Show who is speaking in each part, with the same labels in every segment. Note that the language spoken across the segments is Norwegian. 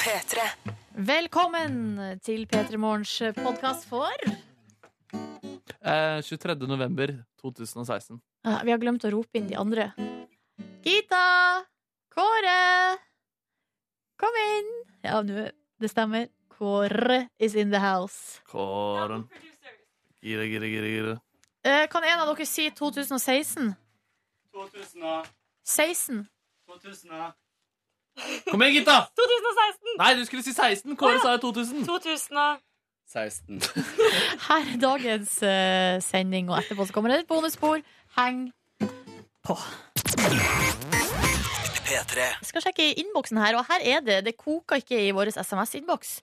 Speaker 1: P3.
Speaker 2: Velkommen til P3 Morgens podkast for
Speaker 3: Eh, 23. november 2016.
Speaker 2: Ja, Vi har glemt å rope inn de andre. Gita! Kåre! Kom inn! Ja, nå Det stemmer. Kåre is in the house.
Speaker 3: Kåren. Gira, gira, gira, gira.
Speaker 2: Eh, kan en av dere si 2016?
Speaker 4: 2000
Speaker 2: 16?
Speaker 4: 2000
Speaker 3: Kom igjen, gutta!
Speaker 5: 2016!
Speaker 3: Nei, du skulle si 16. Kåre sa jo 2000.
Speaker 5: 2000
Speaker 4: 16.
Speaker 2: Her er dagens eh, sending, og etterpå så kommer det et bonusspor. Heng på. Jeg skal sjekke i innboksen her, og her er det. Det koker ikke i vår SMS-innboks.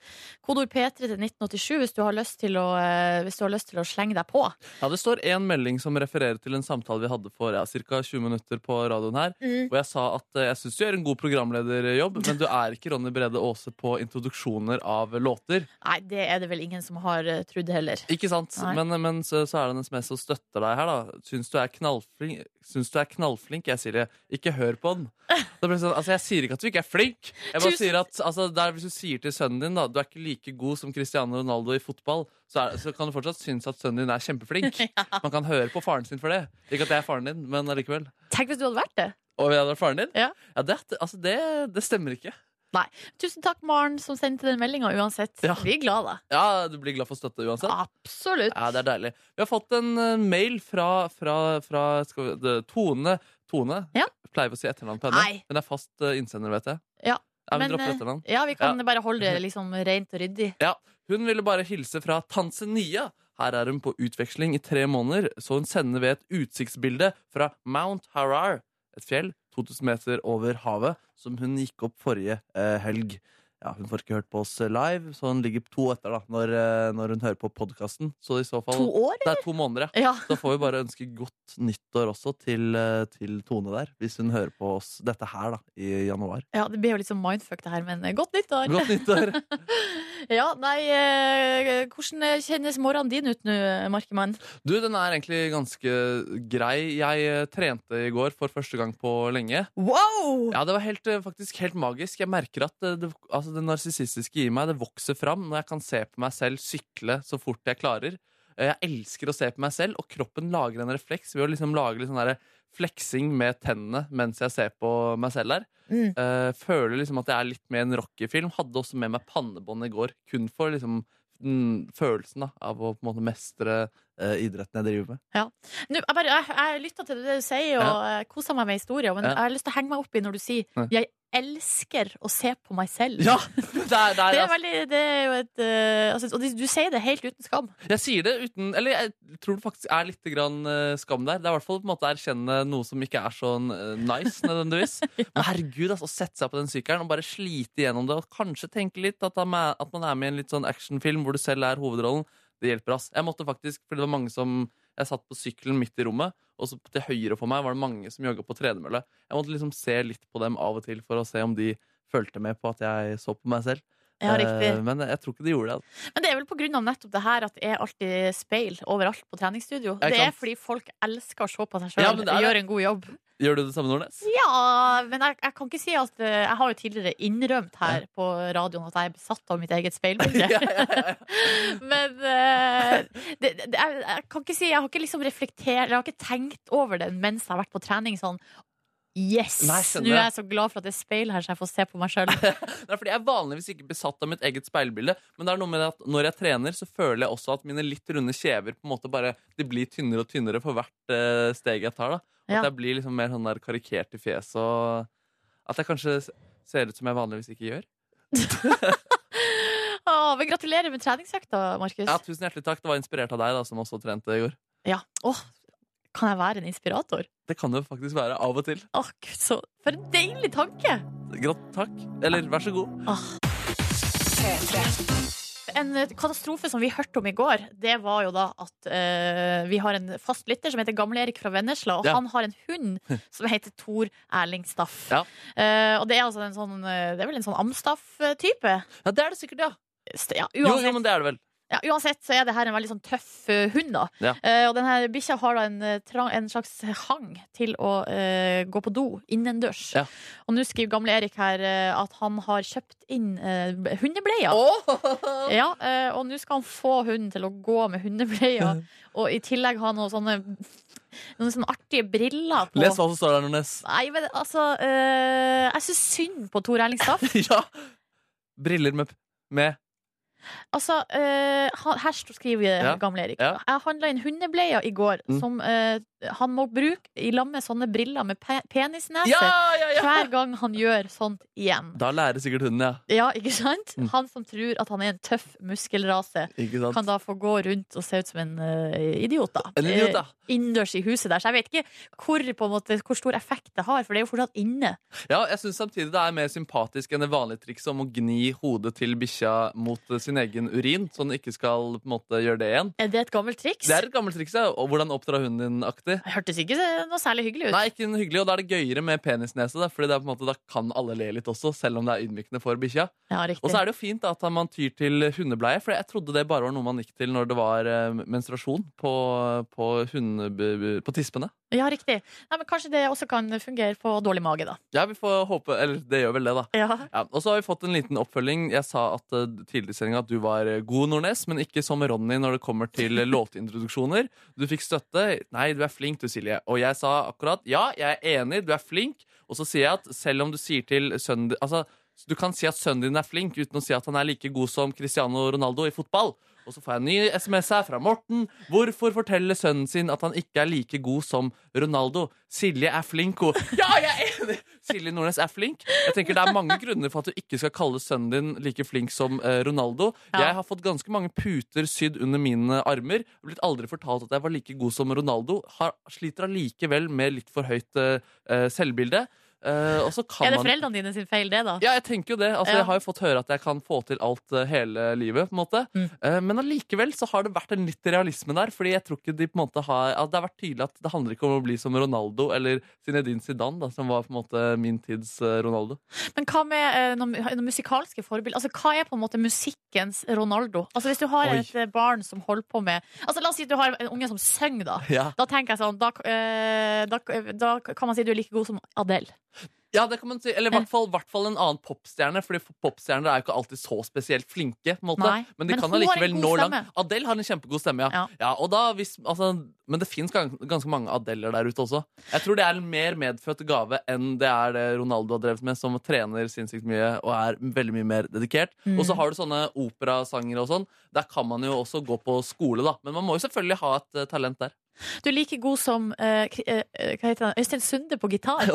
Speaker 2: Kodord P3 til 1987 hvis du har lyst til å, eh, hvis du har lyst til å slenge deg på.
Speaker 3: Ja, Det står én melding som refererer til en samtale vi hadde for ja, ca. 20 minutter på radioen her.
Speaker 2: Mm.
Speaker 3: Hvor jeg sa at eh, jeg syns du gjør en god programlederjobb, men du er ikke Ronny Brede Aase på introduksjoner av låter.
Speaker 2: Nei, det er det vel ingen som har eh, trodd heller.
Speaker 3: Ikke sant?
Speaker 2: Nei.
Speaker 3: Men, men så, så er det en SMS som støtter deg her, da. Syns du er knallflink? Syns du er knallflink? Jeg sier det. Ikke hør på den. Da blir det sånn, altså, jeg sier ikke at du ikke er flink. Jeg bare
Speaker 2: Tusen-
Speaker 3: sier at altså, der, Hvis du sier til sønnen din da, du er ikke like god som Cristiano Ronaldo i fotball, så, er, så kan du fortsatt synes at sønnen din er kjempeflink. Man kan høre på faren sin for det. Ikke at jeg er faren din, men allikevel.
Speaker 2: Tenk hvis du hadde vært det.
Speaker 3: Og jeg er faren din?
Speaker 2: Ja.
Speaker 3: det, altså, det, det stemmer ikke.
Speaker 2: Tusen takk, Maren, som sendte den meldinga uansett.
Speaker 3: Ja.
Speaker 2: Vi er glade.
Speaker 3: Ja, Du blir glad for støtte uansett.
Speaker 2: Absolutt.
Speaker 3: Ja, det er deilig. Vi har fått en eh, mail fra, fra, fra skal vi, det, Tone. Tone.
Speaker 2: Ja.
Speaker 3: Jeg pleier å si etternavn på
Speaker 2: Nei.
Speaker 3: henne. Hun er fast eh, innsender, vet jeg.
Speaker 2: Ja,
Speaker 3: vi
Speaker 2: men,
Speaker 3: dropper
Speaker 2: eh,
Speaker 3: etternavn.
Speaker 2: Ja, vi kan bare holde det liksom rent og ryddig.
Speaker 3: Hun ville bare hilse fra Tanzania. Her er hun på utveksling i tre måneder, så hun sender ved et utsiktsbilde fra Mount Harar, et fjell 2000 meter over havet, som hun gikk opp forrige eh, helg. Ja, Hun får ikke hørt på oss live, så hun ligger to etter da, når, eh, når hun hører på podkasten. Så i så fall
Speaker 2: To år?
Speaker 3: Det er to måneder,
Speaker 2: Ja.
Speaker 3: ja. Da får vi bare ønske godt nyttår også til, eh, til Tone der, hvis hun hører på oss dette her da, i januar.
Speaker 2: ja, det blir jo litt sånn mindfuck det her, men eh, godt nyttår.
Speaker 3: Godt nyttår!
Speaker 2: Ja, nei, eh, hvordan eh, kjennes morgenen din ut nå, Markemann?
Speaker 3: Du, den er egentlig ganske grei. Jeg eh, trente i går for første gang på lenge.
Speaker 2: Wow!
Speaker 3: Ja, det var helt, eh, faktisk helt magisk. Jeg merker at eh, det, altså, det narsissistiske i meg det vokser fram når jeg kan se på meg selv sykle så fort jeg klarer. Eh, Jeg elsker å se på meg selv, og kroppen lager en refleks ved å liksom lage litt sånn der fleksing med tennene mens jeg ser på meg selv der.
Speaker 2: Mm.
Speaker 3: Eh, føler liksom at jeg er litt med i en rockefilm. Hadde også med meg pannebånd i går, kun for liksom den følelsen da, av å på en måte mestre eh, idretten jeg driver med.
Speaker 2: Nå, jeg bare, jeg, jeg lytta til det du sier, og ja. kosa meg med historien, men
Speaker 3: Ja.
Speaker 2: jeg har lyst til å henge meg opp i når du sier
Speaker 3: Ja.
Speaker 2: 'jeg elsker å se på meg selv'.
Speaker 3: Ja! altså. Det er, det
Speaker 2: Det
Speaker 3: er,
Speaker 2: er, veldig, det er jo et eh, altså, Og du sier det helt uten skam.
Speaker 3: Jeg sier det uten Eller jeg tror det faktisk er litt grann eh, skam der. Det er i hvert fall på en måte å erkjenne noe som ikke er sånn eh, nice, nødvendigvis. Men herregud, altså, å sette seg på den sykkelen og bare slite gjennom det, og kanskje tenke litt at, han er- at man er med i en litt sånn actionfilm hvor du selv er hovedrollen, det hjelper ass. Jeg måtte faktisk, fordi det var mange som Jeg satt på sykkelen midt i rommet, og så til høyre for meg var det mange som jogga på tredemølle. Jeg måtte liksom se litt på dem av og til for å se om de fulgte med på at jeg så på meg selv.
Speaker 2: Ja,
Speaker 3: Eh,
Speaker 2: riktig.
Speaker 3: Men jeg tror ikke de gjorde det.
Speaker 2: Men det er vel på grunn av nettopp det her at det er alltid speil overalt på treningsstudio.
Speaker 3: Ja, ikke
Speaker 2: Det er
Speaker 3: sant?
Speaker 2: fordi folk elsker å se på seg
Speaker 3: Ja,
Speaker 2: sjøl
Speaker 3: men det
Speaker 2: og
Speaker 3: er
Speaker 2: gjøre en god jobb.
Speaker 3: Gjør du det samme, Nordnes?
Speaker 2: Ja, men jeg, jeg kan ikke si at eh, Jeg har jo tidligere innrømt her på radioen at jeg er besatt av mitt eget speilbilde.
Speaker 3: Ja, ja, ja.
Speaker 2: Men eh, det, det, jeg, jeg kan ikke si Jeg har ikke liksom reflektert Jeg har ikke tenkt over det mens jeg har vært på trening sånn Yes!
Speaker 3: Nei, skjønner
Speaker 2: Nå er jeg så glad for at det er speil her, så jeg får se på meg sjøl.
Speaker 3: Nei, fordi Jeg er vanligvis ikke besatt av mitt eget speilbilde, men det er noe med det at når jeg trener, så føler jeg også at mine litt runde kjever på en måte bare De blir tynnere og tynnere for hvert eh, steg jeg tar. da At
Speaker 2: Ja.
Speaker 3: jeg blir liksom mer sånn der karikert i fjeset, og at jeg kanskje s- ser ut som jeg vanligvis ikke gjør.
Speaker 2: Å, Men gratulerer med treningsøkta, Markus.
Speaker 3: Ja, Tusen hjertelig takk. Det var inspirert av deg, da som også trente i går.
Speaker 2: Ja. Åh, kan jeg være en inspirator?
Speaker 3: Det kan det faktisk være av og til.
Speaker 2: Åh, Gud, så For en deilig tanke!
Speaker 3: Grat takk. Eller vær så god.
Speaker 2: En eh, katastrofe som vi hørte om i går, det var jo da at eh, vi har en fast lytter som heter Gamle-Erik fra Vennesla, og
Speaker 3: Ja.
Speaker 2: han har en hund som heter Tor Erling Staff.
Speaker 3: Ja.
Speaker 2: Eh, og det er altså en sånn eh, Det er vel en sånn Amstaff-type?
Speaker 3: Ja, det er det sikkert, ja.
Speaker 2: St- Ja,
Speaker 3: Jo, jo,
Speaker 2: uansett.
Speaker 3: men det er det vel.
Speaker 2: ja, uansett så er det her en veldig sånn tøff eh, hund, da.
Speaker 3: Ja.
Speaker 2: Eh, og denne bikkja har da en, eh, trang, en slags hang til å eh, gå på do innendørs.
Speaker 3: Ja.
Speaker 2: Og nå skriver gamle Erik her eh, at han har kjøpt inn eh, hundebleier. Ja, eh, og nå skal han få hunden til å gå med hundebleier, og i tillegg ha noen sånne, noen sånne artige briller på.
Speaker 3: Les hva som står der, Nornes.
Speaker 2: Nei, men altså eh, Jeg syns synd på Tor Erling Staff.
Speaker 3: ja! Briller med, p- med
Speaker 2: Altså, eh, han- her står- skriver
Speaker 3: Ja.
Speaker 2: gamle Erik.
Speaker 3: Ja.
Speaker 2: Jeg handla inn hundebleier i går
Speaker 3: Mm.
Speaker 2: som eh, han må bruke i lag med sånne briller med pe penisnese
Speaker 3: Ja, ja, ja!
Speaker 2: hver gang han gjør sånt igjen.
Speaker 3: Da lærer sikkert hunden, ja.
Speaker 2: Ja, ikke sant?
Speaker 3: Mm.
Speaker 2: Han som tror at han er en tøff muskelrase,
Speaker 3: Ikke sant?
Speaker 2: kan da få gå rundt og se ut som en eh, idiot, da.
Speaker 3: En idiot, da.
Speaker 2: Eh, Innendørs i huset der. Så jeg vet ikke hvor, på en måte, hvor stor effekt det har, for det er jo fortsatt inne.
Speaker 3: Ja, jeg synes samtidig det er mer sympatisk enn det vanlige trikset om å gni hodet til bikkja mot eh, sin egen urin, så den ikke skal på en måte gjøre det igjen.
Speaker 2: Er Eh, det et gammelt triks?
Speaker 3: Det er et gammelt triks, ja. og Hvordan oppdra hunden din-aktig.
Speaker 2: Det hørtes ikke noe særlig hyggelig ut.
Speaker 3: Nei, ikke den hyggelig, og da er det gøyere med penisnese, da, fordi det er på en måte, da kan alle le litt også, selv om det er ydmykende for bikkja.
Speaker 2: Ja, riktig.
Speaker 3: Og så er det jo fint da, at man tyr til hundebleie, for jeg trodde det bare var noe man gikk til når det var eh, menstruasjon på, på, hunde, på tispene.
Speaker 2: Ja, riktig. Nei, men kanskje det også kan fungere på dårlig mage, da.
Speaker 3: Ja, vi får håpe, eller det gjør vel det, da.
Speaker 2: Ja.
Speaker 3: Ja, og så har vi fått en liten oppfølging. Jeg sa at eh, tidligere i sendinga at du var eh, god, Nordnes, men ikke som Ronny når det kommer til eh, låtintroduksjoner. Du fikk støtte. Nei, du er flink, du, Silje. Og jeg sa akkurat ja, jeg er enig, du er flink. Og så sier jeg at selv om du sier til sønnen din Altså, du kan si at sønnen din er flink uten å si at han er like god som Cristiano Ronaldo i fotball. Og så får jeg en ny SMS her fra Morten. Hvorfor forteller sønnen sin at han ikke er like god som Ronaldo? Silje er flink, hun. Ja, jeg er enig! Silje Nordnes er flink. Jeg tenker Det er mange grunner for at du ikke skal kalle sønnen din like flink som eh, Ronaldo.
Speaker 2: Ja.
Speaker 3: Jeg har fått ganske mange puter sydd under mine armer. Jeg har blitt aldri fortalt at jeg var like god som Ronaldo. Har, sliter allikevel med litt for høyt eh, eh, selvbilde. Eh, og så kan
Speaker 2: Er det
Speaker 3: man
Speaker 2: foreldrene dine sin feil, det, da?
Speaker 3: ja, jeg tenker jo det. Altså,
Speaker 2: Ja.
Speaker 3: Jeg har jo fått høre at jeg kan få til alt eh, hele livet. på en måte.
Speaker 2: Mm.
Speaker 3: Eh, Men allikevel så har det vært en litt realisme der. fordi jeg tror ikke de på en måte har, at Det har vært tydelig at det handler ikke om å bli som Ronaldo eller Zinedine Zidane, da, som var på en måte min tids eh, Ronaldo.
Speaker 2: Men hva med eh, noen, noen musikalske forbilder? Altså, hva er på en måte musikkens Ronaldo? Altså, hvis du har
Speaker 3: Oi.
Speaker 2: et eh, barn som holder på med Altså, La oss si at du har en unge som synger, da.
Speaker 3: Ja.
Speaker 2: Da tenker jeg sånn, da, eh, da, da kan man si du er like god som Adele.
Speaker 3: Ja, det kan man si. Eller i hvert fall, hvert fall en annen popstjerne. Fordi popstjerner er jo ikke alltid så spesielt flinke. På en måte.
Speaker 2: Nei,
Speaker 3: men de
Speaker 2: men
Speaker 3: kan
Speaker 2: hun har en
Speaker 3: allikevel
Speaker 2: god
Speaker 3: nå
Speaker 2: stemme.
Speaker 3: langt. Adele har en kjempegod stemme, ja.
Speaker 2: Ja.
Speaker 3: ja og da, hvis, altså, men det fins ganske mange Adeler der ute også. Jeg tror det er en mer medfødt gave enn det er det Ronaldo har drevet med, som trener sinnssykt mye og er veldig mye mer dedikert.
Speaker 2: Mm.
Speaker 3: Og så har du sånne operasangere og sånn. Der kan man jo også gå på skole, da. Men man må jo selvfølgelig ha et eh, talent der.
Speaker 2: Du er like god som eh, Kri- eh, hva heter han? Øystein Sunde på gitar.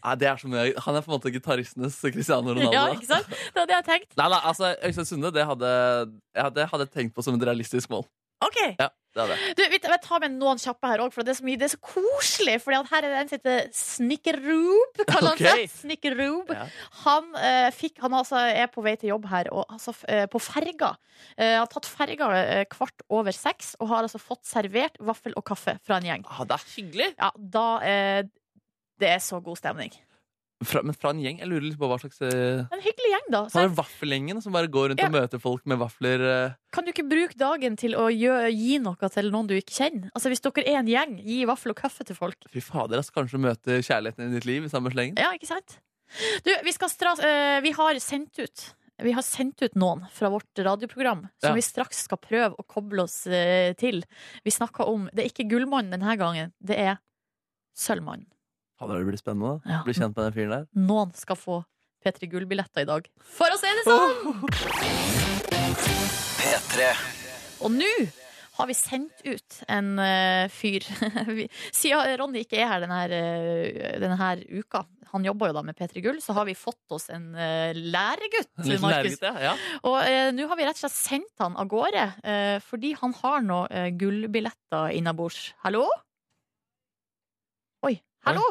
Speaker 3: Nei, det er så mye. Han er på en måte gitaristenes Cristiano Ronaldo.
Speaker 2: Ja,
Speaker 3: da.
Speaker 2: ikke sant? Det var det jeg tenkte.
Speaker 3: Nei, nei, altså Øystein Sunde, det hadde, ja, det hadde jeg tenkt på som et realistisk mål.
Speaker 2: OK.
Speaker 3: Ja, det hadde jeg.
Speaker 2: Du, vi tar- jeg tar med noen kjappe her òg, for det er så, mye, det er så koselig. Fordi at her er det en som heter Snikkeroob, kaller han
Speaker 3: Ok.
Speaker 2: seg. Snikkeroob.
Speaker 3: Ja.
Speaker 2: Han, eh, fikk, han altså er på vei til jobb her, og, altså, f- eh, på ferga. Eh, har tatt ferga eh, kvart over seks, og har altså fått servert vaffel og kaffe fra en gjeng.
Speaker 3: Ah, det er hyggelig!
Speaker 2: Ja, da eh, Det er så god stemning.
Speaker 3: Fra, men fra en gjeng? Jeg lurer litt på hva slags eh,
Speaker 2: En hyggelig gjeng, da.
Speaker 3: Så
Speaker 2: Så
Speaker 3: er det vaffelgjengen som bare går rundt
Speaker 2: Ja.
Speaker 3: og møter folk med vafler. eh.
Speaker 2: kan du ikke bruke dagen til å gjø- gi noe til noen du ikke kjenner? Altså Hvis dere er en gjeng, gi vaffel og kaffe til folk.
Speaker 3: Fy fader, altså, kanskje du møter kjærligheten i ditt liv i samme slengen.
Speaker 2: Ja, ikke sant? Du, vi, skal stra eh, vi har sendt ut vi har sendt ut noen fra vårt radioprogram som
Speaker 3: Ja.
Speaker 2: vi straks skal prøve å koble oss eh, til. Vi snakka om Det er ikke Gullmannen denne gangen, det er Sølvmannen.
Speaker 3: Fader, det blir spennende. da.
Speaker 2: Ja.
Speaker 3: Bli kjent med den fyren der.
Speaker 2: Noen skal få P3 Gull-billetter i dag. For å si det sånn! Og nå har vi sendt ut en eh, fyr. Vi- Siden Ronny ikke er her denne, her, eh, denne her uka, han jobber jo da med P3 Gull, så har vi fått oss en eh, læregutt.
Speaker 3: En liten
Speaker 2: Markus.
Speaker 3: nærgutt, ja. Ja.
Speaker 2: Og eh, nå har vi rett og slett sendt han av gårde, eh, fordi han har noen eh, gullbilletter innabords. Hallo? Oi, hallo!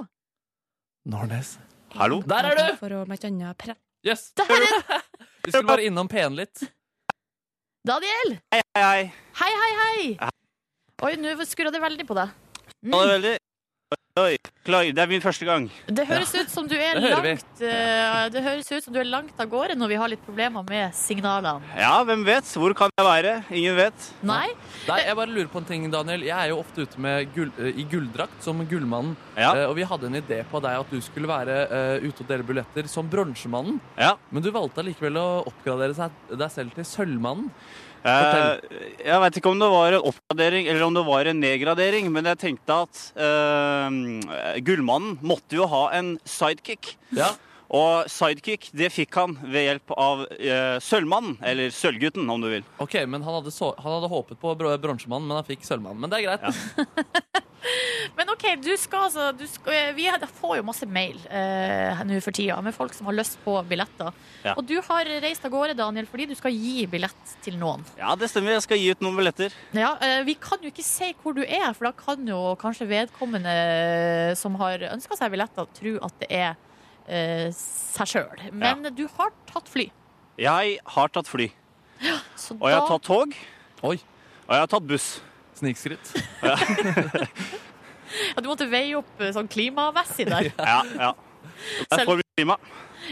Speaker 3: Nornes.
Speaker 4: Hallo?
Speaker 3: Der er du!
Speaker 1: For å blant annet pre...
Speaker 3: Yes.
Speaker 2: Der er du!
Speaker 3: Vi skulle bare innom PN litt.
Speaker 2: Daniel!
Speaker 5: Hei, hei.
Speaker 2: Hei, hei, hei! Oi, nå skurra det veldig på deg.
Speaker 5: Ha det veldig. Oi.
Speaker 4: Beklager, det er min første gang.
Speaker 2: Det høres ut som du er
Speaker 3: Det hører vi.
Speaker 2: langt eh, Det høres ut som du er langt av gårde når vi har litt problemer med signalene.
Speaker 4: Ja, hvem vet? Hvor kan jeg være? Ingen vet.
Speaker 2: Nei?
Speaker 3: Nei, jeg bare lurer på en ting, Daniel. Jeg er jo ofte ute med gull, eh, i gulldrakt som Gullmannen.
Speaker 4: Ja,
Speaker 3: Eh, og vi hadde en idé på deg at du skulle være eh, ute og dele billetter som Bronsemannen.
Speaker 4: ja.
Speaker 3: Men du valgte allikevel å oppgradere seg, deg selv til Sølvmannen.
Speaker 4: Eh, jeg vet ikke om det var en oppgradering eller om det var en nedgradering, men jeg tenkte at eh, Gullmannen måtte jo ha en sidekick.
Speaker 3: Ja.
Speaker 4: Og sidekick det fikk han ved hjelp av eh, Sølvmannen, eller Sølvgutten om du vil.
Speaker 3: Ok, men han hadde, så, han hadde håpet på bro- bronsemannen, men han fikk sølvmannen. Men det er greit.
Speaker 2: Men OK, du skal altså du skal, Vi får jo masse mail eh, nå for tida med folk som har lyst på billetter.
Speaker 4: Ja.
Speaker 2: Og du har reist av gårde, Daniel, fordi du skal gi billett til noen.
Speaker 4: Ja, det stemmer. Jeg skal gi ut noen billetter.
Speaker 2: Ja, eh, Vi kan jo ikke si hvor du er, for da kan jo kanskje vedkommende eh, som har ønska seg billetter, tro at det er eh, seg sjøl. Men du har tatt fly.
Speaker 4: Jeg har tatt fly,
Speaker 2: Så
Speaker 4: og jeg har
Speaker 2: da-
Speaker 4: tatt tog,
Speaker 3: Oi,
Speaker 4: og jeg har tatt buss.
Speaker 3: snikskritt.
Speaker 2: ja, Du måtte veie opp eh, sånn klimamessig der.
Speaker 4: Ja, ja. Jeg får klima.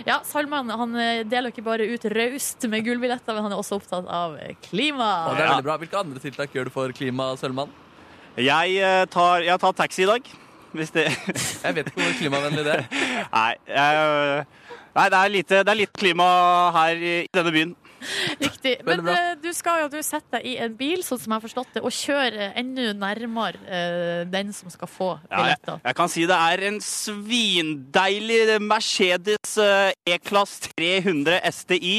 Speaker 2: Ja, Salman han eh, deler ikke bare ut raust med gullbilletter, men han er også opptatt av eh, klima.
Speaker 3: Og det er
Speaker 4: Ja.
Speaker 3: veldig bra. Hvilke andre tiltak gjør du for klima, sølvmann?
Speaker 4: Jeg eh, tar, jeg tar taxi i dag. Hvis det
Speaker 3: Jeg vet ikke hvor klimavennlig det er.
Speaker 4: Nei. Jeg, nei det, er lite, det er litt klima her i i denne byen.
Speaker 2: Riktig.
Speaker 3: Veldig
Speaker 2: Men
Speaker 3: bra.
Speaker 2: eh, du skal jo du setter deg i en bil, sånn som jeg har forstått det, og kjører eh, enda nærmere eh, den som skal få
Speaker 4: Ja,
Speaker 2: billetter.
Speaker 4: Jeg kan si det er en svindeilig Mercedes eh, E-klass 300 STI.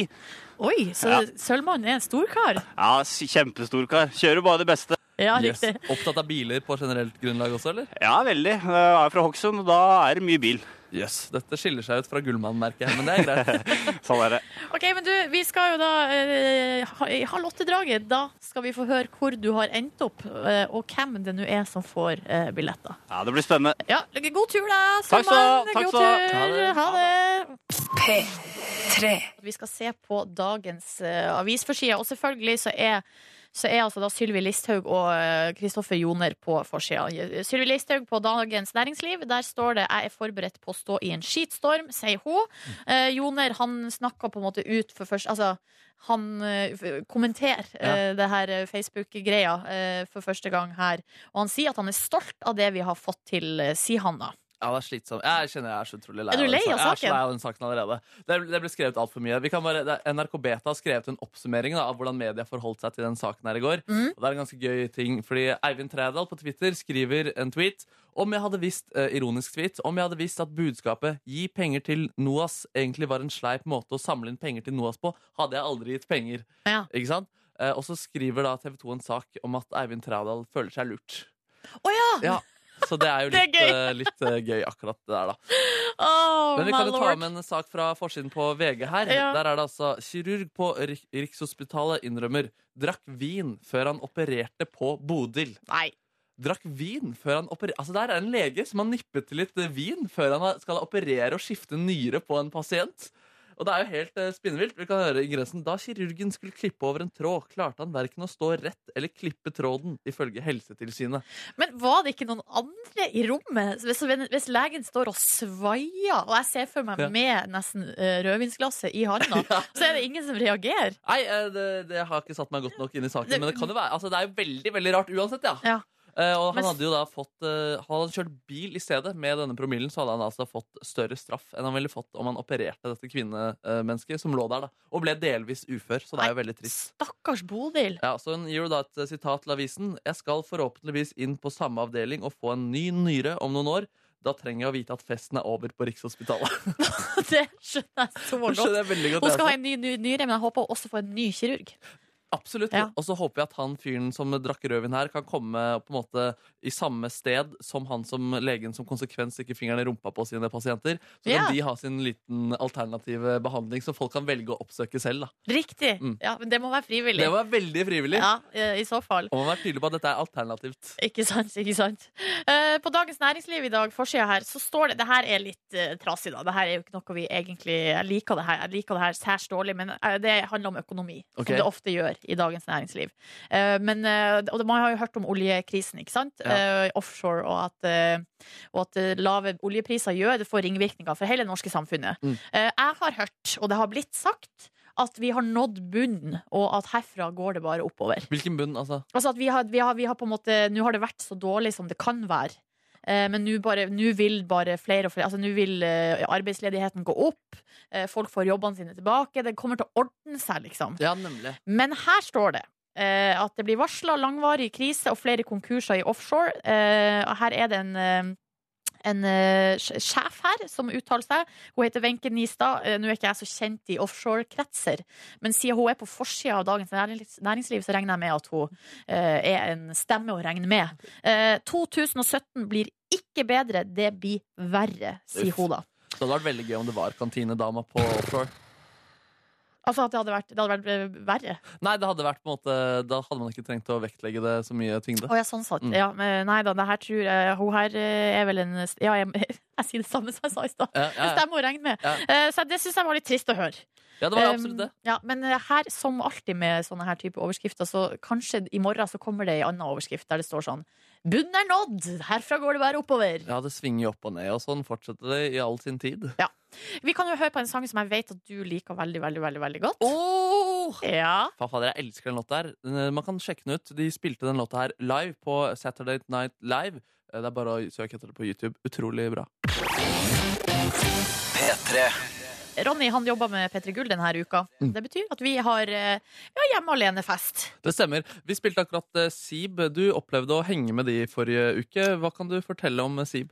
Speaker 2: Oi, så
Speaker 4: Ja.
Speaker 2: Sølvmannen er en storkar?
Speaker 4: Ja, s- kjempestor kar. Kjører bare det beste.
Speaker 2: Ja,
Speaker 3: Yes.
Speaker 2: riktig.
Speaker 3: Opptatt av biler på generelt grunnlag også, eller?
Speaker 4: Ja, veldig. Jeg er fra Hokksund, og da er det mye bil.
Speaker 3: Yes. Dette skiller seg ut fra gullmannen, merker jeg, men det er greit.
Speaker 4: Sånn er det.
Speaker 2: Ok, men du, vi skal jo da eh, ha- i halv åtte-draget. Da skal vi få høre hvor du har endt opp, eh, og hvem det nå er som får eh, billetter.
Speaker 4: Ja, det blir spennende.
Speaker 2: Ja, god tur, da,
Speaker 4: Takk skal du ha,
Speaker 2: Sølvmann.
Speaker 4: takk
Speaker 2: God
Speaker 4: skal du ha.
Speaker 2: tur.
Speaker 3: Ha det.
Speaker 2: Ha det.
Speaker 1: P3.
Speaker 2: Vi skal se på dagens eh, avisforside, og selvfølgelig så er så er altså da Sylvi Listhaug og eh, Kristoffer Joner på forsida. Sylvi Listhaug på Dagens Næringsliv. Der står det 'Jeg er forberedt på å stå i en skitstorm', sier hun. Eh, Joner han snakker på en måte ut for først Altså, han eh, f- kommenterer eh, det her eh, Facebook-greia eh, for første gang her. Og han sier at han er stolt av det vi har fått til, eh, sier han da.
Speaker 3: Ja, det er slitsomt. Jeg kjenner jeg er så utrolig lei,
Speaker 2: Er du lei
Speaker 3: den
Speaker 2: av
Speaker 3: saken.
Speaker 2: saken?
Speaker 3: Jeg er så lei av den saken allerede. Det, det ble skrevet altfor mye. Vi kan bare, det, er- NRK Beta har skrevet en oppsummering da, av hvordan media forholdt seg til den saken her i går.
Speaker 2: Mm.
Speaker 3: Og det er en ganske gøy ting, fordi Eivind Trædal på Twitter skriver en tweet om jeg hadde visst, eh, ironisk tweet, om jeg hadde visst at budskapet 'gi penger til NOAS' egentlig var en sleip måte å samle inn penger til NOAS på, hadde jeg aldri gitt penger.
Speaker 2: Ja.
Speaker 3: Ikke sant? Eh, og så skriver da TV 2 en sak om at Eivind Trædal føler seg lurt.
Speaker 2: Å ja!
Speaker 3: Ja. Så det er jo
Speaker 2: Det er
Speaker 3: litt,
Speaker 2: gøy.
Speaker 3: eh, litt eh, gøy akkurat det der, da.
Speaker 2: Oh,
Speaker 3: Men vi
Speaker 2: my
Speaker 3: kan jo ta
Speaker 2: lord.
Speaker 3: med en sak fra forsiden på VG her.
Speaker 2: Ja.
Speaker 3: Der er det altså kirurg på Rik- Rikshospitalet innrømmer drakk vin før han opererte på Bodil.
Speaker 2: Nei.
Speaker 3: Drakk vin før han operer... Altså, der er en lege som har nippet til litt eh, vin før han har- skal operere og skifte nyre på en pasient. Og det er jo helt eh, spinnvilt. Vi kan høre ingressen. Da kirurgen skulle klippe over en tråd, klarte han verken å stå rett eller klippe tråden, ifølge Helsetilsynet.
Speaker 2: Men var det ikke noen andre i rommet? Hvis, hvis legen står og svaier, og jeg ser for meg
Speaker 3: Ja.
Speaker 2: med nesten eh, rødvinsglasset i handa, så er det ingen som reagerer.
Speaker 3: Nei, eh, det, det har ikke satt meg godt nok inn i saken.
Speaker 2: Det-
Speaker 3: Men det kan jo være, altså det er jo veldig veldig rart uansett, ja.
Speaker 2: Ja.
Speaker 3: Eh, og han
Speaker 2: Men-
Speaker 3: hadde jo da fått eh, Han hadde kjørt bil i stedet. Med denne promillen så hadde han altså fått større straff enn han ville fått om han opererte dette kvinnemennesket som lå der, da. Og ble delvis ufør, så det er jo veldig trist.
Speaker 2: Stakkars Bodil.
Speaker 3: Ja, så Hun gir jo da et eh, sitat til avisen. Jeg skal forhåpentligvis inn på samme avdeling og få en ny nyre om noen år. Da trenger jeg å vite at festen er over på Rikshospitalet.
Speaker 2: Det skjønner jeg så
Speaker 3: Det altså.
Speaker 2: godt.
Speaker 3: skjønner jeg veldig godt
Speaker 2: Hun
Speaker 3: jeg
Speaker 2: skal ha
Speaker 3: også.
Speaker 2: en ny, ny nyre, men jeg håper hun også får en ny kirurg.
Speaker 3: Absolutt.
Speaker 2: Ja.
Speaker 3: Og så håper jeg at han fyren som drakk rødvin her, kan komme på en måte i samme sted som han som legen som konsekvens stikker fingeren i rumpa på sine pasienter. Så
Speaker 2: Ja.
Speaker 3: kan de ha sin liten alternative behandling som folk kan velge å oppsøke selv. Da.
Speaker 2: Riktig.
Speaker 3: Mm.
Speaker 2: Ja, men det må være frivillig.
Speaker 3: Det var veldig frivillig.
Speaker 2: ja, eh, I så fall.
Speaker 3: Og man må være tydelig på at dette er alternativt.
Speaker 2: Ikke sant, ikke sant. Eh, på Dagens Næringsliv i dag, forsida her, så står det Det her er litt eh, trasig, da. Det her er jo ikke noe vi egentlig Jeg liker det her, jeg liker det her særs dårlig, men eh, det handler om økonomi,
Speaker 3: Ok.
Speaker 2: som det ofte gjør. i Dagens Næringsliv. Eh, Men, eh, og det- man har jo hørt om oljekrisen, ikke sant?
Speaker 3: Ja.
Speaker 2: Eh, Offshore, og at, eh, og at eh, lave oljepriser gjør det får ringvirkninger for hele det norske samfunnet.
Speaker 3: Mm.
Speaker 2: Eh, Jeg har hørt, og det har blitt sagt, at vi har nådd bunnen, og at herfra går det bare oppover.
Speaker 3: Hvilken bunn, altså?
Speaker 2: Altså at vi har, vi har, vi har på en måte Nå har det vært så dårlig som det kan være. Eh, Men nå bare- nå vil bare flere og flere Altså nå vil eh, arbeidsledigheten gå opp. eh, Folk får jobbene sine tilbake. Det kommer til å ordne seg, liksom.
Speaker 3: Ja, nemlig.
Speaker 2: Men her står det eh, at det blir varsla langvarig krise og flere konkurser i offshore. Eh, og her er det en eh, en eh, sj- sjef her som uttaler seg. Hun heter Wenche Nistad. Eh, Nå er ikke jeg så kjent i offshore-kretser, men siden hun er på forsida av Dagens Nærings- Næringsliv, så regner jeg med at hun eh, er en stemme å regne med. Eh, 2017 blir ikke bedre, det blir verre, sier
Speaker 3: Uff.
Speaker 2: hun da.
Speaker 3: Det hadde vært veldig gøy om det var kantinedama på offshore.
Speaker 2: Altså at det hadde vært, det hadde vært eh, verre.
Speaker 3: Nei, det hadde vært på en måte Da hadde man ikke trengt å vektlegge det så mye tyngde.
Speaker 2: Å ja, sånn sett.
Speaker 3: Mm.
Speaker 2: Ja, men nei da, det her tror jeg Hun her eh, er vel en Ja, jeg, jeg sier det samme som jeg sa i stad. Det
Speaker 3: Ja, ja, ja.
Speaker 2: stemmer å regne med.
Speaker 3: Ja.
Speaker 2: Eh, Så det syns jeg var litt trist å høre.
Speaker 3: ja, det var absolutt
Speaker 2: Eh,
Speaker 3: det.
Speaker 2: Ja, men eh, her, som alltid med sånne her type overskrifter, så kanskje i morgen så kommer det ei anna overskrift der det står sånn Bunnen er nådd! Herfra går det bare oppover.
Speaker 3: Ja, det svinger jo opp og ned, og sånn fortsetter det i all sin tid.
Speaker 2: Vi kan jo høre på en sang som jeg vet at du liker veldig, veldig, veldig veldig godt.
Speaker 3: Oh!
Speaker 2: Ja.
Speaker 3: Faen, fader, jeg elsker den låta her. Den- Man kan sjekke den ut. De spilte den låta her live på Saturday Night Live. Eh, Det er bare å søke etter det på YouTube. Utrolig bra.
Speaker 2: Ronny han jobber med P3 Gull denne uka.
Speaker 3: Mm.
Speaker 2: Det betyr at vi har eh, ja, hjemme alene-fest.
Speaker 3: Det stemmer. Vi spilte akkurat eh, Sib. Du opplevde å henge med de forrige uke. Hva kan du fortelle om eh, Sib?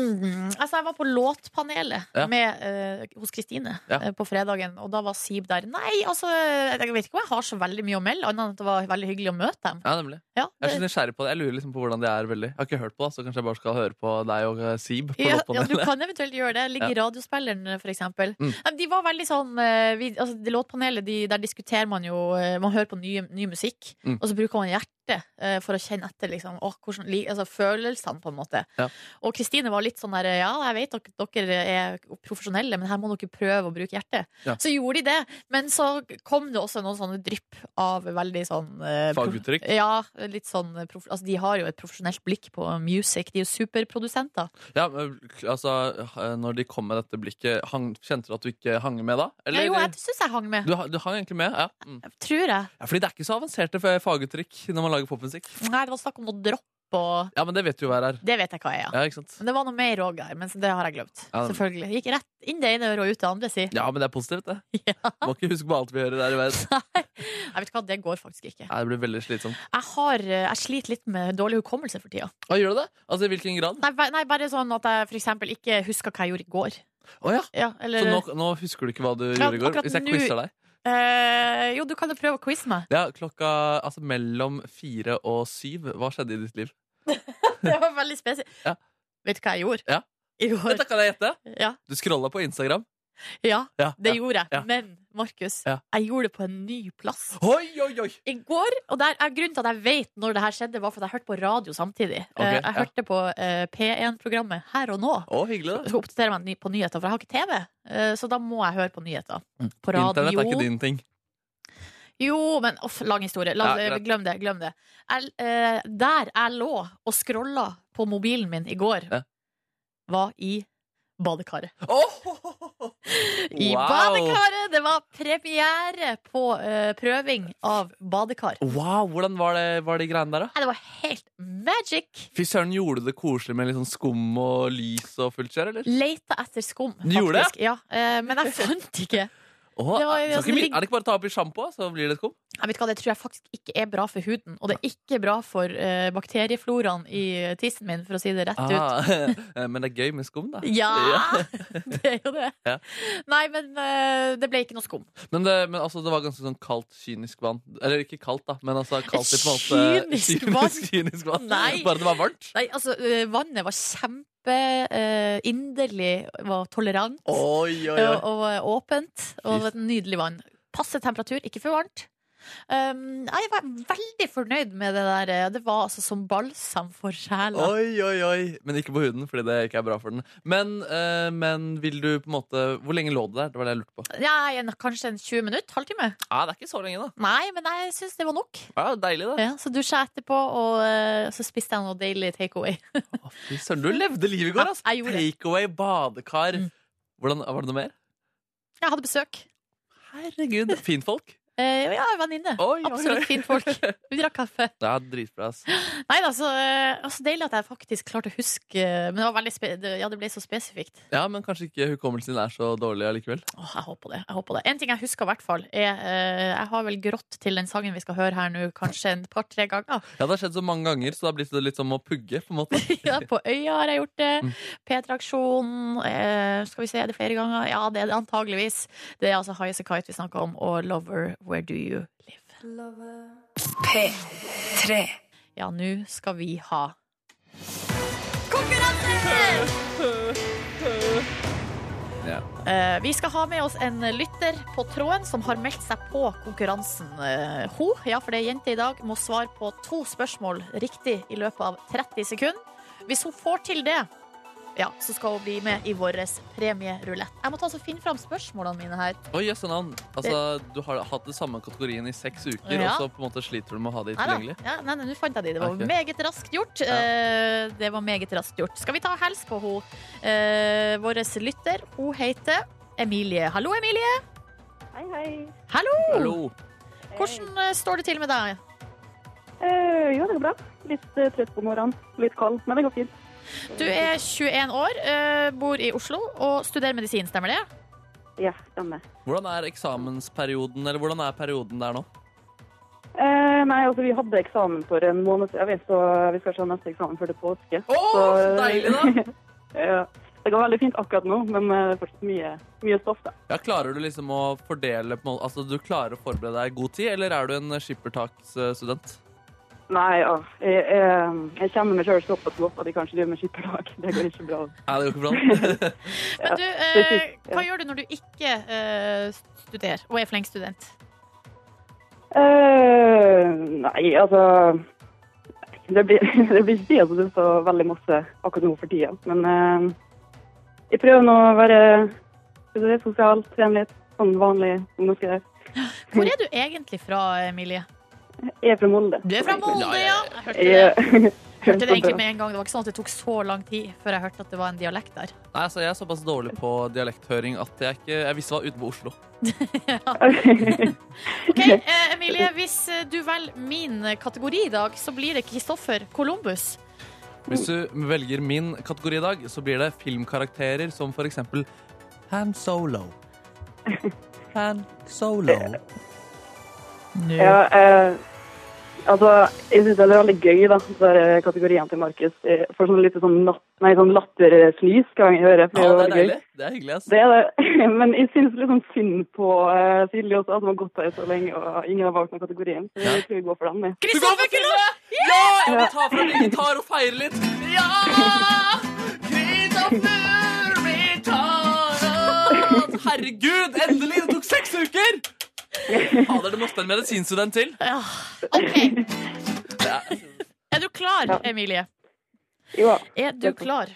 Speaker 2: Mm, altså jeg var på låtpanelet
Speaker 3: Ja.
Speaker 2: med, eh, hos Kristine
Speaker 3: Ja.
Speaker 2: eh, på fredagen, og da var Sib der. Nei, altså, jeg vet ikke om jeg har så veldig mye å melde, annet enn at det var veldig hyggelig å møte dem.
Speaker 3: Ja, nemlig.
Speaker 2: Ja,
Speaker 3: Jeg er så
Speaker 2: det,
Speaker 3: nysgjerrig på det. Jeg lurer liksom på hvordan det er veldig. Jeg har ikke hørt på det, så kanskje jeg bare skal høre på deg og eh, Sib. På
Speaker 2: ja, ja, du
Speaker 3: låtpanelet.
Speaker 2: kan eventuelt gjøre det. Ligge i radiospilleren, eh, for eksempel.
Speaker 3: Mm.
Speaker 2: Nei, men De var veldig sånn eh, vi, altså, det Låtpanelet, de, der diskuterer man jo eh, Man hører på ny, ny musikk,
Speaker 3: Mm.
Speaker 2: og så bruker man hjertet eh, for å kjenne etter liksom, åh, hvordan, li- altså, følelsene, på en måte.
Speaker 3: Ja.
Speaker 2: Og Kristine var litt sånn der Ja, jeg vet at dere er profesjonelle, men her må dere prøve å bruke hjertet.
Speaker 3: Ja.
Speaker 2: Så gjorde de det. Men så kom det også noen sånne drypp av veldig sånn eh, prof-
Speaker 3: Faguttrykk.
Speaker 2: Ja, litt sånn prof, altså, De har jo et profesjonelt blikk på music. De er jo superprodusenter.
Speaker 3: Ja, men, altså, eh, når de kom med dette blikket, hang, kjente du at du ikke hang med da? Eller-
Speaker 2: jo, jeg syns jeg hang med.
Speaker 3: du, ha- du hang egentlig med? Ja. Mm.
Speaker 2: Tror jeg.
Speaker 3: ja. Fordi det er ikke så avanserte f- faguttrykk når man lager popmusikk.
Speaker 2: Nei, det var snakk om noe dropp og
Speaker 3: Ja, men det vet du jo hver her.
Speaker 2: Det vet jeg hva jeg er.
Speaker 3: Ja, ikke sant?
Speaker 2: Men det var noe mer òg der, men det har jeg glemt.
Speaker 3: Ja, men-
Speaker 2: Selvfølgelig. Gikk rett inn det ene øret og ut det andre, si.
Speaker 3: Ja, men det er positivt, det.
Speaker 2: Ja.
Speaker 3: Må ikke huske på alt vi gjør der i verden.
Speaker 2: Jeg vet ikke hva, det går faktisk ikke.
Speaker 3: Nei, det blir veldig slitsomt.
Speaker 2: Jeg, har, eh, jeg sliter litt med dårlig hukommelse for tida.
Speaker 3: Å, gjør du det? Altså, i hvilken grad?
Speaker 2: Nei, ba- nei, bare sånn at jeg for eksempel ikke husker hva jeg gjorde i går.
Speaker 3: Å ja.
Speaker 2: Ja, eller
Speaker 3: Så nå, nå husker du ikke hva du
Speaker 2: Ja,
Speaker 3: gjorde i går?
Speaker 2: akkurat
Speaker 3: Hvis jeg
Speaker 2: nå-
Speaker 3: quizer deg?
Speaker 2: eh, Jo, du kan jo prøve å quize meg.
Speaker 3: Ja, klokka altså mellom fire og syv. Hva skjedde i ditt liv?
Speaker 2: Det var veldig spesielt.
Speaker 3: Ja.
Speaker 2: Vet du hva jeg gjorde?
Speaker 3: Ja.
Speaker 2: I går.
Speaker 3: Dette kan jeg gjette.
Speaker 2: Ja.
Speaker 3: Du scrolla på Instagram.
Speaker 2: ja,
Speaker 3: Ja.
Speaker 2: det
Speaker 3: ja.
Speaker 2: gjorde jeg.
Speaker 3: Ja.
Speaker 2: Men Markus,
Speaker 3: Ja.
Speaker 2: jeg gjorde det på en ny plass.
Speaker 3: Oi, oi, oi!
Speaker 2: I går, og der er grunnen til at jeg vet når det her skjedde, var for at jeg hørte på radio samtidig.
Speaker 3: Ok,
Speaker 2: Eh, jeg
Speaker 3: ja.
Speaker 2: hørte på eh, P1-programmet Her og nå.
Speaker 3: Å, hyggelig, da.
Speaker 2: Jeg skal oppdatere meg ny- på nyheter, for jeg har ikke TV. eh, så da må jeg høre på nyheter. På
Speaker 3: Mm. Internett er ikke
Speaker 2: radio.
Speaker 3: din ting.
Speaker 2: Jo, men uff, lang historie. La,
Speaker 3: Ja, greit.
Speaker 2: glem det. glem det jeg, eh, Der jeg lå og scrolla på mobilen min i går,
Speaker 3: Ja.
Speaker 2: var i badekaret.
Speaker 3: Oh!
Speaker 2: I badekaret! Det var premiere på eh, prøving av badekar.
Speaker 3: Wow, Hvordan var det, var de greiene der, da?
Speaker 2: Nei, det var helt magic!
Speaker 3: Fy søren, gjorde du det koselig med litt sånn skum og lys og fullt kjør, eller?
Speaker 2: Leita etter skum,
Speaker 3: Du gjorde det?
Speaker 2: faktisk. Ja, eh, men jeg fant ikke.
Speaker 3: Åh,
Speaker 2: Det var jo
Speaker 3: skal
Speaker 2: sånn
Speaker 3: ikke, vi-
Speaker 2: ligg-
Speaker 3: er det ikke bare å ta oppi sjampo, så blir det skum?
Speaker 2: Jeg vet ikke hva, Det tror jeg faktisk ikke er bra for huden, og det er ikke bra for eh, bakteriefloraen i tissen min, for å si det rett ut.
Speaker 3: Ah, men det er gøy med skum, da.
Speaker 2: Ja!
Speaker 3: Ja.
Speaker 2: Det er jo det.
Speaker 3: Ja.
Speaker 2: Nei, men eh, det ble ikke noe skum.
Speaker 3: Men, det, men altså, det var ganske sånn kaldt, kynisk vann. Eller ikke kaldt, da, men altså kaldt i på en måte
Speaker 2: kynisk vann?
Speaker 3: Kynisk, kynisk vann.
Speaker 2: Nei.
Speaker 3: Bare det var varmt.
Speaker 2: Nei, altså, eh, vannet var kjempe eh, inderlig, var tolerant
Speaker 3: Oi,
Speaker 2: eh,
Speaker 3: oi, oi.
Speaker 2: og, og åpent. Og
Speaker 3: Fy.
Speaker 2: det var et nydelig vann. Passe temperatur, ikke for varmt. Um, jeg var veldig fornøyd med det der. eh, Det var altså som balsam for sjela.
Speaker 3: Oi, oi, oi. Men ikke på huden, fordi det ikke er bra for den. Men, eh, men vil du på en måte Hvor lenge lå det der? Det var det jeg lurte på.
Speaker 2: Nei, en, kanskje en 20 minutter? Halvtime?
Speaker 3: Ja, det er ikke så lenge, da.
Speaker 2: Nei, men jeg syns det var nok.
Speaker 3: Ja, deilig, da.
Speaker 2: Ja, så dusja jeg etterpå, og eh, så spiste jeg noe deilig takeaway.
Speaker 3: Å, Fy søren, du levde livet i går, altså.
Speaker 2: Ja, jeg gjorde det.
Speaker 3: Takeaway, badekar.
Speaker 2: Mm.
Speaker 3: Hvordan, var det noe mer?
Speaker 2: Jeg hadde besøk.
Speaker 3: Herregud. Finfolk.
Speaker 2: Eh, ja, en venninne.
Speaker 3: Oi, oi, oi.
Speaker 2: Absolutt fint folk. Vi drakk kaffe.
Speaker 3: Det er dritbra. ass.
Speaker 2: Nei da, så eh, altså, deilig at jeg faktisk klarte å huske eh, Men det, var veldig spe det, ja, det ble så spesifikt.
Speaker 3: Ja, men kanskje ikke hukommelsen din er så dårlig allikevel.
Speaker 2: Åh, jeg håper det. jeg håper det En ting jeg husker i hvert fall, er eh, Jeg har vel grått til den sangen vi skal høre her nå, kanskje en par-tre ganger.
Speaker 3: Ja, det har skjedd så mange ganger, så det har blitt litt som å pugge, på en måte.
Speaker 2: Ja, på Øya har jeg gjort det.
Speaker 3: Mm.
Speaker 2: P3-aksjonen. eh, skal vi se, er det flere ganger? Ja, det er det antageligvis. Det er altså Highas Kite vi snakker om, og Lover, Where Do You Live?
Speaker 1: P3
Speaker 2: Ja, nå skal vi ha
Speaker 3: Ja.
Speaker 2: Eh, Vi skal ha med oss en lytter på tråden som har meldt seg på konkurransen. Eh, Hun, ja, for det er jente i dag, må svare på to spørsmål riktig i løpet av 30 sekunder. Hvis hun får til det, ja, så skal hun bli med i vår premierulett. Jeg må ta og finne fram spørsmålene mine her.
Speaker 3: Oi, jøsse navn. Altså, du har hatt den samme kategorien i seks uker,
Speaker 2: Ja.
Speaker 3: og så på en måte sliter du med å ha de
Speaker 2: Neida.
Speaker 3: tilgjengelig.
Speaker 2: Ja, nei, nei, nå fant jeg de. Det var
Speaker 3: Ok.
Speaker 2: meget raskt gjort. Eh, Det var meget raskt gjort. Skal vi ta hels på hun? Eh, Vår lytter, hun heter Emilie. Hallo, Emilie.
Speaker 5: Hei, hei.
Speaker 2: Hallo!
Speaker 3: Hallo.
Speaker 2: Hvordan eh, står det til med deg?
Speaker 5: Eh, jo, det går bra. Litt eh, trøtt på morgenen. Litt kald, men det går fint.
Speaker 2: Du er 21 år, eh, bor i Oslo og studerer medisin, stemmer det?
Speaker 5: Ja, stemmer.
Speaker 3: Hvordan er eksamensperioden, eller hvordan er perioden der nå?
Speaker 5: Eh, nei, altså, vi hadde eksamen for en måned siden, vi, så vi skal ta neste eksamen før det er påske.
Speaker 3: Å, så deilig, da!
Speaker 5: ja, det går veldig fint akkurat nå, men eh, det er fortsatt mye, mye stoff, da.
Speaker 3: Ja, klarer du liksom å fordele på en måte, Altså, du klarer å forberede deg i god tid, eller er du en skippertaksstudent?
Speaker 5: Nei, ja. jeg, jeg, jeg kjenner meg sjøl såpass godt at jeg kanskje driver med skipperlag. Det går ikke bra.
Speaker 3: Nei, det går ikke bra.
Speaker 2: Men
Speaker 5: Ja,
Speaker 2: du,
Speaker 5: det
Speaker 2: eh,
Speaker 5: synes jeg.
Speaker 2: hva gjør du når du ikke eh, studerer og er flink student?
Speaker 5: Eh, nei, altså Det blir, det blir ikke tid til å synes så veldig masse akkurat nå for tida. Men eh, jeg prøver nå å være skal vi si, sosial, trene litt, sånn vanlig som dere der.
Speaker 2: Hvor er du egentlig fra, Emilie?
Speaker 5: Jeg er fra Molde.
Speaker 2: Du er fra Molde,
Speaker 3: Ja,
Speaker 2: ja!
Speaker 3: ja,
Speaker 2: Jeg hørte det,
Speaker 5: Jeg-
Speaker 2: jeg hørte det egentlig med en gang. Det var ikke sånn at det tok så lang tid før jeg hørte at det var en dialekt der.
Speaker 3: Nei, altså, jeg er såpass dårlig på dialekthøring at jeg ikke Jeg visste det var utenfor Oslo.
Speaker 2: Ok, eh, Emilie, hvis eh, du velger min eh, kategori i dag, så blir det Kristoffer Columbus.
Speaker 3: Hvis du velger min kategori i dag, så blir det filmkarakterer som for eksempel Han Solo. Han Solo.
Speaker 5: ja, eh, altså, jeg syns det er veldig gøy, da, de der, eh, kategoriene til Markus. Jeg får sånn litt sånn, natt- nei, sånn latterfnys hver gang jeg hører. for
Speaker 3: Ja, det er
Speaker 5: veldig gøy.
Speaker 3: deilig. Det er hyggelig, ass.
Speaker 5: Det er det. Men jeg syns litt sånn synd på eh, Silje også, at hun har gått her så lenge og ingen har valgt den kategorien. Så jeg tror vi går for den. vi.
Speaker 2: Kristoffer Columbus!
Speaker 3: Ja! Jeg må ta fram min gitar og feire litt. Ja! Kristoffer min gitar! Herregud, endelig! Det tok seks uker! Fader, det måtte en medisinstudent til.
Speaker 2: Ja. OK.
Speaker 3: Ja.
Speaker 2: Er du klar, Emilie?
Speaker 5: Jo,
Speaker 2: Er du klar?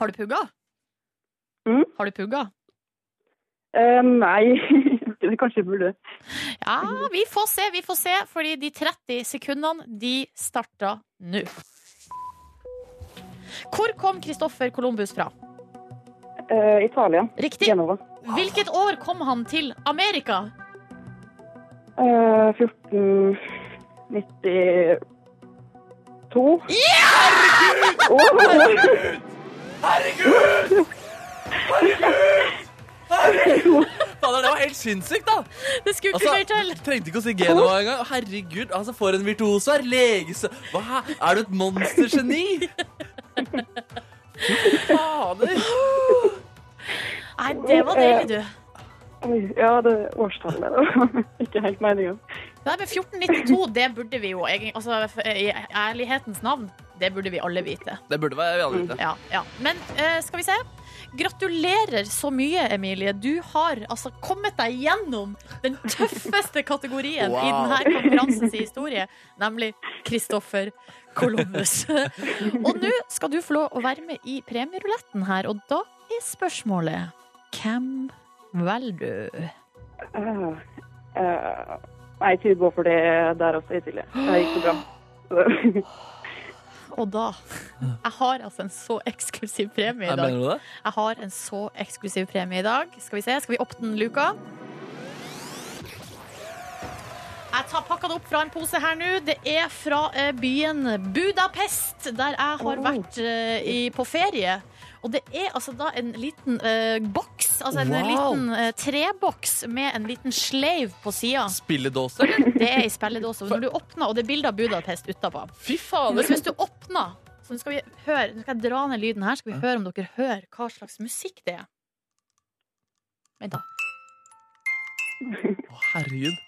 Speaker 2: Har du pugga?
Speaker 5: Mm?
Speaker 2: Har du pugga?
Speaker 5: eh, nei. Det kanskje burde
Speaker 2: Ja, vi får se, vi får se. Fordi de 30 sekundene, de starta nå. Hvor kom Kristoffer Columbus fra?
Speaker 5: uh, Italia.
Speaker 2: Riktig.
Speaker 5: Genova.
Speaker 2: Hvilket år kom han til Amerika?
Speaker 5: Eh, 1492. Herregud!
Speaker 3: Fader, det var helt sinnssykt, da.
Speaker 2: Det skulle ikke mer til.
Speaker 3: Altså, trengte ikke å si Genova engang. Herregud, altså for en virtuose her. Leges... Hva? Er du et monstergeni? Fy Fader.
Speaker 2: Nei, det var deilig, du.
Speaker 5: ja, det årstallet. det var Ikke helt meninga.
Speaker 2: Nei, men 1492, det burde vi jo egentlig altså, I ærlighetens navn Det burde vi alle vite.
Speaker 3: Det burde være vi alle vite.
Speaker 2: Ja, ja. Men eh, skal vi se. Gratulerer så mye, Emilie. Du har altså kommet deg gjennom den tøffeste kategorien i
Speaker 3: Wow.
Speaker 2: denne konkurransens historie, nemlig Kristoffer Columbus. og nå skal du få lov å være med i premieruletten her, og da er spørsmålet hvem velger du?
Speaker 5: Øh, øh, Nei, Eh, jeg tror jeg går for det der også, jeg tidligere. Det gikk så bra.
Speaker 2: Og da Jeg har altså en så eksklusiv premie i
Speaker 3: Jeg
Speaker 2: dag.
Speaker 3: mener du det?
Speaker 2: Jeg har en så eksklusiv premie i dag. Skal vi se, skal vi opp den luka? Jeg tar pakka det opp fra en pose her nå. Det er fra eh, byen Budapest, der jeg har vært eh, i, på ferie. Og det er altså da en liten eh, boks, altså en
Speaker 3: Wow.
Speaker 2: liten eh, treboks med en liten sleiv på sida.
Speaker 3: Spilledåse, eller?
Speaker 2: Det er ei spilledåse. Og Når du åpner, og det er bilde av Budapest utapå.
Speaker 3: Fy faen!
Speaker 2: Hvis, hvis du åpner så nå skal vi høre, Nå skal jeg dra ned lyden her, skal vi høre om dere hører hva slags musikk det er. Vent, da.
Speaker 3: Å, herregud.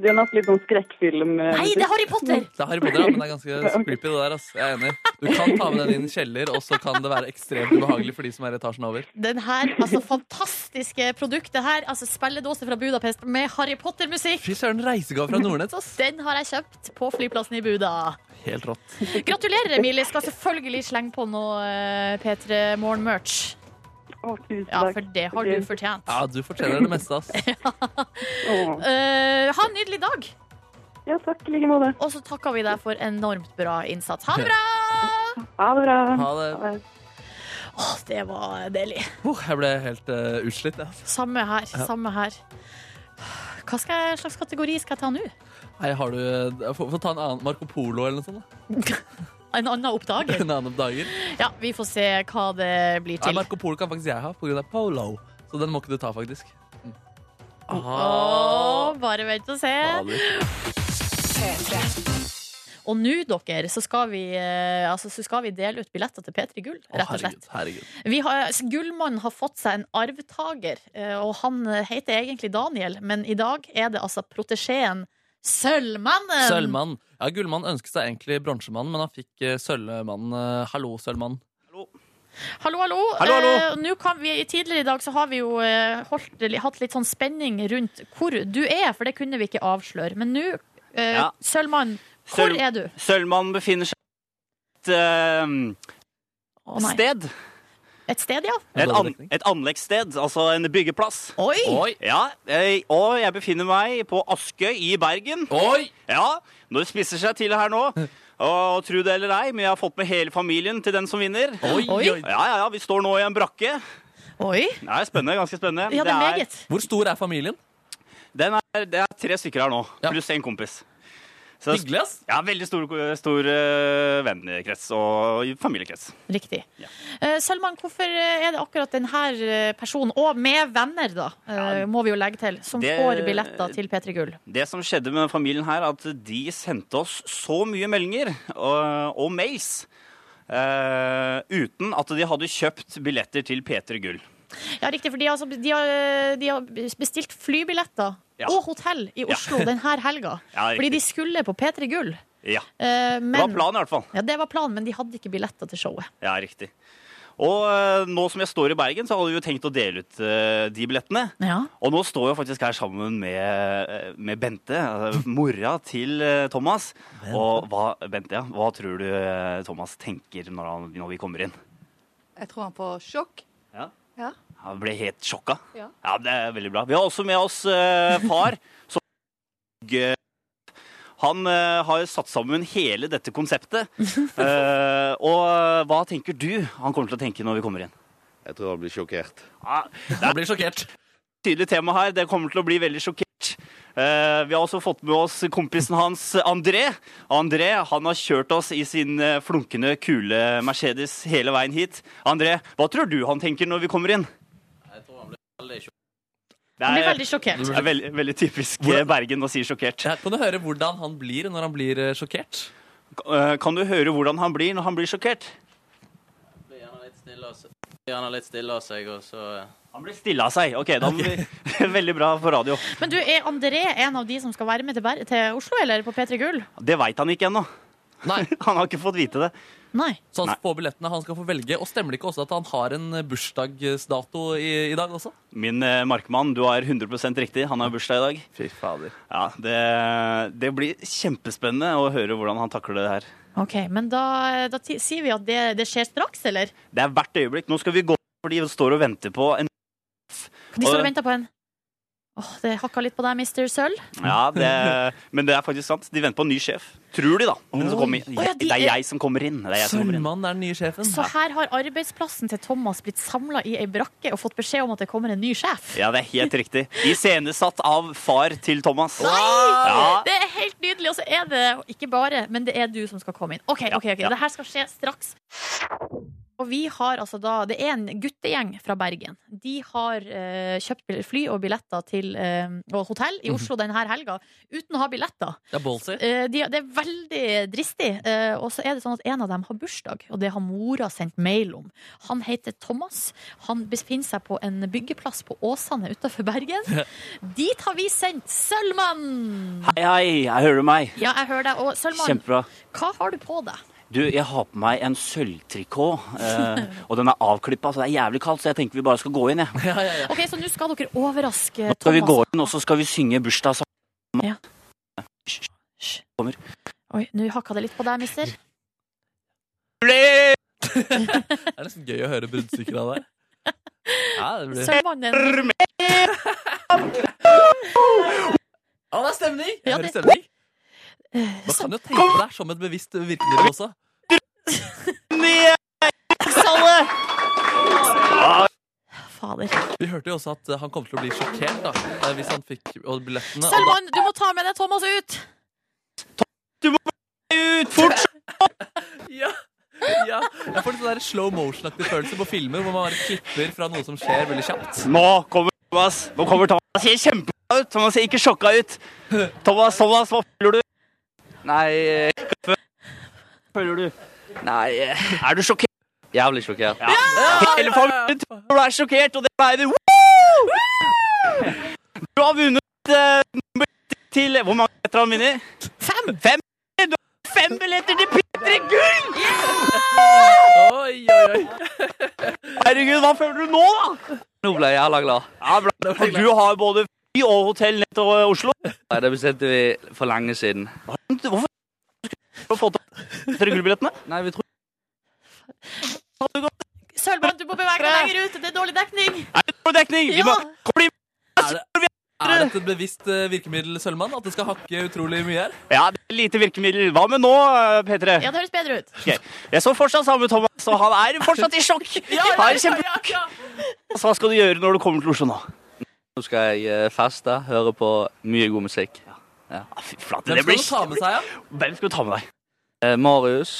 Speaker 5: Det er nesten litt sånn skrekkfilm. øh,
Speaker 2: Nei, det er Harry Potter!
Speaker 3: Det er Harry Potter, ja, men det er ganske creepy, det der. ass. Jeg er enig. Du kan ta med den inn i kjeller, og så kan det være ekstremt ubehagelig for de som er etasjen over.
Speaker 2: Den her, altså fantastiske produktet her, altså spilledåse fra Budapest med Harry Potter-musikk,
Speaker 3: Fy søren, reisegave fra Nordnett, ass.
Speaker 2: den har jeg kjøpt på flyplassen i Buda.
Speaker 3: Helt rått.
Speaker 2: Gratulerer, Emilie. Skal selvfølgelig slenge på noe eh, P3 Morgen-merch.
Speaker 5: Å, tusen
Speaker 2: Ja,
Speaker 5: takk.
Speaker 2: for det har du fortjent.
Speaker 3: Ja, du fortjener det meste, ass.
Speaker 5: Å,
Speaker 2: Eh, ha en nydelig dag,
Speaker 5: Mm. Ja, takk i like måte.
Speaker 2: og så takker vi deg for enormt bra innsats. Ha det bra!
Speaker 5: Ha det bra.
Speaker 3: Ha det.
Speaker 5: Ha det.
Speaker 2: Åh, det var deilig.
Speaker 3: Oh, jeg ble helt eh, utslitt, jeg. ass.
Speaker 2: Samme her, samme her. Hva skal jeg, slags kategori skal jeg ta nå?
Speaker 3: Nei, har du eh, Få få ta en annen Marco Polo eller noe sånt. da.
Speaker 2: En annen oppdager?
Speaker 3: En annen oppdager.
Speaker 2: Ja, vi får se hva det blir
Speaker 3: Nei,
Speaker 2: til.
Speaker 3: Marco Polo kan faktisk jeg ha på grunn av polo. Så den må ikke du ta, faktisk. Mm.
Speaker 2: Åh, bare vent og se. Og nå, dere, så skal vi, eh, altså, så skal vi dele ut billetter til P3 Gull,
Speaker 3: Å,
Speaker 2: rett og slett.
Speaker 3: herregud, herregud.
Speaker 2: Vi har, altså, Gullmannen har fått seg en arvtaker, eh, og han eh, heter egentlig Daniel, men i dag er det altså protesjeen Sølvmannen.
Speaker 3: Sølvmann. Ja, Gullmann ønsket seg egentlig bronsemann, men han fikk eh, Sølvmann. eh, Hallo, Sølvmann.
Speaker 2: Hallo, hallo.
Speaker 4: Hallo, hallo.
Speaker 2: Eh, nå kan vi, tidligere i dag så har vi jo eh, holdt, hatt litt sånn spenning rundt hvor du er, for det kunne vi ikke avsløre. Men nå, eh,
Speaker 4: Ja.
Speaker 2: Sølvmann, hvor
Speaker 4: Sølv-
Speaker 2: er du?
Speaker 4: Sølvmann befinner seg et eh,
Speaker 2: Å, nei.
Speaker 4: sted.
Speaker 2: Et sted, ja.
Speaker 3: En
Speaker 4: Et,
Speaker 3: dårlig
Speaker 4: an,
Speaker 3: dekning.
Speaker 4: et anleggssted, altså en byggeplass.
Speaker 2: Oi!
Speaker 3: Oi!
Speaker 4: Ja, jeg, og jeg befinner meg på Askøy i Bergen.
Speaker 3: Oi!
Speaker 4: Ja, nå spisser seg til her nå. Og tro det eller ei, men jeg har fått med hele familien til den som vinner.
Speaker 3: Oi, oi.
Speaker 2: Oi.
Speaker 4: Ja, ja, ja, vi står nå i en brakke.
Speaker 2: Oi.
Speaker 4: Det er spennende, ganske spennende.
Speaker 2: Ja, det er meget.
Speaker 3: Hvor stor er familien?
Speaker 4: Den er, det er tre stykker her nå,
Speaker 3: Ja.
Speaker 4: pluss en kompis. Så det er-
Speaker 3: Hyggelig, ass.
Speaker 4: ja, veldig stor, stor eh, vennekrets og familiekrets.
Speaker 2: Riktig.
Speaker 4: Ja.
Speaker 2: Eh, Sølvmann, hvorfor eh, er det akkurat denne personen, og med venner, da, eh, må vi jo legge til, som
Speaker 4: det-
Speaker 2: får billetter til P3 Gull?
Speaker 4: Det som skjedde med den familien her, at de sendte oss så mye meldinger og, og mails eh, uten at de hadde kjøpt billetter til Peter Gull.
Speaker 2: Ja, riktig, for de har, altså- de har, de har bestilt flybilletter
Speaker 4: Ja.
Speaker 2: og hotell i Oslo denne helga.
Speaker 4: Ja, riktig.
Speaker 2: fordi de skulle på P3 Gull.
Speaker 4: Ja,
Speaker 2: Eh, men,
Speaker 4: Det var planen i hvert fall.
Speaker 2: Ja, det var planen, men de hadde ikke billetter til showet.
Speaker 4: Ja, riktig. Og eh, nå som jeg står i Bergen, så hadde vi jo tenkt å dele ut eh, de billettene.
Speaker 2: Ja.
Speaker 4: Og nå står jeg faktisk her sammen med, eh, med Bente, altså mora til eh, Thomas. Og hva, Bente, ja, hva tror du eh, Thomas tenker når, han, når vi kommer inn?
Speaker 6: Jeg tror han får sjokk.
Speaker 4: Ja.
Speaker 6: Ja.
Speaker 4: Han ble helt sjokka.
Speaker 6: Ja.
Speaker 4: det er veldig bra. Vi har også med oss eh, far. som eh, han eh, har satt sammen hele dette konseptet. Eh, og hva tenker du han kommer til å tenke når vi kommer inn?
Speaker 7: Jeg tror han blir sjokkert.
Speaker 4: Ah,
Speaker 3: Jeg blir sjokkert.
Speaker 4: tydelig tema her. Det kommer til å bli veldig sjokkert. Eh, vi har også fått med oss kompisen hans André. André han har kjørt oss i sin eh, flunkende, kule Mercedes hele veien hit. André, hva tror du han tenker når vi kommer inn? Det
Speaker 2: Han blir
Speaker 4: er,
Speaker 2: veldig sjokkert.
Speaker 4: det er veldig, veldig typisk eh, Bergen å si sjokkert.
Speaker 3: Ja, kan du høre hvordan han blir når han blir eh, sjokkert?
Speaker 4: Eh, kan du høre hvordan han blir når han blir sjokkert?
Speaker 8: Blir gjerne litt snill og s- Gjerne litt stille av seg, og så eh,
Speaker 4: Han ble stille av seg. Ok, da må vi... Veldig bra for radio.
Speaker 2: Men du, er André en av de som skal være med til, Ber til Oslo, eller på P3 Gull?
Speaker 4: Det veit han ikke ennå.
Speaker 3: Nei,
Speaker 4: Han har ikke fått vite det.
Speaker 2: Nei.
Speaker 3: så han
Speaker 4: Nei.
Speaker 3: får billettene, han skal få velge. Og stemmer det ikke også at han har en eh, bursdagsdato i, i dag også?
Speaker 4: Min eh, markmann, du er 100 riktig. Han har bursdag i dag.
Speaker 3: Fy fader.
Speaker 4: Ja, det, det blir kjempespennende å høre hvordan han takler det her.
Speaker 2: Ok, men da, da ti- sier vi at det, det skjer straks, eller?
Speaker 4: Det er hvert øyeblikk. Nå skal vi gå, for de står og venter på en
Speaker 2: De står
Speaker 4: Og-
Speaker 2: og venter på en Åh, det hakka litt på deg, Mr. Sølv.
Speaker 4: Ja, det, men det er faktisk sant. De venter på en ny sjef. Tror de, da. Men så kommer,
Speaker 2: Å ja, de-
Speaker 4: det er jeg som kommer inn. Det er jeg som kommer inn.
Speaker 3: Sølvmannen er den nye sjefen.
Speaker 2: Så her har arbeidsplassen til Thomas blitt samla i ei brakke og fått beskjed om at det kommer en ny sjef.
Speaker 4: Ja, det er helt riktig. Iscenesatt av far til Thomas. Ja,
Speaker 2: Det er helt nydelig, og så er det ikke bare, men det er du som skal komme inn. OK, ok, ok,
Speaker 4: Ja.
Speaker 2: det her skal skje straks. Og vi har altså da Det er en guttegjeng fra Bergen. De har eh, kjøpt bill- fly og billetter til eh, og hotell
Speaker 4: Mhm.
Speaker 2: i Oslo denne helga uten å ha billetter.
Speaker 3: Det er ballsy.
Speaker 2: Eh, de, det er veldig dristig. Eh, og så er det sånn at en av dem har bursdag, og det har mora sendt mail om. Han heter Thomas. Han befinner seg på en byggeplass på Åsane utafor Bergen. Dit har vi sendt Sølvmann!
Speaker 4: Hei, hei, jeg hører du meg.
Speaker 2: Ja, jeg hører deg. Og Sølvmann,
Speaker 4: Kjempebra.
Speaker 2: hva har du på deg?
Speaker 4: Du, jeg har på meg en sølvtrikot, eh, og den er avklippa, så det er jævlig kaldt, så jeg tenker vi bare skal gå inn, jeg.
Speaker 3: Ja, ja, ja.
Speaker 2: Ok, Så nå skal dere overraske
Speaker 4: Nå
Speaker 2: Thomas.
Speaker 4: skal vi gå inn, og så skal vi synge bursdagssangen.
Speaker 2: Hysj.
Speaker 4: Kommer.
Speaker 2: Oi, nå hakka det litt på deg, mister.
Speaker 3: Det er nesten gøy å høre bruddstykker av deg. Ja, det blir...
Speaker 2: Sølvmann er en
Speaker 3: Å, det er stemning! Jeg
Speaker 2: Ja,
Speaker 3: hører
Speaker 2: det-
Speaker 3: stemning.
Speaker 2: eh,
Speaker 3: Man
Speaker 2: så-
Speaker 3: kan jo tenke på det her som et bevisst virkemiddel også.
Speaker 2: Fader.
Speaker 3: Vi hørte jo også at eh, han kom til å bli sjokkert da, eh, hvis han fikk og billettene. Og da,
Speaker 2: Sølvmann, du må ta med deg Thomas ut!
Speaker 4: Ut fort!
Speaker 3: ja, ja. Jeg får litt sånn der slow motion-aktig følelse på filmer hvor man bare klipper fra noe som skjer veldig kjapt.
Speaker 4: Nå kommer Thomas. Nå kommer Thomas. Han ser kjempebra ut. Thomas ser ikke sjokka ut. Thomas, Thomas, hva føler du?
Speaker 8: Nei,
Speaker 4: Føler du?
Speaker 8: nei
Speaker 4: Er du sjokkert?
Speaker 8: Jævlig sjokkert.
Speaker 4: Hele familien tror du er sjokkert, og det ble det. Woo! Du har vunnet eh, nummer til Hvor mange billetter har han vunnet?
Speaker 2: Fem!
Speaker 4: Fem! Du har fem billetter til P3 Gull!
Speaker 3: Oi, oi, oi.
Speaker 4: Herregud, hva føler du nå, da?
Speaker 8: Nå ble jeg jævla glad.
Speaker 4: Ja, bra.
Speaker 3: Det var
Speaker 4: For du har både fly og hotell nett over Oslo.
Speaker 8: Nei, Det bestilte vi for lenge siden.
Speaker 4: Hvorfor skulle du få til P3 Gull-billettene?
Speaker 8: Nei, vi tror
Speaker 2: Sølvmann, du må bevege deg lenger ut! Det er dårlig dekning!
Speaker 4: Er det dårlig dekning? Vi
Speaker 2: Ja.
Speaker 4: må bli
Speaker 3: Er dette et bevisst eh, virkemiddel, Sølvmann? At det skal hakke utrolig mye her?
Speaker 4: Ja, det er lite virkemiddel. Hva med nå, P3?
Speaker 2: Ja, det høres bedre ut.
Speaker 4: Ok. Jeg så fortsatt sammen med Thomas, og han er fortsatt i sjokk. Han er kjempe... Så hva skal du gjøre når du kommer til Oslo nå?
Speaker 8: Nå skal jeg eh, feste, høre på mye god musikk.
Speaker 4: Ah, fy flate,
Speaker 3: Hvem
Speaker 4: det
Speaker 3: skal du
Speaker 4: blir
Speaker 3: ta med seg, ja?
Speaker 4: Hvem skal du ta med deg?
Speaker 8: Eh, Marius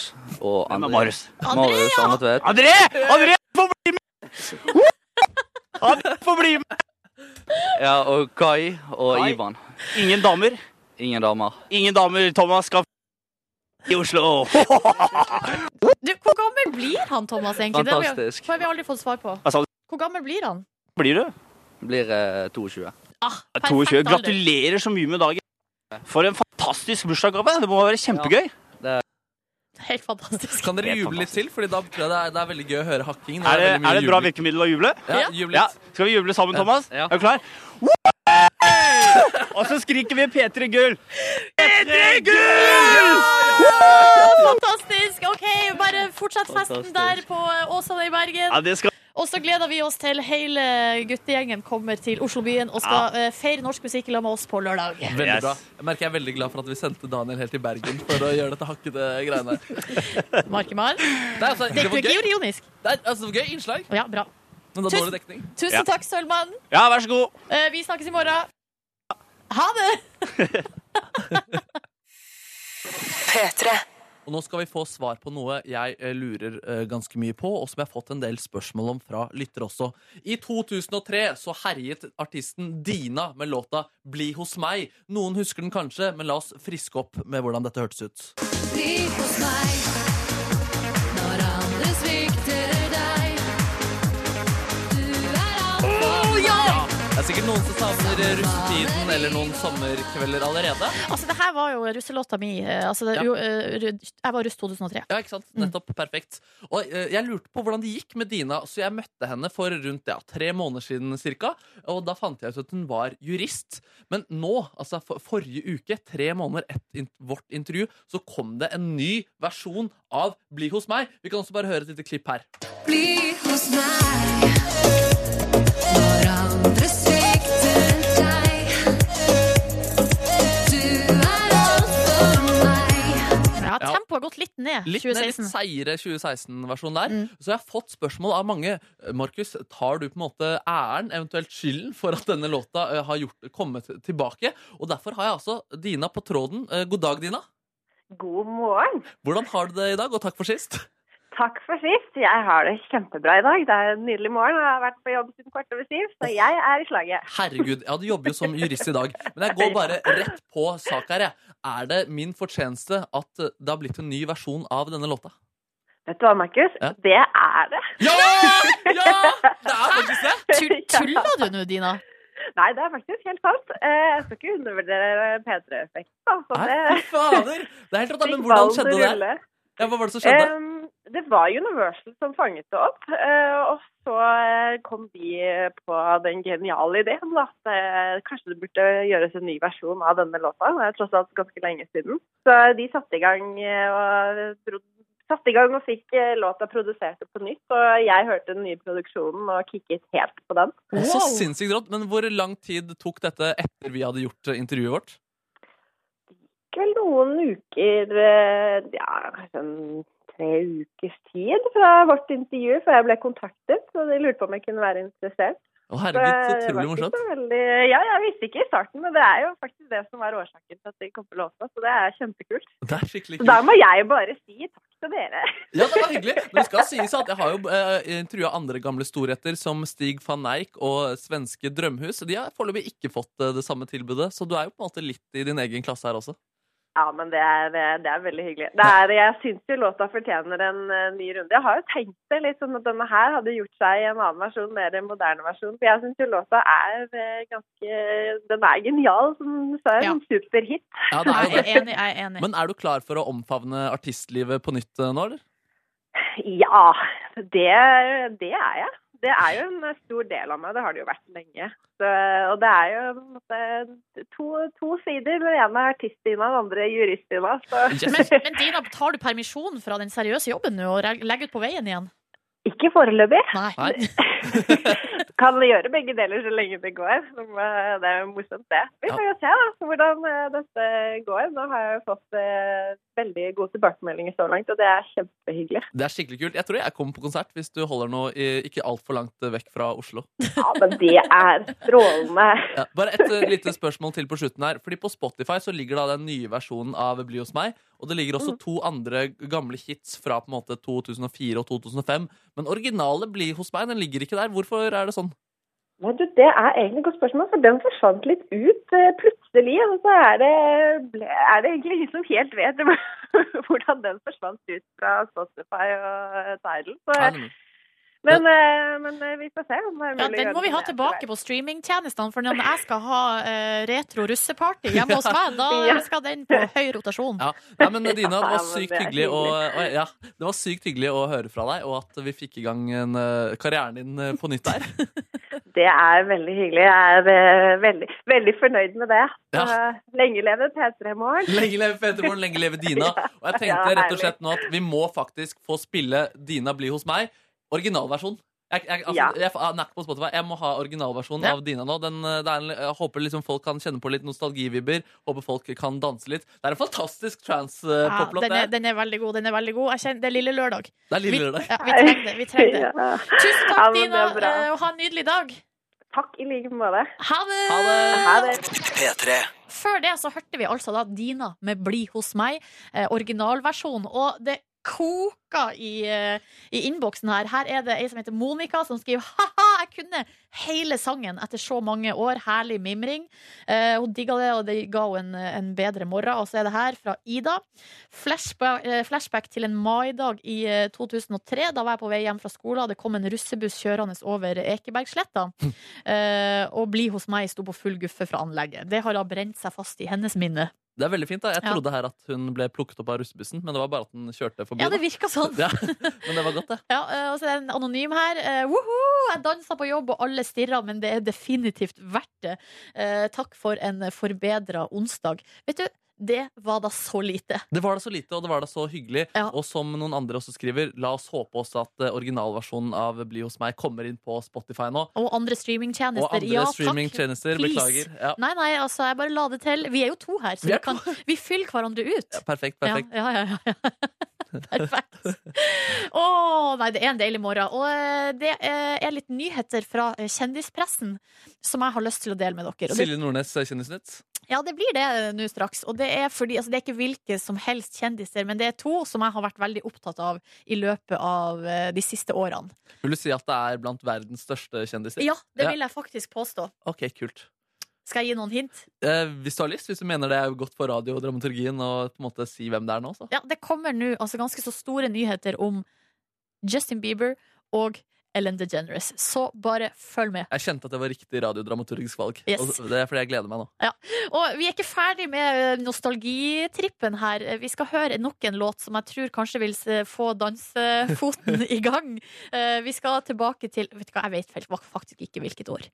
Speaker 8: og
Speaker 4: Hvem er
Speaker 8: André.
Speaker 4: Marius?
Speaker 8: Marius og Anne Tvedt.
Speaker 4: André! André får bli med! André får bli med!
Speaker 8: Ja, og Kai og
Speaker 4: Kai.
Speaker 8: Ivan.
Speaker 4: Ingen damer.
Speaker 8: Ingen damer.
Speaker 4: Ingen damer. Thomas skal i Oslo.
Speaker 2: Du, hvor gammel blir han, Thomas, egentlig? Det har vi-
Speaker 8: Fantastisk.
Speaker 2: Det har vi aldri fått svar på.
Speaker 4: Hva sa du?
Speaker 2: Hvor gammel blir han?
Speaker 4: Blir du?
Speaker 8: Blir eh, 22.
Speaker 2: Ah, perfekt
Speaker 4: 22.
Speaker 2: alder.
Speaker 4: Gratulerer så mye med dagen. For en fantastisk bursdagsgave. Det må være kjempegøy.
Speaker 2: Helt fantastisk.
Speaker 3: Kan dere juble litt til? Fordi da tror jeg det er, det er veldig gøy å høre hakking.
Speaker 4: Er det,
Speaker 3: veldig mye
Speaker 4: er det et bra
Speaker 3: jubling.
Speaker 4: virkemiddel å juble?
Speaker 3: Ja, juble
Speaker 4: Ja.
Speaker 3: litt.
Speaker 4: Skal vi juble sammen, Thomas?
Speaker 8: Ja.
Speaker 4: Er du klar? Og så skriker vi P3 Gull. P3 Gull!
Speaker 2: Ah, Fantastisk! OK, bare fortsett festen
Speaker 8: Fantastisk.
Speaker 2: der på eh, Åsane i Bergen.
Speaker 4: Ja, det skal
Speaker 2: Og så gleder vi oss til hele guttegjengen kommer til Oslobyen og skal eh, feire norsk musikk sammen med oss på lørdag.
Speaker 3: Veldig
Speaker 4: Yes.
Speaker 3: bra. Jeg merker jeg er veldig glad for at vi sendte Daniel helt til Bergen for å gjøre dette hakkete greiene. her.
Speaker 2: Markemar.
Speaker 3: Det er altså,
Speaker 2: Det
Speaker 3: det
Speaker 2: er
Speaker 3: var
Speaker 2: ikke
Speaker 3: gøy.
Speaker 2: ironisk.
Speaker 3: Det er, altså, det var gøy innslag,
Speaker 2: Ja, bra.
Speaker 3: men det er dårlig dekning.
Speaker 2: Tusen
Speaker 4: Ja.
Speaker 2: takk, Sølvmann.
Speaker 4: Ja, vær så god.
Speaker 2: Eh, Vi snakkes i morgen. Ha det!
Speaker 1: P3.
Speaker 3: Og nå skal vi få svar på noe jeg eh, lurer eh, ganske mye på, og som jeg har fått en del spørsmål om fra lyttere også. I 2003 så herjet artisten Dina med låta 'Bli hos meg'. Noen husker den kanskje, men la oss friske opp med hvordan dette hørtes ut.
Speaker 9: Bli hos meg når andre svikter deg.
Speaker 3: Det er sikkert noen som savner russetiden eller noen sommerkvelder allerede.
Speaker 2: Altså, det her var jo russelåta mi. eh, Altså, det,
Speaker 3: Ja.
Speaker 2: jo, eh, rud- jeg var russ 2003.
Speaker 3: Ja, ikke sant? Nettopp. Perfekt. Og eh, jeg lurte på hvordan det gikk med Dina, så jeg møtte henne for rundt ja, tre måneder siden cirka. Og da fant jeg ut at hun var jurist. Men nå, altså for, forrige uke, tre måneder etter in vårt intervju, så kom det en ny versjon av Bli hos meg. Vi kan også bare høre et lite klipp her.
Speaker 9: Bli hos meg når andre svikter deg. Du er alt for meg.
Speaker 2: Ja,
Speaker 3: Ja.
Speaker 2: tempoet har gått litt ned. Mm.
Speaker 3: Litt, nei, litt
Speaker 2: 2016.
Speaker 3: seire 2016-versjon der. Så jeg har fått spørsmål av mange. Markus, tar du på en måte æren, eventuelt skylden, for at denne låta eh, har gjort, kommet tilbake? Og derfor har jeg altså Dina på tråden. Eh, God dag, Dina.
Speaker 10: God morgen.
Speaker 3: Hvordan har du det i dag, og takk for sist?
Speaker 10: Takk for sist. Jeg har det kjempebra i dag. Det er en nydelig morgen, og jeg har vært på jobb siden kvart over syv, så jeg er i slaget.
Speaker 3: Herregud, ja, du jobber jo som jurist i dag, men jeg går bare rett på sak her, jeg. Er det min fortjeneste at eh, det har blitt en ny versjon av denne låta?
Speaker 10: Vet du hva, Markus?
Speaker 3: Ja.
Speaker 10: Det er det.
Speaker 3: Ja! Ja! Det er faktisk det!
Speaker 2: Tull- Tulla du nå, Dina?
Speaker 10: Nei, det er faktisk helt sant. Eh, Jeg skal ikke undervurdere P3-effekten. Altså,
Speaker 3: Nei,
Speaker 10: det
Speaker 3: fy fader! Det er helt rått, da, men hvordan skjedde det?
Speaker 10: Rulle.
Speaker 3: Ja, hva var det som skjedde?
Speaker 10: Em, det var Universal som fanget det opp, eh, og så eh, kom de på den geniale ideen da, at eh, kanskje det burde gjøres en ny versjon av denne låta. Det er tross alt ganske lenge siden. Så de satte i gang, eh, og, pro- satte i gang og fikk eh, låta produsert på nytt, og jeg hørte den nye produksjonen og kikket helt på den.
Speaker 3: Det er Så sinnssykt rått. Men hvor lang tid tok dette etter vi hadde gjort eh, intervjuet vårt?
Speaker 10: gikk vel noen uker, eh, ja, kanskje en tre ukers tid fra vårt intervju før jeg ble kontaktet. Og de lurte på om jeg kunne være interessert.
Speaker 3: Å, herregud, så
Speaker 10: det var
Speaker 3: utrolig
Speaker 10: ikke
Speaker 3: morsomt.
Speaker 10: så veldig, ja, jeg visste ikke i starten, men det er jo faktisk det som var årsaken til at de kom på låta, så det er kjempekult.
Speaker 3: Det er skikkelig
Speaker 10: Så da
Speaker 3: kult.
Speaker 10: må jeg bare si takk til dere.
Speaker 3: Ja, det var hyggelig. Men det skal sies at jeg har jo eh, intervjua andre gamle storheter som Stig van Eijk og svenske Drømhus. De har foreløpig ikke fått eh, det samme tilbudet, så du er jo på en måte litt i din egen klasse her også.
Speaker 10: Ja, men det er, det er veldig hyggelig. Det er, jeg syns jo låta fortjener en eh, ny runde. Jeg har jo tenkt det litt sånn at denne her hadde gjort seg i en annen versjon, mer en moderne versjon. For jeg syns jo låta er eh, ganske Den er genial, som du sa.
Speaker 2: Ja.
Speaker 10: En superhit.
Speaker 3: Ja, det
Speaker 2: Jeg
Speaker 3: er jo det.
Speaker 2: er enig. Jeg er enig.
Speaker 3: Men er du klar for å omfavne artistlivet på nytt eh, nå, eller?
Speaker 10: Ja, det, det er jeg. Det er jo en stor del av meg. Det har det jo vært lenge. Så, og det er jo på en måte, to, to sider. Den ene er artist-Ina, den andre er jurist-Ina. Så
Speaker 2: Men, men Dina, tar du permisjon fra den seriøse jobben nå og reg- legger ut på veien igjen?
Speaker 10: ikke foreløpig.
Speaker 2: Nei.
Speaker 3: Nei?
Speaker 10: kan gjøre begge deler så lenge det går. Det er jo morsomt, det. Vi får jo se da, hvordan eh, dette går. Nå har jeg jo fått eh, veldig gode tilbakemeldinger så langt, og det er kjempehyggelig.
Speaker 3: Det er skikkelig kult. Jeg tror jeg kommer på konsert hvis du holder noe i- ikke altfor langt eh, vekk fra Oslo.
Speaker 10: Ja, men det er strålende.
Speaker 3: Ja, bare et eh, lite spørsmål til på slutten her. Fordi På Spotify så ligger da den nye versjonen av Bli hos meg. Og det ligger også
Speaker 10: Mm.
Speaker 3: to andre gamle hits fra på en måte 2004 og 2005. Men originale Bli hos meg den ligger ikke der. Hvorfor er det sånn?
Speaker 10: Nei, du, det er egentlig et godt spørsmål, for den forsvant litt ut eh, plutselig. Og så er det, ble, er det egentlig ingen som helt vet hvordan den forsvant ut fra Spotify og eh, Tidal. Så,
Speaker 3: Er det-
Speaker 10: men, eh, men eh, vi får se om det er mulig
Speaker 2: Ja,
Speaker 10: å
Speaker 2: den
Speaker 10: gjøre
Speaker 2: må vi
Speaker 10: noe
Speaker 2: ha
Speaker 10: med det
Speaker 2: tilbake på streamingtjenestene, for når jeg skal ha eh, retro russeparty hjemme hos meg, da
Speaker 10: Ja.
Speaker 2: skal den på høy rotasjon.
Speaker 3: Ja. Nei, men Dina, det var
Speaker 10: Ja, men
Speaker 3: sykt
Speaker 10: det er
Speaker 3: hyggelig å, eh, å- ja, det var sykt hyggelig å høre fra deg, og at vi fikk i gang en, eh, karrieren din eh, på nytt der.
Speaker 10: Det er veldig hyggelig. Jeg er eh, veldig, veldig fornøyd med det.
Speaker 3: Ja.
Speaker 10: Eh, Lenge leve P3 Morgen.
Speaker 3: Lenge leve Petermoren, lenge leve Dina. Og jeg tenkte
Speaker 10: Ja,
Speaker 3: rett og slett nå at vi må faktisk få spille Dina bli hos meg. Originalversjon. Jeg, jeg, altså,
Speaker 10: Ja.
Speaker 3: jeg, den er ikke på Spotify. Jeg må ha originalversjonen
Speaker 2: Ja.
Speaker 3: av Dina nå. Den, eh, det er en, jeg håper liksom folk kan kjenne på litt nostalgivibber. Håper folk kan danse litt. Det er en fantastisk
Speaker 2: Ja,
Speaker 3: trans-poplåt.
Speaker 2: den, er,
Speaker 3: det.
Speaker 2: den er veldig god. den er veldig god jeg kjenner, Det er lille lørdag.
Speaker 3: det er
Speaker 2: Vi,
Speaker 3: Lille Lørdag.
Speaker 2: ja, vi trenger det. vi trenger det
Speaker 10: Ja.
Speaker 2: Tusen takk,
Speaker 10: Ja, men det er
Speaker 2: Dina,
Speaker 10: bra.
Speaker 2: eh, og ha en nydelig dag.
Speaker 10: Takk i like måte.
Speaker 2: Ha det!
Speaker 3: Ha det!
Speaker 10: Ha det.
Speaker 2: Før det så hørte vi altså da Dina med 'Bli hos meg', eh, originalversjon. Og det koker i, eh, i innboksen her. Her er det ei som heter Monica, som skriver ha-ha, jeg jeg kunne hele sangen etter så mange år. Herlig mimring. Eh, hun digga det, og det ga henne en, en bedre morgen. Og så er det her fra Ida. Flashback, eh, flashback til en maidag i eh, 2003. Da var jeg på vei hjem fra skolen, og det kom en russebuss kjørende over Ekebergsletta. Eh, og 'Bli hos meg' sto på full guffe fra anlegget. Det har da brent seg fast i hennes minne.
Speaker 3: Det er veldig fint. da Jeg
Speaker 2: Ja.
Speaker 3: trodde her at hun ble plukket opp av russebussen, men det var bare at den kjørte forbi.
Speaker 2: Ja, det
Speaker 3: da.
Speaker 2: virka sånn.
Speaker 3: Ja, men det var godt, det.
Speaker 2: Ja, eh, og så er det en anonym her. Eh, Woho! Jeg dansa på jobb, og alle stirra, men det er definitivt verdt det. Eh, takk for en forbedra onsdag. Vet du, det var da så lite.
Speaker 3: Det var da så lite, og det var da så hyggelig. Og som noen andre også skriver, la oss håpe også at eh, originalversjonen av Bli hos meg kommer inn på Spotify nå.
Speaker 2: Og andre streamingtjenester.
Speaker 3: Og andre
Speaker 2: ja, takk.
Speaker 3: streamingtjenester,
Speaker 2: Please.
Speaker 3: beklager. Ja.
Speaker 2: Nei, nei, altså, jeg bare la det til. Vi er jo to her, så
Speaker 3: Vi
Speaker 2: vi,
Speaker 3: er
Speaker 2: kan, vi fyller hverandre ut.
Speaker 3: Perfekt, perfekt.
Speaker 2: Ja, ja, ja, ja. Perfekt. Åh, nei, det er en deilig morgen. Og eh, det eh, er litt nyheter fra eh, kjendispressen som jeg har lyst til å dele med dere. Og det
Speaker 3: Silje Nordnes eh, Kjendisnytt.
Speaker 2: ja, det blir det eh, nå straks. Og det er, fordi, altså, det er ikke hvilke som helst kjendiser, men det er to som jeg har vært veldig opptatt av i løpet av eh, de siste årene.
Speaker 3: Vil du si at det er blant verdens største kjendiser?
Speaker 2: Ja, det vil jeg faktisk påstå.
Speaker 3: Ok, kult.
Speaker 2: Skal jeg gi noen hint?
Speaker 3: Eh, hvis du har lyst, hvis du mener det er godt for radiodramaturgien og på en måte si hvem det er nå, så.
Speaker 2: Ja, det kommer nå altså, ganske så store nyheter om Justin Bieber og Ellen DeGeneres. Så bare følg med.
Speaker 3: Jeg kjente at det var riktig radiodramaturgisk valg.
Speaker 2: Yes.
Speaker 3: Og det er fordi jeg gleder meg nå.
Speaker 2: Ja. Og vi er ikke ferdig med eh, nostalgitrippen her. Eh, Vi skal høre nok en låt som jeg tror kanskje vil se- få dansefoten i gang. Eh, Vi skal tilbake til Vet du hva, jeg vet fel- faktisk ikke hvilket år.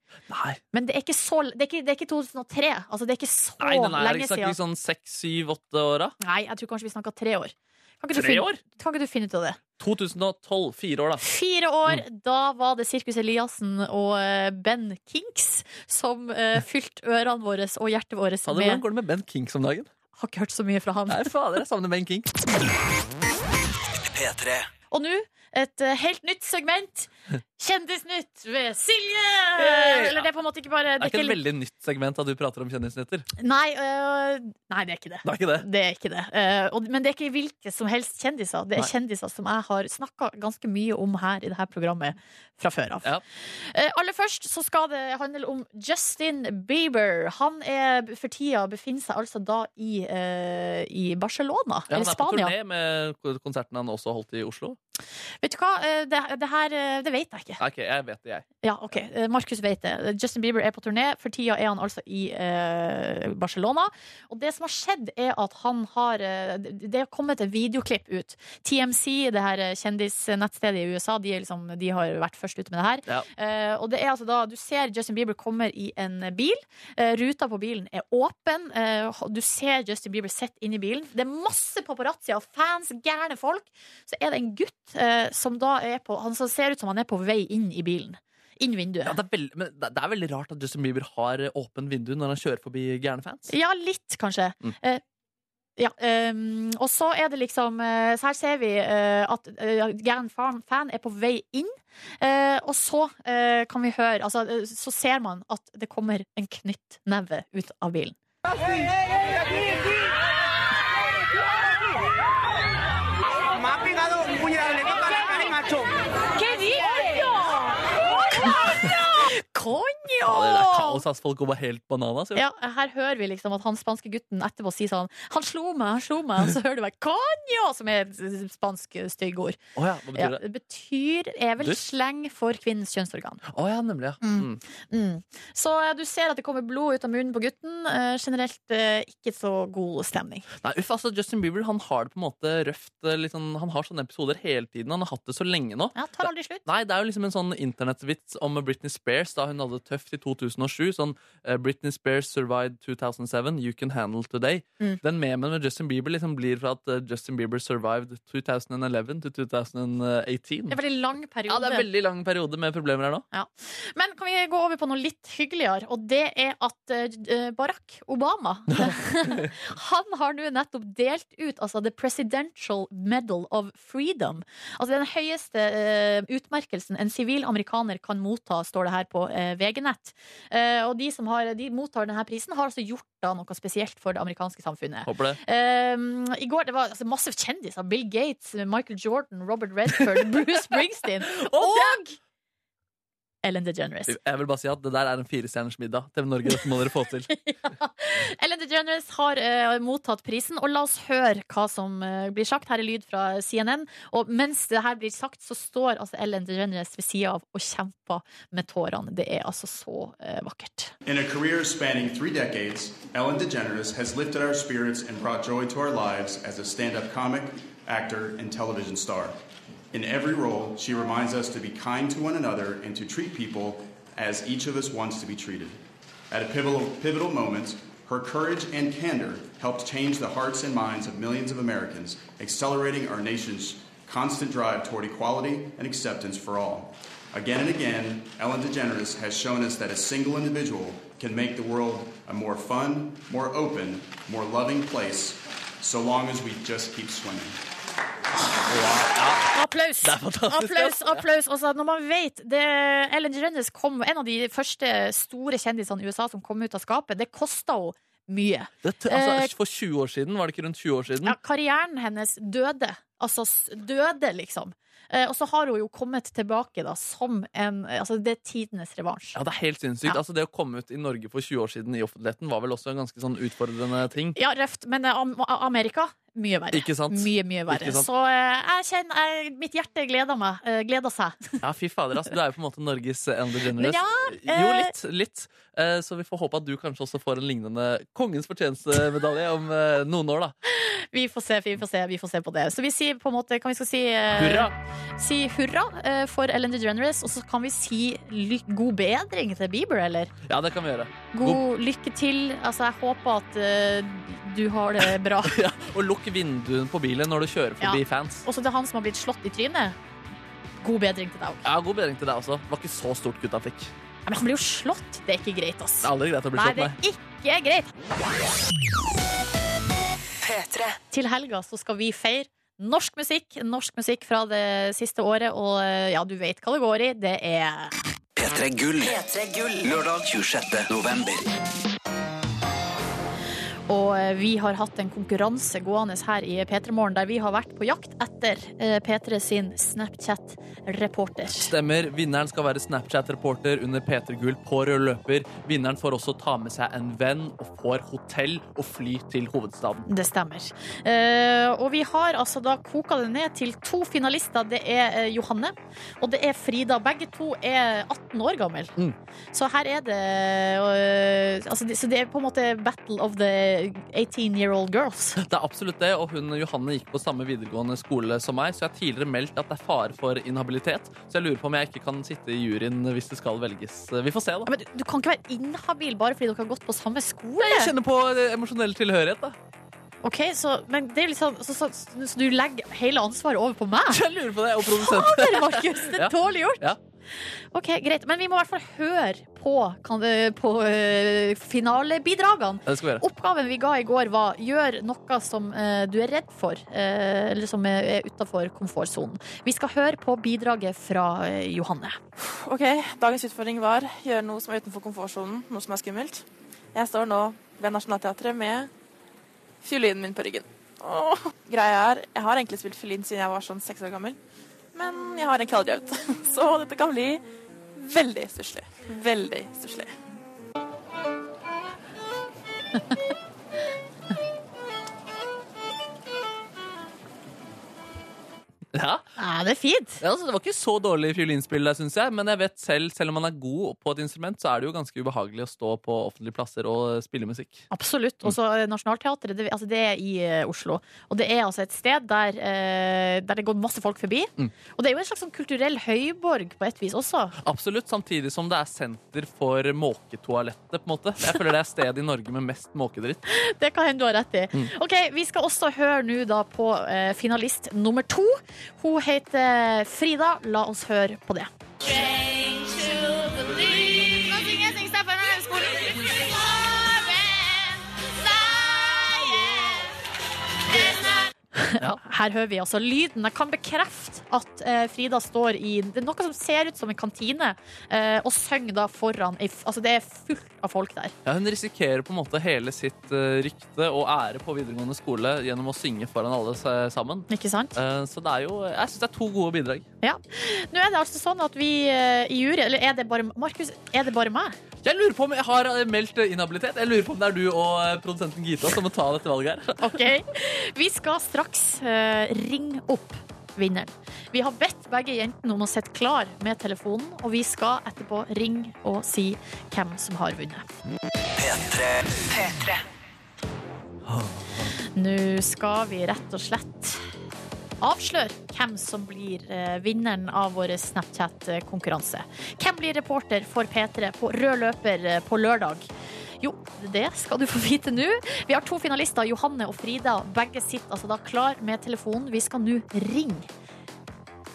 Speaker 2: Men det er ikke så Det er ikke, det er ikke 2003. Altså, det er ikke så
Speaker 3: Nei, den er
Speaker 2: lenge
Speaker 3: ikke snakker
Speaker 2: siden.
Speaker 3: vi sånn seks, syv, åtte åra.
Speaker 2: Nei, jeg tror kanskje vi snakka tre år. Kan ikke, du
Speaker 3: Tre
Speaker 2: finne,
Speaker 3: år?
Speaker 2: kan ikke du finne ut av det?
Speaker 3: 2012. Fire år, da.
Speaker 2: Fire år,
Speaker 3: Mm.
Speaker 2: da var det Sirkus Eliassen og eh, Ben Kinks som eh, fylte ørene våre og hjertet vårt
Speaker 3: Fader, Hvordan
Speaker 2: med
Speaker 3: går det med Ben Kinks om dagen?
Speaker 2: Har ikke hørt så mye fra han.
Speaker 3: Nei, fader, jeg savner Ben Kinks.
Speaker 9: P3.
Speaker 2: Og nå et eh, helt nytt segment. Kjendisnytt ved Silje!
Speaker 3: Hey!
Speaker 2: Eller det er på en måte ikke bare
Speaker 3: Det er ikke et
Speaker 2: litt-
Speaker 3: veldig nytt segment at du prater om kjendisnyheter.
Speaker 2: Nei, øh, nei, det er ikke det.
Speaker 3: Det er ikke det.
Speaker 2: Det er ikke det. Eh, og, men det er ikke hvilke som helst kjendiser. Det er
Speaker 3: Nei.
Speaker 2: kjendiser som jeg har snakka ganske mye om her i dette programmet fra før av.
Speaker 3: Ja.
Speaker 2: Eh, aller først så skal det handle om Justin Bieber. Han er for tida befinner seg altså da i, eh, i Barcelona,
Speaker 3: Ja, han
Speaker 2: eller
Speaker 3: er på
Speaker 2: Spania.
Speaker 3: turné med ko- konserten han også holdt i Oslo.
Speaker 2: Vet du hva, Eh, det, det her eh, det vet jeg ikke.
Speaker 3: Ok, jeg vet det, jeg.
Speaker 2: Ja, ok. Eh, Markus vet det. Justin Bieber er på turné. For tida er han altså i eh, Barcelona. Og det som har skjedd, er at han har eh, Det det har kommet et videoklipp ut. TMC, det her eh, kjendisnettstedet i USA, de, er liksom, de har vært først ute med det her.
Speaker 9: Ja.
Speaker 2: Eh, og det er altså da Du ser Justin Bieber kommer i en bil. Eh, ruta på bilen er åpen. Eh, du ser Justin Bieber sitte inni bilen. Det er masse paparazzier og fans, gærne folk. Så er det en gutt eh, som da er på Han som ser ut som han er på vei inn i bilen. Inn vinduet.
Speaker 3: Ja, det, er veldig, men det det er veldig rart at Justin Bieber har eh, åpen vindu når han kjører forbi gærne fans.
Speaker 2: Ja, litt, kanskje.
Speaker 3: Mm.
Speaker 2: Eh, ja, ehm, og så er det liksom eh, Så her ser vi eh, at eh, gæren fan, fan er på vei inn. Eh, og så eh, kan vi høre altså, eh, Så ser man at det kommer en knyttneve ut av bilen.
Speaker 9: Me ha pegado un puñal, le toca la cara y macho. ¿Qué
Speaker 2: Konjo!
Speaker 3: Ja, det er kaos, ass. Folk går bare helt bananas. jo.
Speaker 2: Ja, her hører vi liksom at han spanske gutten etterpå sier sånn Han slo meg, han slo meg, og så hører du bare Coño! Som er et eh, spansk eh, styggord.
Speaker 3: Å ja, hva betyr det?
Speaker 2: det betyr er vel
Speaker 3: Dust?
Speaker 2: sleng for kvinnens kjønnsorgan.
Speaker 3: Å ja, nemlig. Ja. Mm.
Speaker 2: Mm. Så eh, du ser at det kommer blod ut av munnen på gutten. Eh, generelt eh, ikke så god stemning.
Speaker 3: Nei, uff, altså Justin Bieber han har det på en måte røft. eh, Litt sånn, han har sånne episoder hele tiden. Han har hatt det så lenge nå.
Speaker 2: Ja, tar aldri slutt.
Speaker 3: Nei, Det er jo liksom en sånn internettvits om Britney Spears da hun hadde det tøft i 2007. Sånn eh, Britney Spears survived 2007, you can handle today.
Speaker 2: Mm.
Speaker 3: Den memen med Justin Bieber liksom blir fra at eh, Justin Bieber survived 2011 to 2018.
Speaker 2: Det er en veldig lang periode.
Speaker 3: Ja, det er en veldig lang periode med problemer her nå.
Speaker 2: Ja. Men kan vi gå over på noe litt hyggeligere, og det er at eh, Barack Obama Han har nå nettopp delt ut altså, The Presidential Medal of Freedom. Altså den høyeste eh, utmerkelsen en sivil amerikaner kan motta, står det her på eh, VG-nett. Eh, og de som har, de mottar denne prisen, har altså gjort da noe spesielt for det amerikanske samfunnet.
Speaker 3: Håper det.
Speaker 2: Um, I går det var altså, masse kjendiser. Bill Gates, Michael Jordan, Robert Redford, Bruce Springsteen. Og Ellen DeGeneres.
Speaker 3: Jeg vil bare si at det der er en firestjerners middag. TV Norge, dette må dere få til.
Speaker 2: Ellen DeGeneres har eh, mottatt prisen, og la oss høre hva som eh, blir sagt. Her er lyd fra CNN. Og mens det her blir sagt, så står altså Ellen DeGeneres ved sida av og kjemper med tårene. Det er altså så eh, vakkert.
Speaker 11: In a career spanning three decades, Ellen DeGeneres has lifted our spirits and brought joy to our lives as a stand up comic, actor, and television star. In every role, she reminds us to be kind to one another and to treat people as each of us wants to be treated. At a pivotal, pivotal moment, her courage and candor helped change the hearts and minds of millions of Americans, accelerating our nation's constant drive toward equality and acceptance for all. Again and again, Ellen DeGeneres has shown us that a single individual can make the world a more fun, more open, more loving place, so long as we just keep swimming.
Speaker 2: Applaus!
Speaker 11: Det er fantastisk,
Speaker 2: Applaus,
Speaker 11: altså.
Speaker 2: applaus. Altså, når man vet det, Ellen DeGeneres kom, en av de første store kjendisene i USA som kom ut av skapet. Det kosta henne mye.
Speaker 3: Det,
Speaker 2: Eh,
Speaker 3: altså, for 20 år siden, var det ikke rundt 20 år siden?
Speaker 2: ja, karrieren hennes døde. Altså s- døde, liksom. Eh, og så har hun jo kommet tilbake da, som en Altså, det er tidenes revansj.
Speaker 3: Ja, det er helt sinnssykt. Altså, det å komme ut i Norge for 20 år siden i offentligheten var vel også en ganske sånn utfordrende ting.
Speaker 2: Ja, røft, men eh, Am Amerika mye verre.
Speaker 3: Ikke sant?
Speaker 2: Mye, mye verre.
Speaker 3: Ikke sant?
Speaker 2: Så eh, jeg kjenner jeg, Mitt hjerte gleder meg. eh, gleder seg.
Speaker 3: Ja, fy fader, altså, Du er jo på en måte Norges Ellen
Speaker 2: Men
Speaker 3: DeGeneres.
Speaker 2: ja,
Speaker 3: Jo,
Speaker 2: eh,
Speaker 3: litt. litt. Eh, Så vi får håpe at du kanskje også får en lignende Kongens fortjenstmedalje om eh, noen år, da.
Speaker 2: Vi får se, vi får se, vi får se på det. Så vi sier på en måte Kan vi skal si eh,
Speaker 3: Hurra!
Speaker 2: Si hurra eh, for Ellen DeGeneres, og så kan vi si ly god bedring til Bieber, eller?
Speaker 3: Ja, det kan vi gjøre.
Speaker 2: God lykke til. Altså, jeg håper at eh, du har det bra.
Speaker 3: Ja, og lukk vinduene på bilen når du kjører forbi
Speaker 2: Ja.
Speaker 3: fans.
Speaker 2: Også til han som har blitt slått i trynet. God bedring til deg òg.
Speaker 3: Ja, God bedring til deg også. Det var ikke så stort gutta fikk.
Speaker 2: Men han blir jo slått. Det er ikke greit, ass.
Speaker 3: Det er aldri greit å bli
Speaker 2: Nei,
Speaker 3: slått,
Speaker 2: det
Speaker 3: nei.
Speaker 2: er ikke greit. Til helga så skal vi feire norsk musikk. Norsk musikk fra det siste året, og eh, ja, du vet hva det går i. Det er
Speaker 12: P3 Gull. Lørdag 26. november.
Speaker 2: Og eh, vi har hatt en konkurranse gående her i P3 Morgen der vi har vært på jakt etter eh, P3 sin Snapchat-reporter.
Speaker 3: Stemmer. Vinneren skal være Snapchat-reporter under Peter Gull på rød løper. Vinneren får også ta med seg en venn og får hotell og fly til hovedstaden.
Speaker 2: Det stemmer. Eh, og vi har altså da koka det ned til to finalister. Det er eh, Johanne og det er Frida. Begge to er 18 år gamle.
Speaker 3: Mm.
Speaker 2: Så her er det eh, altså, det- Så det er på en måte battle of the 18 year old girls.
Speaker 3: Det er absolutt det, og hun Johanne gikk på samme videregående skole som meg, så jeg har tidligere meldt at det er fare for inhabilitet, så jeg lurer på om jeg ikke kan sitte i juryen hvis det skal velges. Vi får se, da.
Speaker 2: Men du kan ikke være inhabil bare fordi dere har gått på samme skole.
Speaker 3: jeg kjenner på eh, emosjonell tilhørighet, da.
Speaker 2: Ok, så, men det er liksom, så, så, så, så du legger hele ansvaret over på meg?
Speaker 3: Jeg lurer på det, og produsenten.
Speaker 2: Fader, Markus! Det er
Speaker 3: Ja.
Speaker 2: dårlig gjort.
Speaker 3: Ja.
Speaker 2: Ok, greit. Men vi må i hvert fall høre på, kan, på eh, finalebidragene.
Speaker 3: Det skal vi gjøre.
Speaker 2: Oppgaven vi ga i går var gjør noe som eh, du er redd for, eh, eller som er er utenfor komfortsonen. Vi skal høre på bidraget fra eh, Johanne.
Speaker 13: Ok, Dagens utfordring var gjøre noe som er utenfor komfortsonen, noe som er skummelt. Jeg står nå ved Nationaltheatret med fiolinen min på ryggen. Åh. Greia er, Jeg har egentlig spilt fiolin siden jeg var sånn seks år gammel, men jeg har egentlig aldri øvd. Så dette kan bli veldig stusslig. Veldig stusslig.
Speaker 3: Ja.
Speaker 2: det er fint.
Speaker 3: altså, det var ikke så dårlig fiolinspill, der, synes jeg. Men jeg vet selv, selv om man er god på et instrument, så er det jo ganske ubehagelig å stå på offentlige plasser og spille musikk.
Speaker 2: Absolutt. Og så eh, Nationaltheatret, det, altså det er i eh, Oslo. Og det er altså et sted der, eh, der det går masse folk forbi.
Speaker 3: Mm.
Speaker 2: Og det er jo en slags sånn kulturell høyborg på et vis også.
Speaker 3: Absolutt, samtidig som det er senter for måketoalettet, på en måte. Jeg føler det er stedet i Norge med mest måkedritt.
Speaker 2: Det kan hende du har rett i.
Speaker 3: Mm.
Speaker 2: Ok, Vi skal også høre nå da på eh, finalist nummer to. Hun heter Frida. La oss høre på det.
Speaker 14: Nå synger jeg Sing Stefan Haugskolen.
Speaker 2: Her hører vi altså lyden. Jeg kan bekrefte at eh, Frida står i det er noe som ser ut som en kantine, eh, og synger da foran ei f- Altså, det er fullt av folk der.
Speaker 3: Ja, hun risikerer på en måte hele sitt eh, rykte og ære på videregående skole gjennom å synge foran alle sa- sammen. Eh,
Speaker 2: Ikke sant?
Speaker 3: så det er jo Jeg syns det er to gode bidrag.
Speaker 2: Ja. Nå er det altså sånn at vi eh, i jury Eller er det bare Markus, er det bare meg?
Speaker 3: Jeg lurer på om jeg har eh, meldt eh, inhabilitet. Jeg lurer på om det er du og eh, produsenten Gita som må ta dette valget her.
Speaker 2: OK. Vi skal straks eh, ringe opp vinneren. Vi har bedt begge jentene om å sitte klar med telefonen, og vi skal etterpå ringe og si hvem som har vunnet.
Speaker 12: P3.
Speaker 1: P3.
Speaker 2: Nå skal vi rett og slett avsløre hvem som blir eh, vinneren av vår Snapchat-konkurranse. Hvem blir reporter for P3 på rød løper eh, på lørdag? Jo, det skal du få vite nå. Vi har to finalister, Johanne og Frida. Begge sitter altså da klar med telefonen. Vi skal nå ringe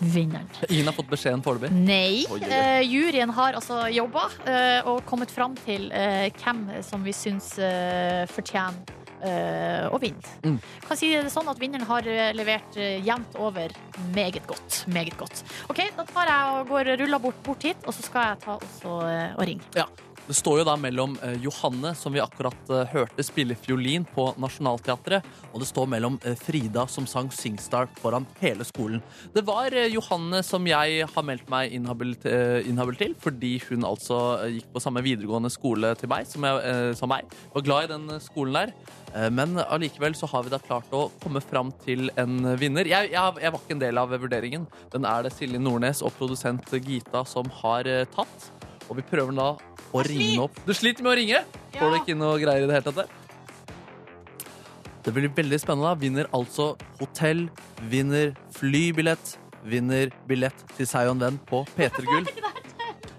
Speaker 2: vinneren.
Speaker 3: Ingen har fått beskjeden foreløpig?
Speaker 2: Nei.
Speaker 3: Oi, oi, oi.
Speaker 2: Eh, juryen har altså jobba eh, og kommet fram til eh, hvem som vi syns eh, fortjener eh, å vinne. Kan si det sånn at vinneren har eh, levert eh, jevnt over meget godt. Meget godt. OK, da tar jeg og går ruller bort, bort hit, og så skal jeg ta også eh, og ringe.
Speaker 3: Ja. Det står jo da mellom eh, Johanne, som vi akkurat eh, hørte spille fiolin på Nationaltheatret, og det står mellom eh, Frida, som sang Singstar foran hele skolen. Det var eh, Johanne som jeg har meldt meg inhabil, eh, inhabil til, fordi hun altså eh, gikk på samme videregående skole til meg som, jeg, eh, som meg. Var glad i den eh, skolen der. Eh, Men allikevel så har vi da klart å komme fram til en vinner. Jeg, jeg, jeg var ikke en del av vurderingen. Den er det Silje Nordnes og produsent Gita som har eh, tatt. Og vi prøver da å ringe opp. Du sliter med å ringe? Får du ikke inn noe greier i det hele tatt? der? Det blir veldig spennende. da. Vinner altså hotell, vinner flybillett, vinner billett til seg og en venn på P3 Gull.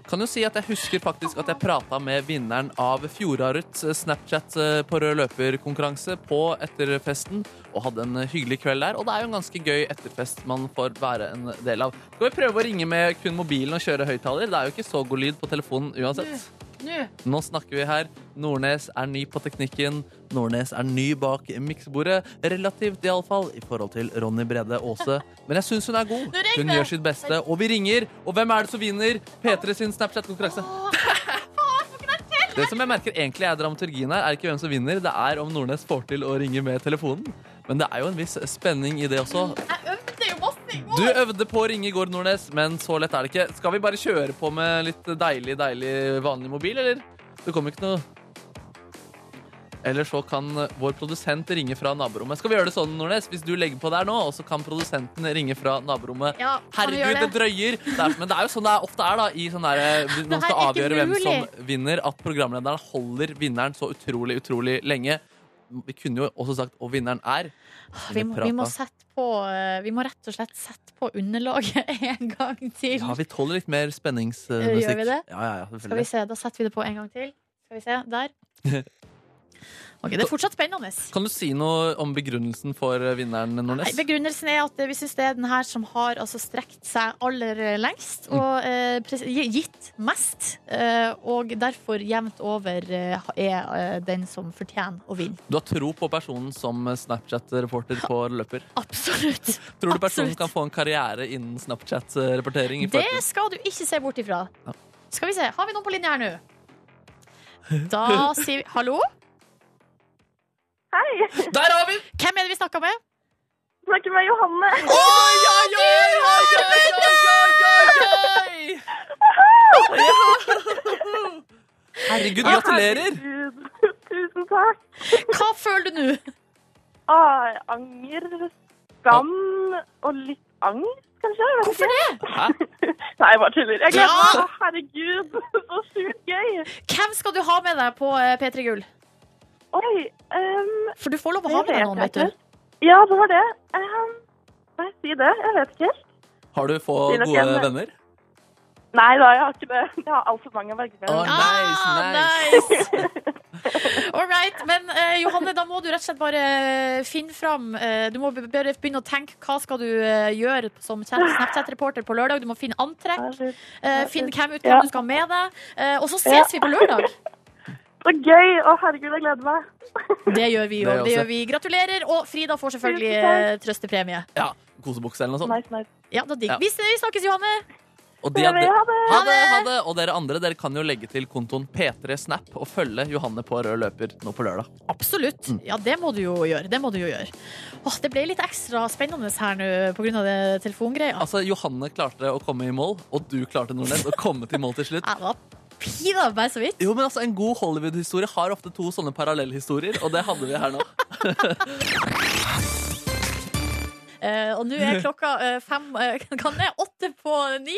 Speaker 3: Kan jo si at jeg husker faktisk at jeg prata med vinneren av fjorårets Snapchat eh, på rød løper-konkurranse på etterfesten, og hadde en eh, hyggelig kveld der. Og det er jo en ganske gøy etterfest man får være en del av. Skal vi prøve å ringe med kun mobilen og kjøre høyttaler? Det er jo ikke så god lyd på telefonen uansett.
Speaker 2: Nå.
Speaker 3: Nå snakker vi her. Nordnes er ny på teknikken. Nordnes er ny bak miksebordet. Relativt, iallfall, i forhold til Ronny Brede Aase. Men jeg syns hun er god.
Speaker 2: regner
Speaker 3: Hun
Speaker 2: jeg.
Speaker 3: gjør sitt beste. Og vi ringer. Og hvem er det som vinner? P3 sin Snapchat-konkurranse. Det som jeg merker egentlig er dramaturgien her, er ikke hvem som vinner, det er om Nordnes får til å ringe med telefonen. Men det er jo en viss spenning i det også.
Speaker 2: Jeg øvde jo masse i
Speaker 3: Du øvde på å ringe i går, Nordnes, men så lett er det ikke. Skal vi bare kjøre på med litt deilig, deilig vanlig mobil, eller? Det kommer ikke noe Eller så kan vår produsent ringe fra naborommet. Skal vi gjøre det sånn, Nordnes? Hvis du legger på der nå, og så kan produsenten ringe fra naborommet.
Speaker 2: Ja, kan vi
Speaker 3: Herregud,
Speaker 2: gjøre
Speaker 3: det drøyer! Det er, men det er jo sånn det er ofte er, da. I sånn der, når man
Speaker 2: her
Speaker 3: skal
Speaker 2: er ikke
Speaker 3: avgjøre hvem som
Speaker 2: mulig.
Speaker 3: vinner, at programlederen holder vinneren så utrolig, utrolig lenge. Vi kunne jo også sagt 'og vinneren er'.
Speaker 2: Ah, Vi må, vi må sette på eh, Vi må rett og slett sette på underlaget en gang til.
Speaker 3: Ja, Eh, vi tåler litt mer
Speaker 2: Gjør
Speaker 3: spenningsmusikk.
Speaker 2: vi det?
Speaker 3: Ja, ja, ja,
Speaker 2: Skal vi
Speaker 3: selvfølgelig.
Speaker 2: se, Da setter vi det på en gang til. Skal vi se, der. Ok, Det er fortsatt spennende.
Speaker 3: Kan du si noe om begrunnelsen for eh, vinneren, Nordnes?
Speaker 2: Nei, Begrunnelsen er at vi syns det er den her som har altså, strekt seg aller lengst
Speaker 3: Mm.
Speaker 2: og eh, pres- gitt mest, eh, og derfor jevnt over eh, er eh, den som fortjener å vinne.
Speaker 3: Du har tro på personen som eh, Snapchat-reporter på løper?
Speaker 2: Absolutt.
Speaker 3: Tror du personen kan få en karriere innen Snapchat-rapportering? i
Speaker 2: Det
Speaker 3: fremtiden?
Speaker 2: skal du ikke se bort ifra. Skal vi se, har vi noen på linje her nå? Da sier vi hallo.
Speaker 10: Hei!
Speaker 3: Der har vi
Speaker 2: Hvem er det vi snakker med?
Speaker 10: Snakker med Johanne.
Speaker 3: Herregud,
Speaker 10: Ja,
Speaker 3: gratulerer!
Speaker 10: herregud. Tusen takk.
Speaker 2: Hva føler du nå?
Speaker 10: Ah, anger, skam og litt angst, kanskje? Hvorfor
Speaker 2: det?
Speaker 10: Nei, jeg bare tuller. Jeg gleder
Speaker 2: Ja.
Speaker 10: meg. Å, Herregud, så sjukt gøy.
Speaker 2: Hvem skal du ha med deg på eh, P3 Gull?
Speaker 10: Oi, ehm,
Speaker 2: For du får lov å ha
Speaker 10: det
Speaker 2: med deg
Speaker 10: vet
Speaker 2: noen,
Speaker 10: jeg
Speaker 2: vet du.
Speaker 10: ikke. Ja, det var det. Ehm, Skal jeg si det? Jeg vet ikke helt.
Speaker 3: Har du få
Speaker 10: Det er nok
Speaker 3: gode
Speaker 10: en-
Speaker 3: venner?
Speaker 10: Nei da, jeg har ikke det. Jeg har altfor mange å velge
Speaker 3: Å,
Speaker 10: mellom.
Speaker 2: Ah, All right, men eh, Johanne, da må du rett og slett bare eh, finne fram eh, Du må be- bare begynne å tenke hva skal du eh, gjøre som chat- Snapchat-reporter på lørdag. Du må finne antrekk, eh, finne hvem ut
Speaker 10: Ja.
Speaker 2: hvem du skal ha med deg, eh, og så
Speaker 10: Ja.
Speaker 2: ses vi på lørdag.
Speaker 10: Så gøy! Å, herregud, jeg gleder meg.
Speaker 2: Det gjør vi jo.
Speaker 3: Det
Speaker 2: Det
Speaker 3: også.
Speaker 2: gjør vi. Gratulerer, og Frida får selvfølgelig
Speaker 10: Tusen takk.
Speaker 2: eh, trøstepremie.
Speaker 3: Ja. kosebukse eller noe sånt.
Speaker 10: Nice, nice.
Speaker 2: Ja, det var digg.
Speaker 3: Ja.
Speaker 2: Vi, s- vi snakkes, Johanne!
Speaker 3: Og de
Speaker 2: Ha det,
Speaker 3: andre-
Speaker 2: ha det.
Speaker 3: ha det, ha det! Og dere andre dere kan jo legge til kontoen P3 Snap og følge Johanne på rød løper nå på lørdag.
Speaker 2: Absolutt.
Speaker 3: Mm.
Speaker 2: Ja, det må du jo gjøre. Det må du jo gjøre. Åh, det ble litt ekstra spennende her nå pga. telefongreia.
Speaker 3: Altså, Johanne klarte å komme i mål, og du klarte Nordnes, å komme til mål til slutt.
Speaker 2: Jeg var pina meg så vidt.
Speaker 3: Jo, men altså, En god Hollywood-historie har ofte to sånne parallellhistorier, og det hadde vi her nå.
Speaker 2: Eh, og nå er klokka eh, fem eh, Kan det? Åtte på ni.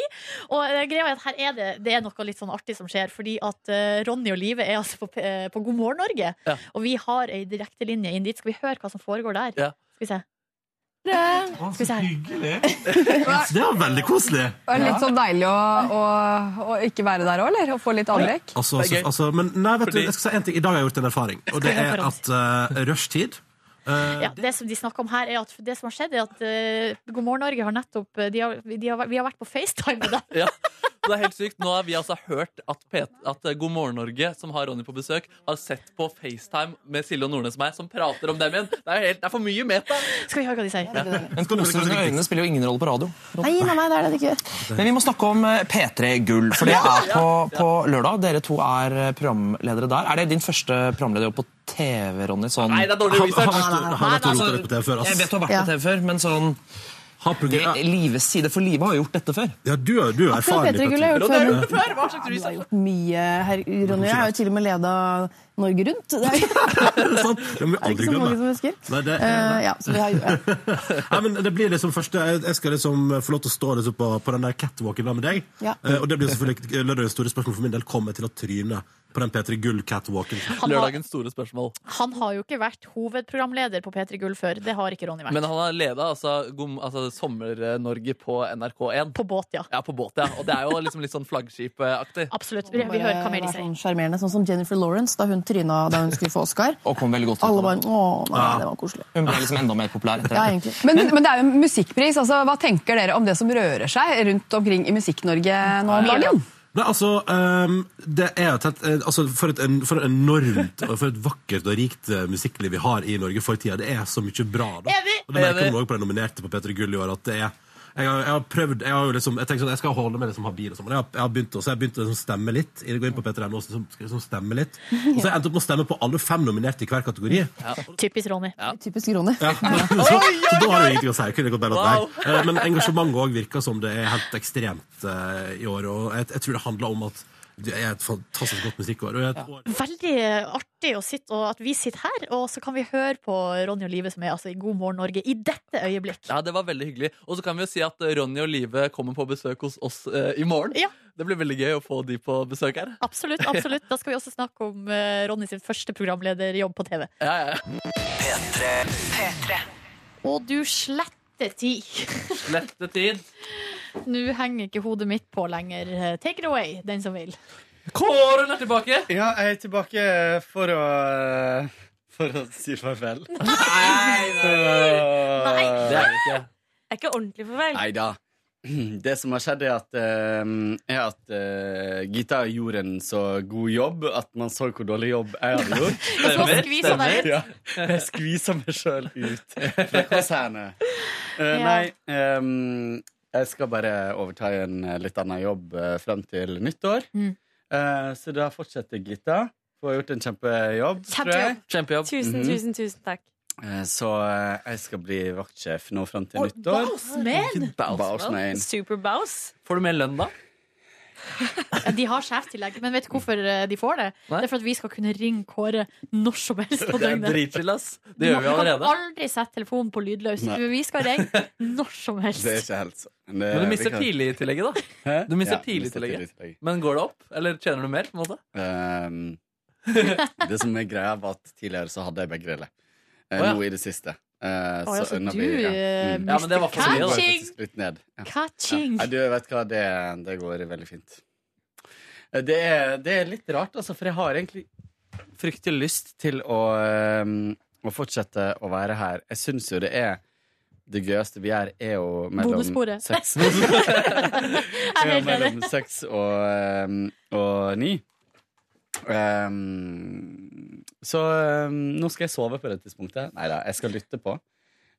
Speaker 2: Og eh, greia er at her er det, det er noe litt sånn artig som skjer, fordi at eh, Ronny og Live er altså på, P- eh, på God morgen Norge.
Speaker 3: Ja.
Speaker 2: Og vi har ei direktelinje inn dit. Skal vi høre hva som foregår der?
Speaker 3: Ja.
Speaker 2: Skal vi se.
Speaker 15: Å, så hyggelig. Det var veldig koselig.
Speaker 6: Det er litt
Speaker 16: sånn-
Speaker 6: så deilig å, å, å ikke være der òg, eller? Å få litt avbrekk.
Speaker 15: Altså, altså, altså, men nei, vet du, jeg skal si en ting. I dag har jeg gjort en erfaring, og det er at uh, rushtid eh,
Speaker 2: Ja, det som de snakker om her er at det som har skjedd, er at eh, God morgen Norge har nettopp eh, de har, de har, Vi har vært på FaceTime med dem.
Speaker 3: Ja. Det er helt sykt. Nå har vi altså hørt at, Pet- at eh, God morgen Norge, som har Ronny på besøk, har sett på FaceTime med Silje og Nordnes og meg, som prater om dem igjen. Det er, jo helt, det er for mye meta.
Speaker 2: Skal vi høre hva de sier?
Speaker 16: Men koser sine øyne spiller jo ingen rolle på radio.
Speaker 17: Nei, nei, nei, det er det ikke.
Speaker 16: Men vi må snakke om eh, P3 Gull, for det er på, på lørdag. Dere to er eh, programledere der. Er det din første programlederjobb på TV, Ronny? Sånn...
Speaker 3: Nei, det er dårlig
Speaker 16: Nei,
Speaker 3: research.
Speaker 16: nei, nei, nei.
Speaker 15: Han har vært og
Speaker 16: Altså,
Speaker 15: rota det på TV før, ass.
Speaker 16: Jeg vet du har vært
Speaker 15: Ja.
Speaker 16: på TV før, men sånn det, Live side for livet har jo gjort dette før.
Speaker 15: Ja, du har jo
Speaker 17: Akkurat erfaring P3 Gull har jeg på gjort TV. før.
Speaker 16: det før. Hva slags
Speaker 17: Du har
Speaker 16: research?
Speaker 17: gjort mye her, Ronny. Jeg har jo til og med leda Norge Rundt. Det er,
Speaker 15: Det må vi
Speaker 17: det er
Speaker 15: aldri
Speaker 17: ikke så mange
Speaker 15: glemme.
Speaker 17: som husker.
Speaker 15: Nei, det,
Speaker 17: Eh, ja, så vi har, ja.
Speaker 15: Nei, men det blir liksom første Jeg jeg skal liksom få lov til å stå liksom på, på den der catwalken der med deg.
Speaker 17: Ja.
Speaker 15: Eh, og det blir selvfølgelig lørdagens store spørsmål for min del. Kommer jeg til å tryne på den P3 Gull-catwalken?
Speaker 2: har- Lørdagens
Speaker 3: store spørsmål.
Speaker 2: Han har jo ikke vært hovedprogramleder på P3 Gull før. Det har ikke Ronny vært.
Speaker 3: Men han har leda altså, gom- altså, Sommer-Norge på NRK1.
Speaker 2: På båt, ja.
Speaker 3: ja på båt, ja. Og det er jo liksom litt sånn flaggskipaktig.
Speaker 2: Absolutt.
Speaker 17: Bare være Sånn sjarmerende, sånn som Jennifer Lawrence da hun tryna da hun skulle få Oscar.
Speaker 16: Og kom veldig godt ut
Speaker 17: Alle
Speaker 16: av
Speaker 17: bare Å, nei,
Speaker 16: Ja.
Speaker 17: det var koselig.
Speaker 16: Hun ble liksom enda mer populær etter
Speaker 17: Ja,
Speaker 16: det.
Speaker 17: egentlig.
Speaker 6: Men, men det er jo en musikkpris. altså Hva tenker dere om det som rører seg rundt omkring i Musikk-Norge nå om dagen?
Speaker 15: Nei, altså, ehm, det er jo tett, eh, altså for, et, en- for et enormt og for et vakkert og rikt eh, musikkliv vi har i Norge for tida. Det er så mye bra. da.
Speaker 2: Enig.
Speaker 15: Og det merker
Speaker 2: Enig.
Speaker 15: man også på de nominerte på P3 Gull i år. at det er jeg har, jeg har prøvd, jeg har jo liksom, jeg tenker sånn, jeg skal holde meg liksom habil og sånn, men jeg har, jeg har begynt, å- så jeg har begynt å liksom stemme litt. Jeg går inn på P3.no og så skal jeg liksom stemme litt. Og så har jeg endt opp med å stemme på alle fem nominerte i hver kategori.
Speaker 2: Typisk Ronny.
Speaker 17: Typisk Ronny.
Speaker 15: Ja. Så, så da har du ingenting å si. Kunne gått bedre at det er. Eh, Men engasjementet òg virker som det er helt ekstremt eh, i år. Og jeg, jeg tror det handler om at det er et fantastisk godt musikkår. Og et år
Speaker 2: Veldig artig å sitte, og at vi sitter her, og så kan vi høre på Ronny og Live, som er altså i God morgen Norge i dette øyeblikk.
Speaker 3: Ja, det var veldig hyggelig. Og så kan vi jo si at eh, Ronny og Live kommer på besøk hos oss eh, i morgen. Det blir veldig gøy å få de på besøk her.
Speaker 2: Absolutt. absolutt. Da skal vi også snakke om eh, Ronny sin første programlederjobb på TV.
Speaker 3: Ja, ja, ja.
Speaker 2: Og du slette tid.
Speaker 3: Slette tid.
Speaker 2: Nå henger ikke hodet mitt på lenger. Eh, Take it away, den som vil.
Speaker 3: Kåren er tilbake!
Speaker 18: Ja, jeg er tilbake for å For å si farvel. Nei,
Speaker 19: Nei.
Speaker 18: Det er vi ikke.
Speaker 19: Det er ikke ordentlig farvel.
Speaker 18: Nei da. Det som har skjedd, er at, eh, er at eh, Gita gjorde en så god jobb at man så hvor dårlig jobb jeg hadde gjort.
Speaker 2: Jeg så skvisa deg ut.
Speaker 18: Ja, jeg skvisa meg sjøl ut fra konsernet. Eh,
Speaker 2: Ja.
Speaker 18: Nei, ehm, jeg skal bare overta en eh, litt annen jobb eh, frem til nyttår.
Speaker 2: Mm.
Speaker 18: Eh, så da fortsetter Gita. Hun har gjort en kjempejobb. tror jeg.
Speaker 19: Kjempejobb. Tusen,
Speaker 18: Mhm.
Speaker 19: tusen, tusen takk.
Speaker 18: Eh, Så eh, jeg skal bli vaktsjef nå frem til
Speaker 19: Oi,
Speaker 18: nyttår.
Speaker 2: Bausmen!
Speaker 18: Bausmen.
Speaker 19: Superbaus.
Speaker 3: Får du mer lønn da?
Speaker 2: Ja, De har sjeftillegg, men vet du hvorfor eh, de får det?
Speaker 3: Nei.
Speaker 2: Det er for at vi skal kunne ringe Kåre når som helst på
Speaker 3: Det er
Speaker 2: døgnet.
Speaker 3: dritchill, ass. Det gjør vi
Speaker 2: Du
Speaker 3: allerede.
Speaker 2: kan aldri sette telefonen på lydløs.
Speaker 18: Nei.
Speaker 2: Vi skal ringe når som helst.
Speaker 18: Det er ikke helt sånn.
Speaker 3: Men du mister
Speaker 18: vi kan-
Speaker 3: tidligtillegget, da.
Speaker 18: Hæ? Ja,
Speaker 3: Du mister
Speaker 18: jeg mister
Speaker 3: tidligtillegget.
Speaker 18: tidligtillegget.
Speaker 3: Men går det opp? Eller tjener du mer? på en måte?
Speaker 18: Ehm, det som er greia, var at tidligere så hadde jeg begge deler. Eh,
Speaker 3: Å, ja.
Speaker 18: Nå i det siste. Eh,
Speaker 2: Å, ja, så
Speaker 18: unna
Speaker 2: du,
Speaker 18: vi-
Speaker 2: eh,
Speaker 18: Mm.
Speaker 2: Ja, men det var for mye, da.
Speaker 18: Det var faktisk litt ned. Ja.
Speaker 2: Catching.
Speaker 18: Nei, du vet hva, det, det går veldig fint. Eh, Det er, det er litt rart, altså, for jeg har egentlig fryktelig lyst til å, ehm, å fortsette å være her. Jeg syns jo det er det gøyeste vi gjør, er jo mellom
Speaker 2: Bonussporet.
Speaker 18: seks
Speaker 2: Jeg er
Speaker 18: ja,
Speaker 2: helt
Speaker 18: mellom
Speaker 2: enig.
Speaker 18: seks og, ehm, og ni. Ehm, så ehm, nå skal jeg sove på det tidspunktet. Nei da, jeg skal lytte på.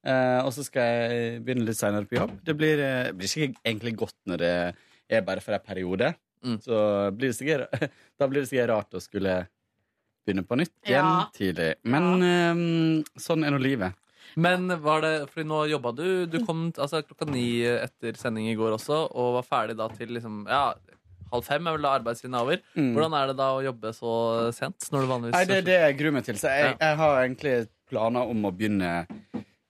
Speaker 18: Eh, og så skal jeg begynne litt seinere på jobb. Det blir, eh, blir ikke egentlig godt når det er bare for en periode.
Speaker 3: Mm.
Speaker 18: Så blir det sikkert, da blir det sikkert rart å skulle begynne på nytt igjen
Speaker 3: Ja.
Speaker 18: tidlig. Men eh, sånn er nå livet.
Speaker 3: Men var det, fordi nå jobba du Du kom altså, klokka ni etter sending i går også Og var ferdig da til liksom, ja, halv fem er vel da arbeidstiden er over
Speaker 18: Mm.
Speaker 3: Hvordan er det da å jobbe så sent? Når du vanligvis
Speaker 18: Nei, det er det jeg gruer meg til. Så jeg, jeg har egentlig planer om å begynne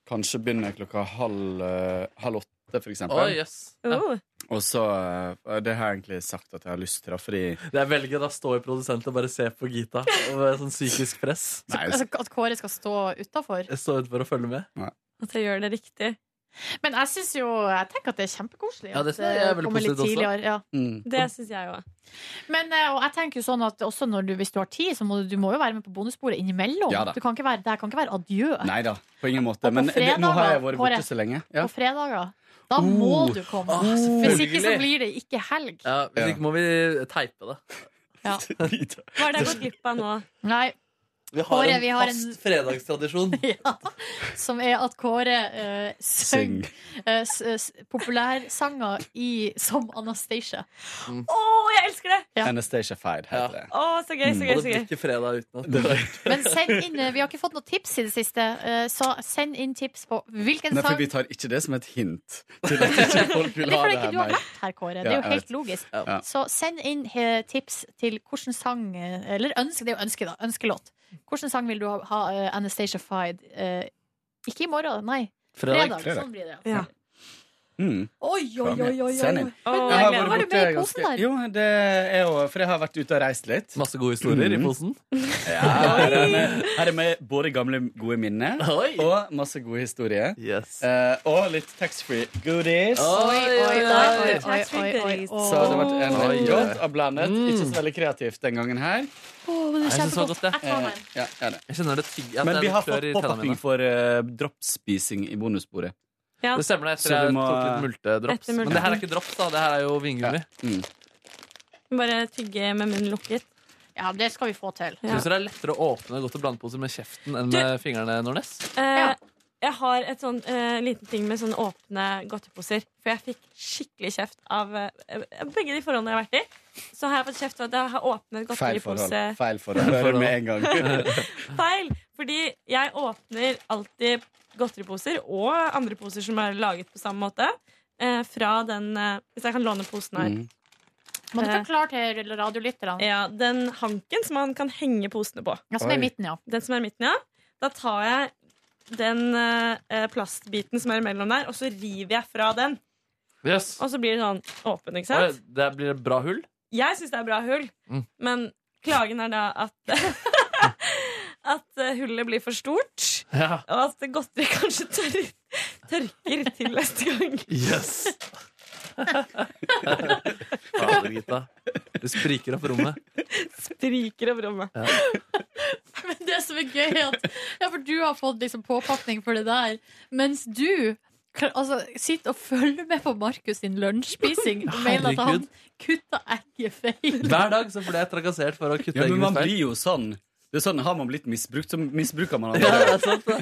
Speaker 18: Kanskje begynne klokka halv, eh, halv åtte, for eksempel.
Speaker 3: Oi, jøss. Ja. Oh.
Speaker 18: Og så eh, Det har jeg egentlig sagt at jeg har lyst til, da, fordi
Speaker 3: Det er veldig gøy da står produsenten og bare ser på Gita Og med sånn psykisk press
Speaker 2: Altså, at Kåre skal stå utafor.
Speaker 3: Jeg står utenfor og følger med
Speaker 2: At jeg gjør det riktig. Men jeg synes jo, jeg tenker at det er kjempekoselig.
Speaker 3: Ja, det
Speaker 2: at, eh,
Speaker 3: er veldig
Speaker 2: kommer litt
Speaker 3: positivt også.
Speaker 2: tidligere, Ja.
Speaker 18: Mm.
Speaker 2: Det syns jeg òg. Men eh, og jeg tenker jo sånn at også når du, hvis du har tid, så må du, du må jo være med på bonussporet innimellom.
Speaker 18: Ja da.
Speaker 2: du kan ikke være, det her kan ikke være adjø.
Speaker 18: Nei da, på ingen måte. Men det,
Speaker 2: fredager,
Speaker 18: nå har jeg vært
Speaker 2: Kåre.
Speaker 18: borte så lenge. Ja.
Speaker 2: På fredager. Da må
Speaker 18: Oh.
Speaker 2: du komme.
Speaker 18: Ah,
Speaker 2: hvis ikke så
Speaker 18: selvfølgelig.
Speaker 2: blir det ikke helg.
Speaker 3: ja, Hvis ikke må vi teipe det
Speaker 2: Ja.
Speaker 19: Hva er det jeg har gått glipp av nå?
Speaker 2: Nei,
Speaker 3: Vi har
Speaker 2: Kåre,
Speaker 3: en
Speaker 2: vi har en-
Speaker 3: fast fredagstradisjon
Speaker 2: som er at Kåre uh,
Speaker 3: Syng.
Speaker 2: søng eh, s- s- populærsanger i, som Anastacia.
Speaker 3: Mm.
Speaker 2: Å, jeg elsker det! Ja.
Speaker 18: Anastacia Fide heter det.
Speaker 2: Å, så gøy, så gøy,
Speaker 3: Og
Speaker 2: så
Speaker 3: det blir
Speaker 2: gøy.
Speaker 3: ikke fredag uten at
Speaker 2: Men send inn, eh, Vi har ikke fått noe tips i det siste, eh, så send inn tips på hvilken
Speaker 18: Nei, for
Speaker 2: sang
Speaker 18: vi tar ikke det som et hint til at ikke folk
Speaker 2: Men
Speaker 18: vil
Speaker 2: det
Speaker 18: ha
Speaker 2: er
Speaker 18: det
Speaker 2: fordi ikke
Speaker 18: her.
Speaker 2: du har
Speaker 18: mer.
Speaker 2: vært her, Kåre. Det
Speaker 18: Ja,
Speaker 2: er jo
Speaker 18: jeg
Speaker 2: helt
Speaker 18: vet.
Speaker 2: logisk.
Speaker 18: Ja.
Speaker 2: Så send inn eh, tips til hvilken sang eh, Eller ønske, det er jo ønske, da. Ønskelåt. Hvilken sang vil du ha, ha eh, Anastacia Fide? Eh, ikke i morgen, nei.
Speaker 18: Fredag.
Speaker 2: Sånn blir det.
Speaker 18: Ja. Mm.
Speaker 2: Oi, oi, oi, oi, oi.
Speaker 18: Send inn.
Speaker 2: Men,
Speaker 18: Jeg
Speaker 2: eh,
Speaker 18: har vært
Speaker 2: var du
Speaker 18: borte
Speaker 2: med i
Speaker 18: ganske-
Speaker 2: posen der?
Speaker 18: Jo, det er jo, for jeg har vært ute og reist litt. Mm.
Speaker 3: Masse gode historier i posen.
Speaker 18: Ja, her er, med, her er med både gamle, gode minner og masse gode historier. Eh, og litt taxfree goodies.
Speaker 3: Oi, oi, oi, oi, oi, oi, oi.
Speaker 18: Så det har vært en
Speaker 3: Oi. Mm.
Speaker 18: veldig godt og blandet. Ikke så veldig kreativt den gangen her.
Speaker 2: men det er
Speaker 3: Jeg synes det var
Speaker 2: kjempegodt.
Speaker 3: godt, det.
Speaker 2: Jeg tar meg en.
Speaker 18: Ja, ja, det.
Speaker 3: Jeg kjenner det tygg at
Speaker 18: Men
Speaker 3: det
Speaker 18: vi har
Speaker 3: klør
Speaker 18: fått
Speaker 3: i tennene
Speaker 18: påpapping
Speaker 3: mine.
Speaker 18: for eh, droppspising i bonussporet.
Speaker 19: Ja.
Speaker 3: Det stemmer det,
Speaker 18: Så
Speaker 3: etter jeg
Speaker 18: vi må-
Speaker 3: tok litt multedrops.
Speaker 19: Etter multen.
Speaker 3: Men det her er ikke drops, da. Det her er jo vingummi.
Speaker 18: Mm.
Speaker 19: Bare tygge med munnen lukket.
Speaker 2: Ja, det skal vi få til.
Speaker 3: Syns dere det er lettere å åpne godt og blandeposer med kjeften enn med fingrene, Nordnes?
Speaker 19: Eh, Jeg har et sånn eh, liten ting med sånne åpne godteposer. For jeg fikk skikkelig kjeft av eh, begge de forholdene jeg har vært i. Så har jeg fått kjeft for at jeg har åpnet
Speaker 18: Feil forhold.
Speaker 19: godteripose
Speaker 18: Feil forhold. Hører med en gang.
Speaker 19: Feil! Fordi jeg åpner alltid godteriposer og andre poser som er laget på samme måte, eh, fra den eh, Hvis jeg kan låne posen her. Eh,
Speaker 18: Mm.
Speaker 2: Må du forklare til radiolytterne?
Speaker 19: Ja, den hanken som man kan henge posene på.
Speaker 2: Ja, som er i Oi. midten, ja.
Speaker 19: Den som er i midten, ja. Da tar jeg den eh, plastbiten som er imellom der, og så river jeg fra den.
Speaker 3: Yes.
Speaker 19: Og så blir det sånn åpen, ikke
Speaker 3: Oi,
Speaker 19: sant?
Speaker 3: Det blir et bra hull.
Speaker 19: Jeg syns det er bra hull,
Speaker 3: Mm.
Speaker 19: men klagen er da at At eh, hullet blir for stort,
Speaker 3: Ja.
Speaker 19: og at godteri kanskje tør, tørker til neste gang.
Speaker 3: Yes. Fader, Gita. Det spriker opp rommet.
Speaker 19: Spriker opp rommet.
Speaker 2: Men det som er gøy, er at ja, for du har fått liksom påpakning for det der, mens du kan- altså, sitter og følger med på Markus sin lunsjspising og mener at han
Speaker 3: Herregud.
Speaker 2: kutta egget feil.
Speaker 3: Hver dag så blir jeg trakassert for å kutte
Speaker 18: Ja, men man
Speaker 3: eggene feil.
Speaker 18: blir jo sånn. Det er sånn, Har man blitt misbrukt, så misbruker man
Speaker 3: Ja, det
Speaker 18: andre.
Speaker 3: er sant, det.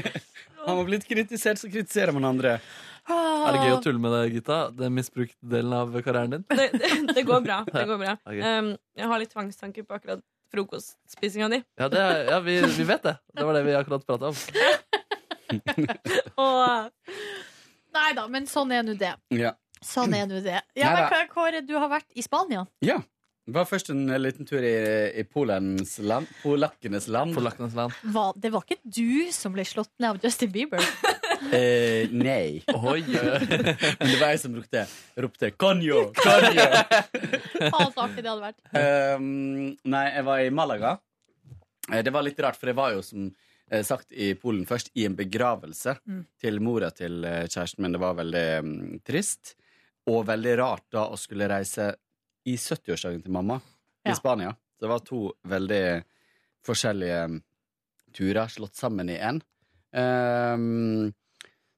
Speaker 18: Har man blitt kritisert, så kritiserer man andre.
Speaker 3: Er det gøy å tulle med det, Gita? Den misbrukte delen av karrieren din?
Speaker 19: Det, det, det går bra. Det går bra.
Speaker 3: Ok.
Speaker 19: Um, jeg har litt tvangstanker på akkurat frokostspisinga di.
Speaker 3: Ja, det er, ja vi, vi vet det. Det var det vi akkurat prata om.
Speaker 2: Nei da, men sånn er nå det.
Speaker 18: Ja.
Speaker 2: Sånn er nå det. Ja, men
Speaker 18: Neida.
Speaker 2: Kåre, Kåre, du har vært i Spania.
Speaker 18: ja. Det var først en eh, liten tur i, i Polens land. Polakkenes land.
Speaker 3: Polakkenes land.
Speaker 2: Hva, det var ikke du som ble slått ned av Justin Bieber.
Speaker 18: Eh, nei.
Speaker 3: Oi,
Speaker 18: Men det var jeg som ropte, ropte 'Konjo! Konjo!'
Speaker 2: Faen så artig det hadde vært.
Speaker 18: Um, nei, jeg var i Malaga. Eh, Det var litt rart, for jeg var jo som eh, sagt i Polen først i en begravelse
Speaker 2: Mm.
Speaker 18: til mora til eh, kjæresten min. Det var veldig mm, trist. Og veldig rart da å skulle reise i 70-årsdagen til mamma
Speaker 2: Ja.
Speaker 18: i Spania. Så det var to veldig forskjellige mm, turer slått sammen i én. Um,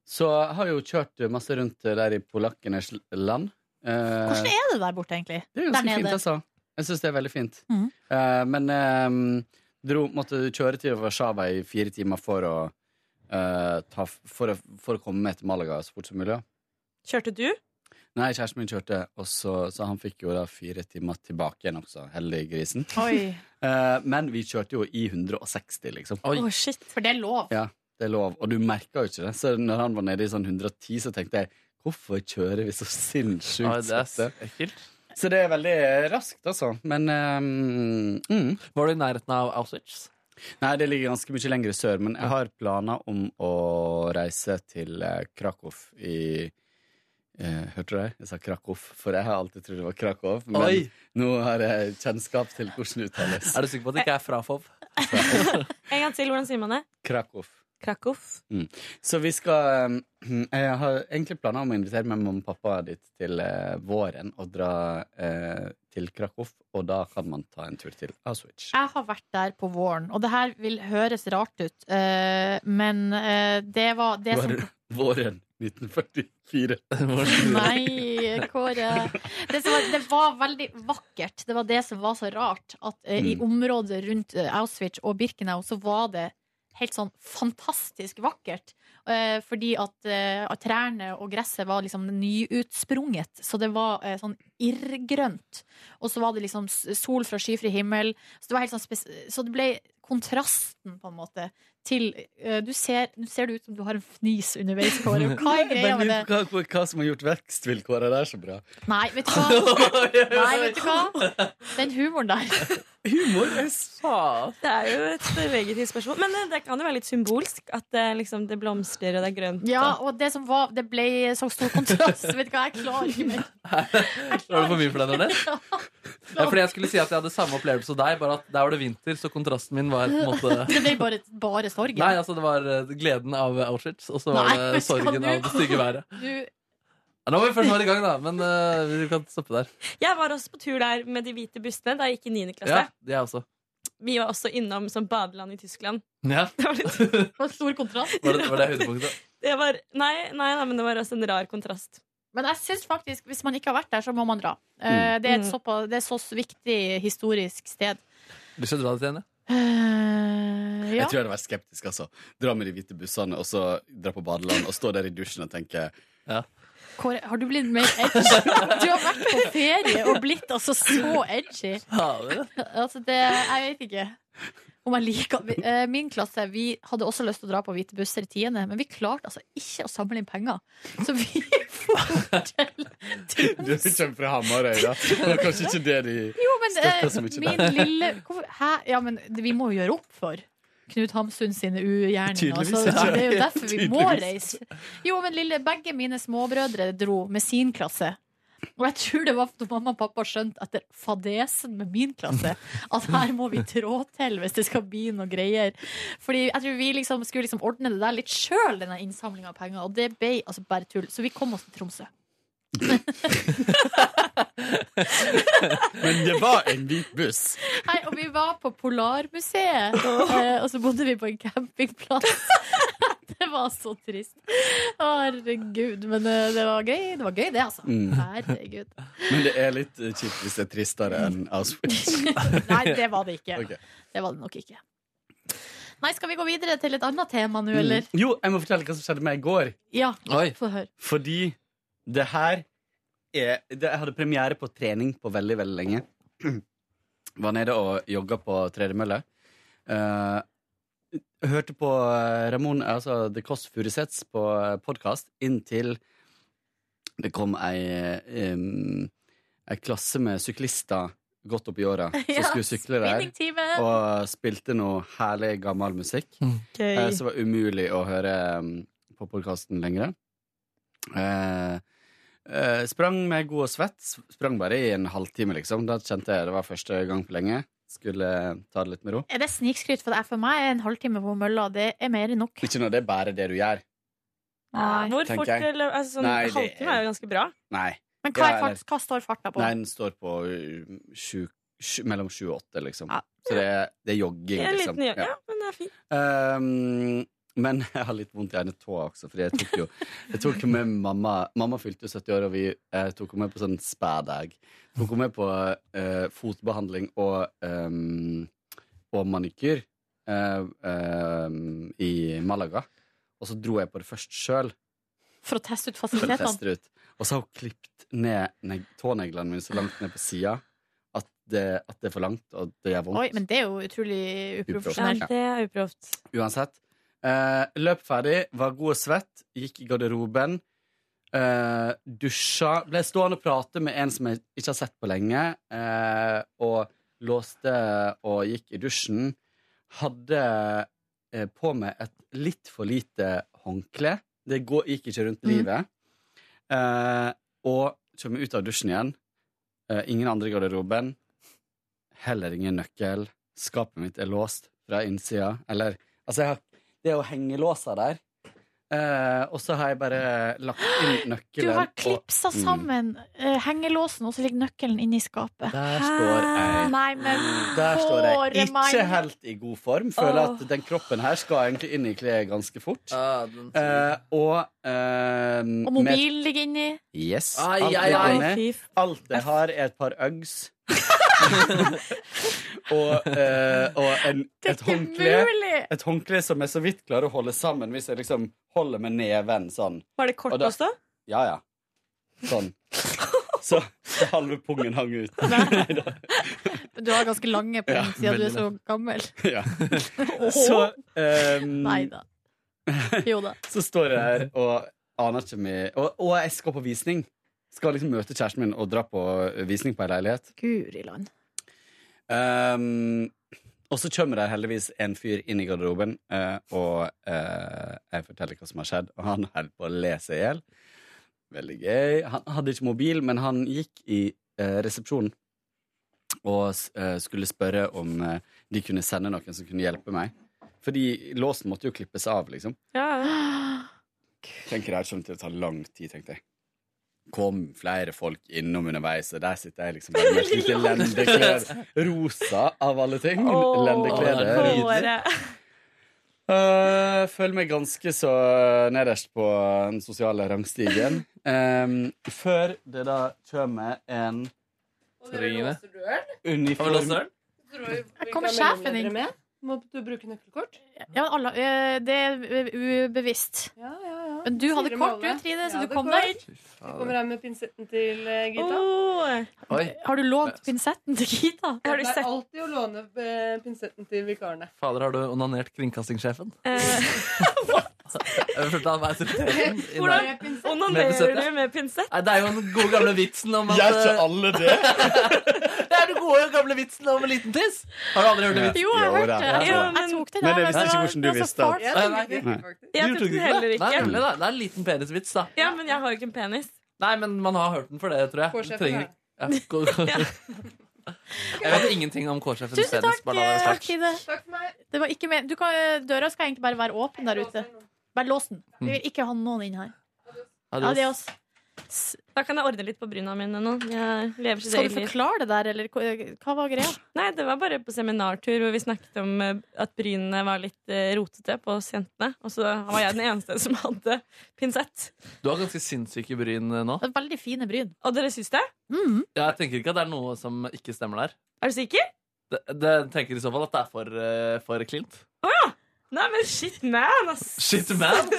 Speaker 18: så jeg har jo kjørt masse rundt der i polakkenes land.
Speaker 2: Hvordan er det der borte, egentlig?
Speaker 18: Det er
Speaker 2: Der
Speaker 18: ganske fint,
Speaker 2: nede.
Speaker 18: altså. Jeg syns det er veldig fint.
Speaker 2: Mhm.
Speaker 18: Eh, men eh, dro, måtte kjøre til Warszawa i fire timer for å eh, ta, f- for, å, for å komme med til Malaga så fort som mulig. da.
Speaker 19: Kjørte du?
Speaker 18: Nei, kjæresten min kjørte, og så, så han fikk jo da fire timer tilbake igjen også, heldig grisen.
Speaker 2: Oi.
Speaker 18: Eh, men vi kjørte jo i 160, liksom.
Speaker 2: Å, shit. For det er lov.
Speaker 18: Ja, det er lov, og du merka jo ikke det. Så når han var nede i sånn 110, så tenkte jeg hvorfor kjører vi så
Speaker 3: Oi,
Speaker 18: sinnssykt
Speaker 3: det er
Speaker 18: sakte?
Speaker 3: ekkelt.
Speaker 18: Så det er veldig raskt, altså. Men ehm, mm.
Speaker 3: Var du i nærheten av Auschwitz?
Speaker 18: Nei, det ligger ganske mye lenger sør, men jeg har planer om å reise til eh, Krakow i eh, Hørte du det? Jeg sa Krakow, for jeg har alltid trodd det var Krakow. Men
Speaker 3: Oi!
Speaker 18: nå har jeg kjennskap til hvordan det uttales.
Speaker 3: Er du sikker på at det ikke er Frafov?
Speaker 19: En gang til, hvordan sier man det?
Speaker 18: Krakow.
Speaker 19: Krakow.
Speaker 18: Mm. Så vi skal eh, Jeg har egentlig planer om å invitere med mamma og pappa dit til eh, våren og dra eh, til Krakow, og da kan man ta en tur til Auschwitz.
Speaker 2: Jeg har vært der på våren, og det her vil høres rart ut, eh, men eh, det var det som
Speaker 18: Våren- Våren 1944.
Speaker 2: Nei, Kåre. Det, som var, det var veldig vakkert. Det var det som var så rart, at eh, i
Speaker 18: Mm.
Speaker 2: området rundt eh, Auschwitz og Birkenau så var det helt sånn fantastisk vakkert. Eh, fordi at, eh, at trærne og gresset var liksom nyutsprunget, så det var eh, sånn irrgrønt. Og så var det liksom s- sol fra skyfri himmel. Så det, var helt sånn spes så det ble kontrasten, på en måte, til eh, Du ser, nå ser det ut som du har en fnis underveis, Kåre. Hva er greia
Speaker 18: Men
Speaker 2: med det?
Speaker 18: hva, hva, hva som har gjort vekstvilkårene der så bra?
Speaker 2: Nei, vet du hva? Nei, vet du hva? Den humoren der.
Speaker 18: Humor er
Speaker 19: Det er jo et legitimt spørsmål. Men eh, det kan jo være litt symbolsk. At det, liksom, det blomstrer og det er grønt.
Speaker 2: Ja, og det som var Det ble så stor kontrast. Vet du hva, jeg klarer ikke mer.
Speaker 3: Var det for mye for deg, Nordnes? Ja, fordi jeg skulle si at jeg hadde samme opplevelse som deg, bare at der var det vinter, så kontrasten min var på en måte
Speaker 2: Det ble bare, bare sorg.
Speaker 3: Nei, altså det var eh, gleden av Auschwitz, og så var
Speaker 2: Nei,
Speaker 3: det
Speaker 2: men skal
Speaker 3: sorgen
Speaker 2: du-
Speaker 3: av det stygge været.
Speaker 2: Du-
Speaker 3: Ja, nå må vi først være i gang, da, men eh, vi kan stoppe der.
Speaker 19: Jeg var også på tur der med de hvite bussene da jeg gikk i 9. klasse.
Speaker 3: Ja, jeg også.
Speaker 19: Vi var også innom som badeland i Tyskland.
Speaker 3: Ja.
Speaker 2: Det var stor kontrast.
Speaker 3: Var det, var det høydepunktet?
Speaker 19: Det var, nei, nei, nei, men det var også en rar kontrast.
Speaker 2: Men jeg syns faktisk, hvis man ikke har vært der, så må man dra. Eh, Det er et
Speaker 19: Mm.
Speaker 2: såpass, det er så viktig historisk sted.
Speaker 3: Du skal dra dit igjen, ja?
Speaker 2: Eh,
Speaker 18: Jeg
Speaker 2: ja.
Speaker 18: tror jeg hadde vært skeptisk. altså Dra med de hvite bussene, og så dra på badeland, og stå der i dusjen og tenke
Speaker 2: Kåre, har du blitt mer edgy? Du har vært på ferie og blitt altså så edgy. Altså, det Jeg vet ikke. Om jeg liker vi- eh, Min klasse Vi hadde også lyst til å dra på hvite busser i tiende, men vi klarte altså ikke å samle inn penger. Så vi
Speaker 18: Du kommer fra Hamarøy, da. Det var kanskje ikke det de
Speaker 2: Jo, men eh,
Speaker 18: støtter så mye
Speaker 2: min
Speaker 18: der.
Speaker 2: lille hvorfor- Hæ? Ja, men det- vi må jo gjøre opp for Knut Hamsun sine ugjerninger.
Speaker 18: Tydeligvis,
Speaker 2: Så
Speaker 18: ja.
Speaker 2: det er jo derfor vi må
Speaker 18: Tydeligvis.
Speaker 2: reise. Jo, men lille, begge mine småbrødre dro med sin klasse. Og jeg tror det var da mamma og pappa skjønte etter fadesen med min klasse at her må vi trå til hvis det skal bli noe greier. Fordi jeg tror vi liksom skulle liksom ordne det der litt sjøl, denne innsamlinga av penger. Og det ble altså bare tull. Så vi kom oss til Tromsø.
Speaker 18: Men det var en hvit buss.
Speaker 2: Nei, og vi var på Polarmuseet, eh, og så bodde vi på en campingplass. Det var så trist. Herregud. Men eh, det var gøy, det, var gøy, det altså.
Speaker 18: Mm.
Speaker 2: Herregud.
Speaker 18: Men det er litt eh, kjipt hvis det er tristere enn Auschwitz.
Speaker 2: Nei, det var det ikke.
Speaker 18: Ok.
Speaker 2: Det var det nok ikke. Nei, skal vi gå videre til et annet tema nå, eller?
Speaker 18: Mm. Jo, jeg må fortelle hva som skjedde med meg i går.
Speaker 2: Ja,
Speaker 18: Oi.
Speaker 2: få høre.
Speaker 18: Fordi det her er det, Jeg hadde premiere på trening på veldig, veldig lenge. Var nede og jogga på tredemølle. Eh, hørte på Ramon, altså The Kåss Furuseths på podkast inntil det kom ei em, Ei klasse med syklister godt opp i åra som
Speaker 2: Ja,
Speaker 18: skulle sykle der.
Speaker 2: spinningtimen.
Speaker 18: Og spilte noe herlig, gammel musikk.
Speaker 2: Gøy.
Speaker 18: Eh, som var umulig å høre mm, på podkasten lenger. Eh, eh, sprang med god og svett. s- Sprang bare i en halvtime, liksom. Da kjente jeg det var første gang på lenge. Skulle ta det litt med ro.
Speaker 2: Er det snikskryt? For det er for meg er en halvtime på mølla, det er mer enn nok.
Speaker 18: Ikke når det er bare det du gjør.
Speaker 19: Ja, Hvor
Speaker 18: Tenker
Speaker 19: fort
Speaker 18: jeg.
Speaker 19: eller, altså, sånn,
Speaker 18: Nei, det
Speaker 19: Halvtime er jo ganske bra.
Speaker 18: Nei.
Speaker 2: Men hva,
Speaker 18: Ja,
Speaker 2: er
Speaker 18: eller-
Speaker 2: fart, hva står farta på?
Speaker 18: Nei, den står på uh, sju, sju, mellom sju og åtte, liksom. Så det er, det er jogging,
Speaker 19: Det er en
Speaker 18: liksom.
Speaker 19: liten jogg,
Speaker 18: Ja.
Speaker 19: ja, men det er fint.
Speaker 18: Um, men jeg har litt vondt i ene tåa også, fordi jeg tok jo jeg tok jo med mamma Mamma fylte jo 70 år, og vi eh, tok henne med på sånn spædag. Tok henne med på eh, fotbehandling og, ehm, um, og manikyr eh, um, ehm, i Malaga. Og så dro jeg på det først sjøl.
Speaker 2: For å teste ut
Speaker 18: for å teste
Speaker 2: fasilitetene.
Speaker 18: det ut. Og så har hun klippet ned neg tåneglene mine så langt ned på sida at, det- at det er for langt, og det gjør vondt.
Speaker 2: Oi, men det er jo utrolig uprofesjonelt.
Speaker 18: Uproft, ja.
Speaker 19: er uproft.
Speaker 18: Uansett. Eh, løp ferdig, var god og svett, gikk i garderoben. Eh, dusja. Ble stående og prate med en som jeg ikke har sett på lenge. Eh, og låste og gikk i dusjen. Hadde eh, på meg et litt for lite håndkle. Det går, gikk ikke rundt livet. Eh, og kommer ut av dusjen igjen. Eh, ingen andre i garderoben. Heller ingen nøkkel. Skapet mitt er låst fra innsida. Eller Altså, jeg har, det er jo hengelåser der. Eh, og så har jeg bare lagt inn
Speaker 2: Du
Speaker 18: nøkkelen.
Speaker 2: har
Speaker 18: og-
Speaker 2: klipsa
Speaker 18: Mm.
Speaker 2: sammen eh, hengelåsen, og så ligger nøkkelen inni skapet. Ah,
Speaker 18: Der står jeg.
Speaker 2: Nei, men
Speaker 18: Der står jeg
Speaker 2: Håret
Speaker 18: ikke
Speaker 2: meg.
Speaker 18: helt i god form. Føler
Speaker 2: Åh.
Speaker 18: at den kroppen her skal egentlig inn i kleet ganske fort. Eh, og eh, med-
Speaker 2: Og mobilen ligger inni.
Speaker 18: Yes.
Speaker 2: Ai,
Speaker 18: alt
Speaker 2: ai,
Speaker 18: ligger
Speaker 2: ai.
Speaker 18: inne.
Speaker 2: Å, fy f-
Speaker 18: Alt jeg har, er et par Uggs. og eh, og en, et håndkle
Speaker 19: mulig!
Speaker 18: Et håndkle som jeg så vidt klarer å holde sammen hvis jeg liksom holder med neven sånn.
Speaker 19: Var det kort
Speaker 18: Og da-
Speaker 19: også?
Speaker 18: Ja, ja. Sånn. Så, så halve pungen hang ut.
Speaker 2: Du har ganske lange på
Speaker 18: Ja,
Speaker 2: den siden du er
Speaker 18: veldig
Speaker 2: så gammel.
Speaker 18: ja. Så, ehm,
Speaker 2: Nei da. Jo da.
Speaker 18: så står jeg her og aner ikke mye og, og jeg skal på visning. Skal liksom møte kjæresten min og dra på visning på ei leilighet.
Speaker 2: Guri land.
Speaker 18: Ehm, og så kommer det heldigvis en fyr inn i garderoben, eh, og eh, jeg forteller hva som har skjedd, og han holder på å le seg i hjel. Veldig gøy. Han hadde ikke mobil, men han gikk i eh, resepsjonen og s- eh, skulle spørre om eh, de kunne sende noen som kunne hjelpe meg. Fordi låsen måtte jo klippes av, liksom. Tenker det her kommer til å ta lang tid, tenkte jeg. Kom flere folk innom underveis, og der sitter jeg liksom bare med et lite lendeklede. Rosa, av alle ting. lendeklede. Øh, føler meg ganske så nederst på den sosiale rangstigen. Ehm, før det da kommer en
Speaker 3: Tryne. Har vi låst
Speaker 18: Uniform.
Speaker 3: døren?
Speaker 2: Her kommer sjefen inn.
Speaker 20: Må du bruke nøkkelkort?
Speaker 2: Ja, alle, eh, det er ubevisst. Men du hadde
Speaker 20: Sier det med
Speaker 2: kort du,
Speaker 20: alle.
Speaker 2: Trine, så
Speaker 20: Ja,
Speaker 2: du
Speaker 20: det
Speaker 2: kom
Speaker 20: går.
Speaker 2: deg inn.
Speaker 20: Jeg kommer her med pinsetten til eh, Gita.
Speaker 2: Har du lånt pinsetten til Gita?
Speaker 20: Det er alltid å låne eh, pinsetten til vikarene.
Speaker 3: Fader, har du onanert kringkastingssjefen?
Speaker 2: Eh,
Speaker 3: Jeg følte han var autoriteten. i
Speaker 19: Hvordan
Speaker 3: dag. Med
Speaker 19: onanerer
Speaker 3: pinsett,
Speaker 19: du
Speaker 3: ja.
Speaker 19: med pinsett?
Speaker 3: Nei, det er jo den gode gamle vitsen om at eh,
Speaker 18: Gjør ikke
Speaker 3: alle det? det er den gode gamle vitsen om en liten tiss. Har du aldri hørt den vitsen?
Speaker 18: Jo, jeg har hørt det. Jo,
Speaker 3: Ja,
Speaker 18: men-
Speaker 3: jeg tok
Speaker 18: Men
Speaker 3: den der,
Speaker 18: jeg visste ikke
Speaker 3: men var-
Speaker 18: hvordan du
Speaker 3: det var så
Speaker 18: visste det.
Speaker 3: fart. Nei, nei,
Speaker 19: Jeg
Speaker 3: nei.
Speaker 19: tok
Speaker 3: Du
Speaker 19: den
Speaker 3: tok ikke
Speaker 19: heller
Speaker 3: det? Nei,
Speaker 19: ikke.
Speaker 3: nemlig, da. Det er en liten penisvits, da.
Speaker 19: Ja, men jeg har jo ikke en penis.
Speaker 3: Nei, men man har hørt den for det, tror jeg.
Speaker 19: Kårsjefen,
Speaker 3: Du trenger
Speaker 19: ja.
Speaker 3: ikke- Ja, gå- gå- Jeg vet ingenting om K-sjefens penis.
Speaker 2: Tusen takk,
Speaker 3: bare la det være
Speaker 2: eh,
Speaker 3: sagt.
Speaker 2: Trine. Det var ikke men- du kan, eh, døra skal egentlig bare være åpen der ute. Bare lås den. Vi vil ikke ha noen inn her.
Speaker 3: Adios.
Speaker 2: Adios.
Speaker 19: Da kan jeg ordne litt på bryna mine nå. Jeg lever sitt
Speaker 2: Skal
Speaker 19: eget
Speaker 2: du
Speaker 19: liv.
Speaker 2: forklare det der, eller hva- hva var greia?
Speaker 19: Nei, det var bare på seminartur hvor vi snakket om eh, at brynene var litt eh, rotete på oss jentene. Og så var jeg den eneste som hadde pinsett.
Speaker 3: Du har ganske sinnssyke bryn eh, nå.
Speaker 2: Veldig fine bryn.
Speaker 19: Og dere syns det?
Speaker 3: Ja, Jeg tenker ikke at det er noe som ikke stemmer der.
Speaker 19: Er du sikker?
Speaker 3: Det, det tenker i så fall at det er for, eh, for klint.
Speaker 19: Nei, men shit man, ass.
Speaker 3: Shit, man!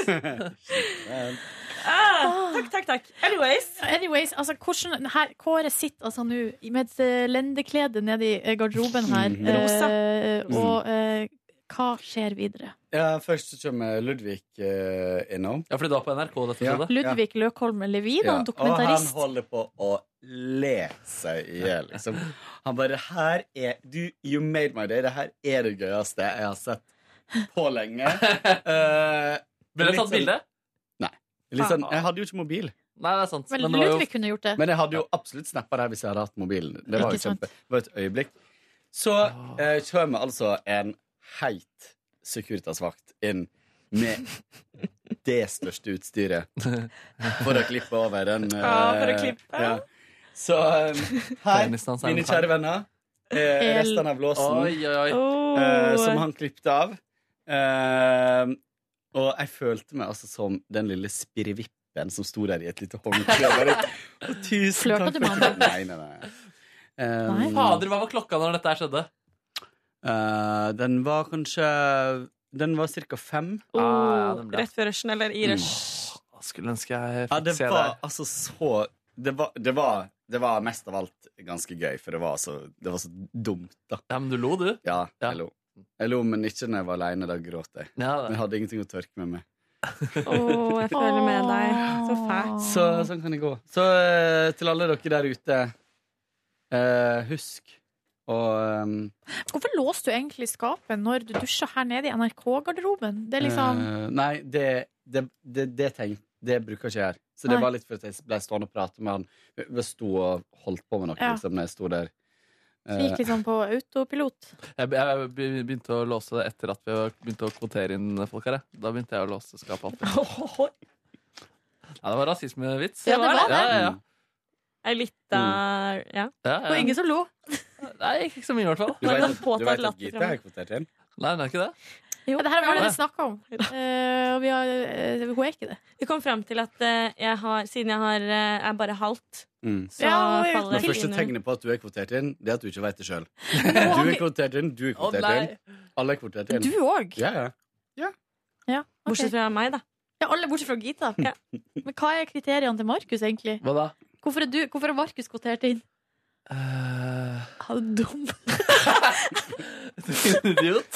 Speaker 19: Ah, takk, takk, takk. Anyways.
Speaker 2: Anyways, altså, hvordan, her, Kåre sitter altså nå i- med et eh, lendeklede nede i eh, garderoben her.
Speaker 18: Mm.
Speaker 2: eh,
Speaker 18: Rosa.
Speaker 2: og eh, hva skjer videre?
Speaker 18: Ja, først så kommer Ludvig eh, innom.
Speaker 3: Ja, fordi du var på NRK dette
Speaker 18: skjedde?
Speaker 2: Ludvig Løkholm Levin,
Speaker 18: Ja,
Speaker 2: han
Speaker 18: Og
Speaker 2: dokumentarist.
Speaker 18: han holder på å le seg i hjel. Liksom. Han bare her er, du, You made my day. Det her er det gøyeste jeg har sett på lenge. Eh,
Speaker 3: Ble det
Speaker 18: litt
Speaker 3: tatt
Speaker 18: sånn-
Speaker 3: bilde?
Speaker 18: Nei. Litt sånn, jeg hadde jo ikke mobil.
Speaker 3: Nei, det er
Speaker 18: sånn,
Speaker 3: sant.
Speaker 2: Men Ludvig kunne gjort det.
Speaker 18: Men jeg hadde jo absolutt snappa det her hvis jeg hadde hatt mobilen. Det var
Speaker 2: Ikke
Speaker 18: jo kjempe, det var et øyeblikk. Så
Speaker 9: Ah.
Speaker 18: eh, kommer altså en heit Securitas-vakt inn med det største utstyret for å klippe over den. eh,
Speaker 9: Ja, for å klippe.
Speaker 18: ja. Så eh, her,
Speaker 3: Penisen hans er en
Speaker 18: mine
Speaker 3: hai.
Speaker 18: kjære venner, eh,
Speaker 3: El-
Speaker 18: restene av låsen
Speaker 3: Oi, oi, oi. Oh.
Speaker 18: eh, som han klippet av. Eh, og jeg følte meg altså som den lille spirrevippen som sto der i et lite håndkle. og bare, «Å, Tusen
Speaker 3: Flørta
Speaker 18: takk
Speaker 3: du
Speaker 18: for
Speaker 3: med han da?
Speaker 18: klippet». Nei, nei, nei. Eh,
Speaker 3: Fader, hva var klokka når dette her skjedde?
Speaker 18: eh, den var kanskje Den var ca. fem.
Speaker 19: Oh, rett før rushen, eller i rush.
Speaker 18: Mm.
Speaker 3: Skulle ønske jeg
Speaker 18: Ja,
Speaker 3: fikk
Speaker 18: det
Speaker 3: se
Speaker 18: var
Speaker 3: det.
Speaker 18: altså så det var, det, var, det var mest av alt ganske gøy, for det var så, det var så dumt, da.
Speaker 3: Ja, Men du lo, du?
Speaker 18: Ja, jeg lo. Jeg lo, men ikke når jeg var aleine. Da gråt jeg. Men jeg hadde ingenting å tørke med meg.
Speaker 19: Åh, jeg føler med deg. Så fælt.
Speaker 18: Så sånn kan det gå. Så eh, til alle dere der ute, eh, husk å eh,
Speaker 2: Hvorfor låste du egentlig skapet når du dusja her nede i NRK-garderoben? Det er liksom
Speaker 18: eh, Nei, det, det, det, det, tenk, det bruker ikke jeg her. Så det
Speaker 2: Nei.
Speaker 18: var litt for at jeg ble stående og prate med han. Jeg bare sto og holdt på med noe
Speaker 2: Ja.
Speaker 18: liksom, når jeg sto der.
Speaker 3: Eh,
Speaker 18: Eh,
Speaker 2: Det gikk liksom på autopilot.
Speaker 3: Jeg, jeg begynte å låse det etter at vi begynte å kvotere inn folk her. jeg. Da begynte jeg å låse skapet opp. Ja, det var rasismevits.
Speaker 19: Ja, det var det.
Speaker 3: Ja, ja, ja.
Speaker 19: Jeg er litt der Ja.
Speaker 3: Ja, ja. Og ingen som
Speaker 2: lo.
Speaker 3: Mm. Nei, ikke så mye i hvert fall.
Speaker 19: Du vet at- Påtatt du vet at latter Gita
Speaker 18: er fremme. kvotert inn?
Speaker 3: Nei, hun er ikke det.
Speaker 2: Ja, det her var det
Speaker 3: Ja.
Speaker 2: vi snakka om. Eh, og vi har, eh, hun er ikke det.
Speaker 19: Vi kom fram til at eh, jeg har, siden jeg har, eh, er bare halvt,
Speaker 18: Mm.
Speaker 19: så faller
Speaker 18: Det
Speaker 19: jeg
Speaker 18: første
Speaker 19: inn under.
Speaker 18: tegnet på at du er kvotert inn, det er at du ikke vet det sjøl. Du er kvotert inn, du er
Speaker 19: Å,
Speaker 18: kvotert
Speaker 19: nei.
Speaker 18: inn. Alle er kvotert inn.
Speaker 2: Du òg?
Speaker 18: Ja, ja.
Speaker 2: Bortsett
Speaker 19: fra meg, da.
Speaker 2: Ja, alle bortsett fra Gita. Men hva er kriteriene til Markus, egentlig?
Speaker 3: Hva da?
Speaker 2: Hvorfor er, du, hvorfor er Markus kvotert inn? Han er dum.
Speaker 3: Eh, Idiot.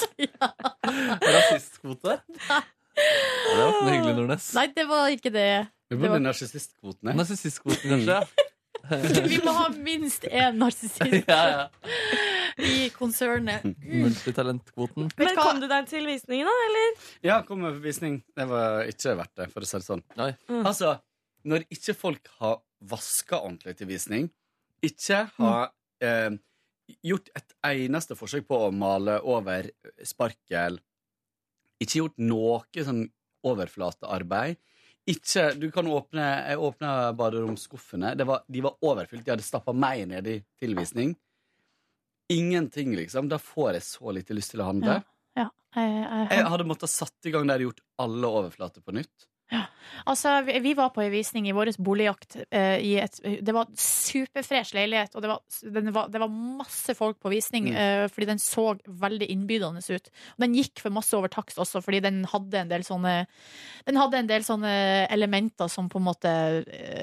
Speaker 3: Rasistkvote. Ja, det var ikke noe hyggelig, Nordnes.
Speaker 2: Nei, det var ikke det.
Speaker 18: Vi
Speaker 2: Det
Speaker 18: burde
Speaker 2: var-
Speaker 18: narsissistkvoten.
Speaker 3: Narsissistkvoten, kanskje.
Speaker 2: Vi må ha minst én narsissist
Speaker 3: ja, ja.
Speaker 2: i konsernet.
Speaker 3: Multitalentkvoten.
Speaker 19: Men kom du deg til visningen, da? Eller?
Speaker 18: Ja, kom med bevisning. Det var ikke verdt det, for å si det sånn. Altså, når ikke folk har vaska ordentlig til visning, ikke har eh, gjort et eneste forsøk på å male over sparkel, ikke gjort noe sånn overflatearbeid ikke, du kan åpne, Jeg åpna baderomsskuffene. Det var, de var overfylt. De hadde stappa meg ned i tilvisning. Ingenting, liksom. Da får jeg så lite lyst til å handle.
Speaker 2: Ja. Ja,
Speaker 3: Eh,
Speaker 2: jeg, jeg,
Speaker 18: Jeg hadde måttet satt i gang der gjort alle overflater på nytt.
Speaker 2: Altså, vi, vi var på en visning i vår boligjakt. Eh, i et, det var superfresh leilighet, og det var, den var, det var masse folk på visning,
Speaker 19: Mm.
Speaker 2: eh, fordi den så veldig innbydende ut. Og den gikk for masse over takst også, fordi den hadde en del sånne Den hadde en del sånne elementer som på en måte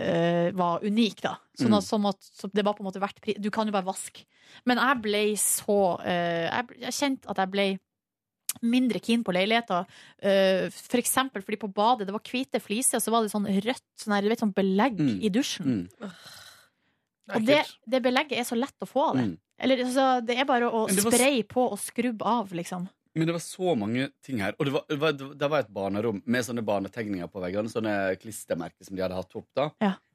Speaker 2: eh, var unike, da. Sånn at,
Speaker 19: Mm.
Speaker 2: som at så det var på en måte verdt pris. Du kan jo bare vaske. Men jeg ble så eh, jeg, ble- jeg kjente at jeg ble mindre keen på leiligheter. eh, for eksempel fordi på badet det var hvite fliser, og så var det sånn rødt sånn her, du vet, sånn belegg
Speaker 18: Mm.
Speaker 2: i dusjen. Og det, det belegget er så lett å få av det.
Speaker 18: Mm.
Speaker 2: Eller, altså, det er bare å
Speaker 18: Men det var s-
Speaker 2: spraye på og skrubbe av, liksom.
Speaker 18: Men det var så mange ting her. Og det var, det var, det var et barnerom med sånne barnetegninger på veggene. Sånne klistremerker som de hadde hatt opp da.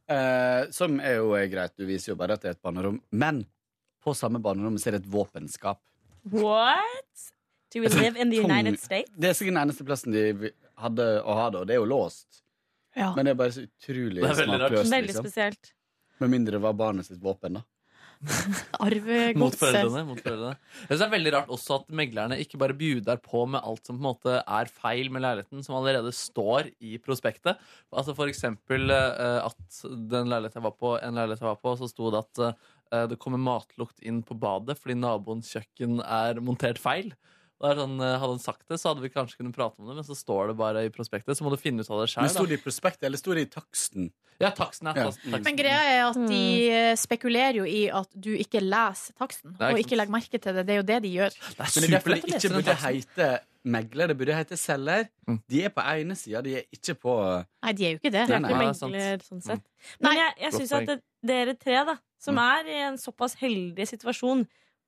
Speaker 18: Eh, som er jo eh, greit, du viser jo bare at det er et barnerom. Men på samme barnerom så er det et våpenskap.
Speaker 19: What? Do we
Speaker 18: Et sånt
Speaker 19: live in the
Speaker 18: tung-
Speaker 19: United States?
Speaker 18: Det er sikkert den eneste plassen de vi- hadde å ha det, og det er jo låst.
Speaker 2: Ja.
Speaker 18: Men det er bare så utrolig
Speaker 3: Det er veldig rart.
Speaker 18: smakløst.
Speaker 19: Veldig
Speaker 18: liksom.
Speaker 19: spesielt.
Speaker 18: Med mindre det var barnet sitt våpen, da.
Speaker 3: Mot
Speaker 2: Arvegodset.
Speaker 3: foreldrene. Mot foreldrene. Jeg synes det er veldig rart også at meglerne ikke bare bjuder på med alt som på en måte er feil med leiligheten, som allerede står i prospektet. Altså For eksempel eh, at den leiligheten jeg var på, en leilighet jeg var på, så sto det at eh, det kommer matlukt inn på badet fordi naboens kjøkken er montert feil. Og det er sånn, eh, hadde han sagt det, så hadde vi kanskje kunnet prate om det, men så står det bare i prospektet. Så må du finne ut av det
Speaker 18: Men
Speaker 3: sjøl.
Speaker 18: sto det i prospektet, eller sto det i taksten?
Speaker 3: Ja, taksten er
Speaker 18: Ja.
Speaker 3: taksten. taksten.
Speaker 2: Men greia er at de eh, spekulerer jo i at du ikke leser taksten,
Speaker 18: Nei,
Speaker 2: og
Speaker 18: ikke
Speaker 2: ikke legger merke til det. Det er jo det de gjør.
Speaker 18: Men det er derfor det ikke burde hete megler, det burde hete selger. De er på ene sida, de er ikke på
Speaker 2: Nei, de er jo ikke det.
Speaker 18: Nei, nei. Nei, det er sant.
Speaker 19: Eller sånn sett.
Speaker 3: Mm.
Speaker 19: Men jeg, jeg
Speaker 18: Godt
Speaker 19: syns at
Speaker 18: poeng.
Speaker 19: det, dere tre, da, som er i en såpass heldig situasjon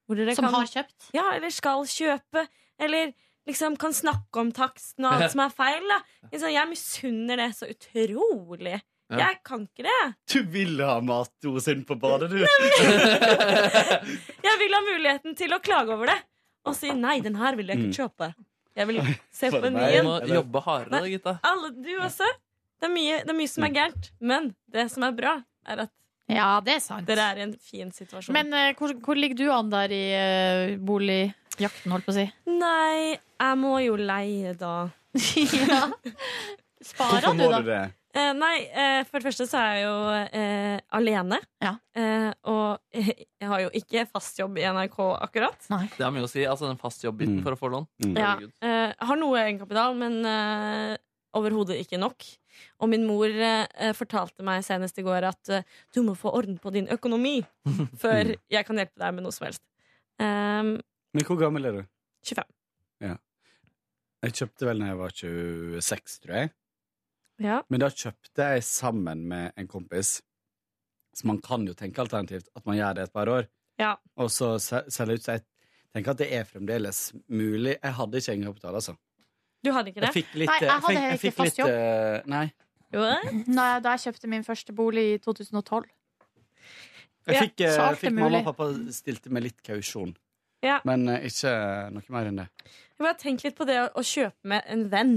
Speaker 19: hvor dere
Speaker 2: Som
Speaker 19: kan,
Speaker 2: har kjøpt?
Speaker 19: Ja, eller skal kjøpe. Eller liksom kan snakke om taksten og alt som er feil. Da. Liksom, jeg misunner det så utrolig.
Speaker 18: Ja.
Speaker 19: Jeg kan ikke det.
Speaker 18: Du vil ha matdosen på badet, du!
Speaker 19: Jeg vil ha muligheten til å klage over det og si nei, den her vil jeg ikke kjøpe. Jeg vil se på
Speaker 3: Mm. For meg
Speaker 19: menyen.
Speaker 3: må jobbe hardere, Mm.
Speaker 19: Nei,
Speaker 3: Gitta.
Speaker 19: Alle, du også. Det er, mye, det er mye som er gærent, men det som er bra, er at
Speaker 2: Ja, det er sant.
Speaker 19: dere er i en fin situasjon.
Speaker 2: Men eh, hvor, hvor ligger du an der i eh, boligjakten, holdt på å si?
Speaker 19: nei, jeg må jo leie, da.
Speaker 2: Sparer du, da?
Speaker 18: det?
Speaker 19: Eh, nei, eh, for det første så er jeg jo eh, alene. Eh, og jeg har jo ikke fast jobb i NRK akkurat.
Speaker 3: Det har mye å si. Altså den fast jobb-biten for å få lån.
Speaker 19: Ja, eh, jeg har noe egenkapital, men eh, overhodet ikke nok. Og min mor eh, fortalte meg senest i går at eh, du må få orden på din økonomi
Speaker 18: Mm.
Speaker 19: før jeg kan hjelpe deg med noe som helst. Ehm,
Speaker 18: Men hvor gammel er du?
Speaker 19: 25.
Speaker 18: Ja. Jeg kjøpte vel da jeg var 26, tror jeg.
Speaker 19: Ja.
Speaker 18: Men da kjøpte jeg sammen med en kompis. Så man kan jo tenke alternativt at man gjør det et par år,
Speaker 19: Ja.
Speaker 18: og så se- selge ut. Så jeg tenker at det er fremdeles mulig. Jeg hadde ikke egenkapital, altså.
Speaker 19: Du hadde ikke det?
Speaker 18: Jeg fikk litt
Speaker 2: Nei, jeg hadde
Speaker 18: fikk-
Speaker 2: ikke
Speaker 18: fikk
Speaker 2: fast
Speaker 18: litt,
Speaker 2: jobb.
Speaker 18: eh, Nei.
Speaker 19: eh?
Speaker 2: Nei, da jeg kjøpte min første bolig i 2012.
Speaker 18: Jeg
Speaker 2: Ja,
Speaker 18: fikk, eh,
Speaker 2: så alt er
Speaker 18: fikk mamma
Speaker 2: mulig.
Speaker 18: og pappa stilte med litt kausjon.
Speaker 19: Ja.
Speaker 18: Men eh, ikke noe mer enn det.
Speaker 19: Jeg bare tenk litt på det å, å kjøpe med en venn.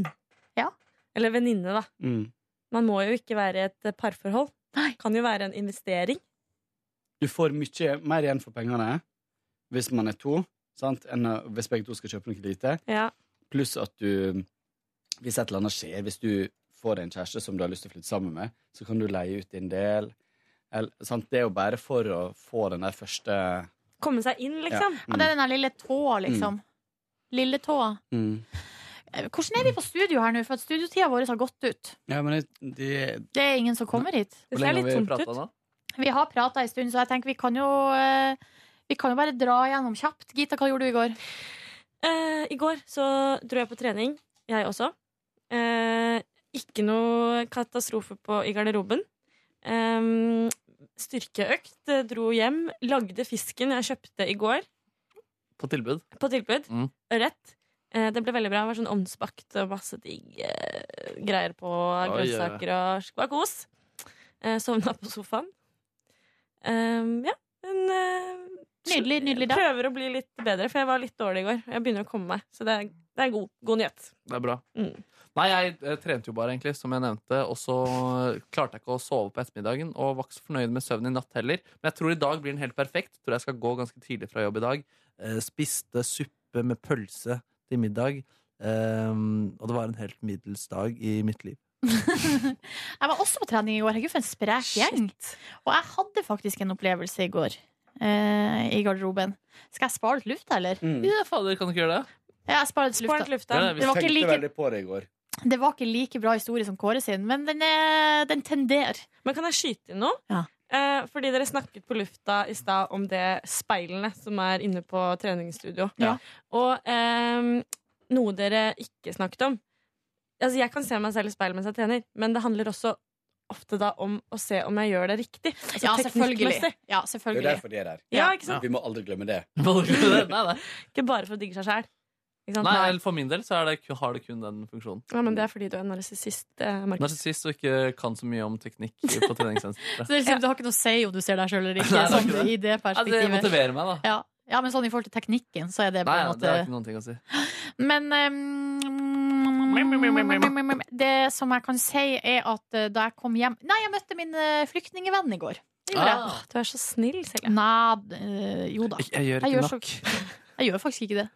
Speaker 19: Eller venninne, da.
Speaker 18: Mm.
Speaker 19: Man må jo ikke være i et eh, parforhold. Kan jo være en investering.
Speaker 18: Du får mye mer igjen for pengene hvis man er to, sant? enn eh, hvis begge to skal kjøpe noe lite.
Speaker 19: Ja.
Speaker 18: Pluss at du, hvis et eller annet skjer, hvis du får deg en kjæreste som du har lyst til å flytte sammen med, så kan du leie ut din del. Eller, sant? Det er jo bare for å få den der første
Speaker 19: Komme seg inn, liksom.
Speaker 18: Ja. Ja, det er den
Speaker 2: der lille tåa, liksom. Lille tåa.
Speaker 18: mm.
Speaker 2: Eh, Hvordan er vi på studio her nå? For at studiotida vår har gått ut.
Speaker 18: Ja, men det, det
Speaker 2: Det er ingen som kommer hit.
Speaker 18: Hvor lenge har vi pratet nå?
Speaker 2: Vi har prata en stund, så jeg tenker vi kan jo eh, Vi kan jo bare dra gjennom kjapt. Gita, hva gjorde du i går?
Speaker 19: Eh, I går så dro jeg på trening, jeg også. Eh, ikke noe katastrofe på, i garderoben. Eh, styrkeøkt. eh, Dro hjem. Lagde fisken jeg kjøpte i går,
Speaker 3: På tilbud.
Speaker 19: på tilbud.
Speaker 3: Mm.
Speaker 19: Ørret. Eh, det ble veldig bra. Det var sånn ovnsbakt og masse digg eh, greier på. Grønnsaker og sk- var kos. Eh, sovna på sofaen. Eh, ja. En eh,
Speaker 2: Nydelig, nydelig dag.
Speaker 19: Prøver å bli litt bedre, for jeg var litt dårlig i går. Jeg begynner å komme meg, så det er, det er god, god nyhet.
Speaker 3: Det er bra.
Speaker 19: Mm.
Speaker 3: Nei, jeg eh, trente jo bare, egentlig, som jeg nevnte. Og så eh, klarte jeg ikke å sove på ettermiddagen, og var ikke så fornøyd med søvnen i natt heller. Men jeg tror i dag blir den helt perfekt. Tror jeg skal gå ganske tidlig fra jobb i dag. Eh, Spiste suppe med pølse til middag. eh, og det var en helt middels dag i mitt liv.
Speaker 2: Jeg var også på trening i går. Herregud, for en sprek gjeng. Og jeg hadde faktisk en opplevelse i går. eh, I garderoben. Skal jeg spare litt luft, eller?
Speaker 3: Ja, fader, kan du ikke gjøre det?
Speaker 2: Ja, jeg sparer litt luft. da. Det var ikke like
Speaker 18: på det i går.
Speaker 2: Det var ikke like bra historie som Kåre sin, men den, er, den tenderer.
Speaker 19: Men kan jeg skyte inn noe?
Speaker 2: Ja.
Speaker 19: Eh, fordi dere snakket på lufta i stad om det speilene som er inne på treningsstudio.
Speaker 2: Ja.
Speaker 19: Og ehm, noe dere ikke snakket om Altså, jeg kan se meg selv i speilet mens jeg trener, men det handler også ofte da om å se om jeg gjør det riktig. Altså,
Speaker 2: Ja, selvfølgelig.
Speaker 19: teknikkmessig.
Speaker 2: Ja,
Speaker 18: Det er jo derfor de er der.
Speaker 19: Ja, ikke sant?
Speaker 18: Vi må aldri glemme det.
Speaker 19: Ikke bare for å digge seg sjæl.
Speaker 3: Nei, eller for min del så er det, ku- har det kun den funksjonen.
Speaker 19: Ja, men det er fordi du er narsissist. eh, Markus.
Speaker 3: Narsissist og ikke kan så mye om teknikk på
Speaker 2: Så
Speaker 3: treningssenteret.
Speaker 2: det, er liksom, det har ikke noe å si om du ser deg sjøl eller ikke,
Speaker 3: Nei, det har
Speaker 2: sånn,
Speaker 3: ikke det.
Speaker 2: i det
Speaker 3: Ja, det
Speaker 2: perspektivet.
Speaker 3: motiverer meg, da.
Speaker 2: Ja. ja, men sånn i forhold til teknikken, så er det på
Speaker 3: Nei,
Speaker 2: en
Speaker 3: ja,
Speaker 2: måte
Speaker 3: det har ikke noen ting å si.
Speaker 2: Men ehm, det som jeg kan si, er at eh, da jeg kom hjem Nei, jeg møtte min eh, flyktningevenn i går. Det gjorde jeg.
Speaker 19: Åh, Ah. Du er så snill, Silje.
Speaker 2: Nei, eh, jo da.
Speaker 19: Jeg- jeg gjør ikke
Speaker 2: så- jeg gjør faktisk ikke det.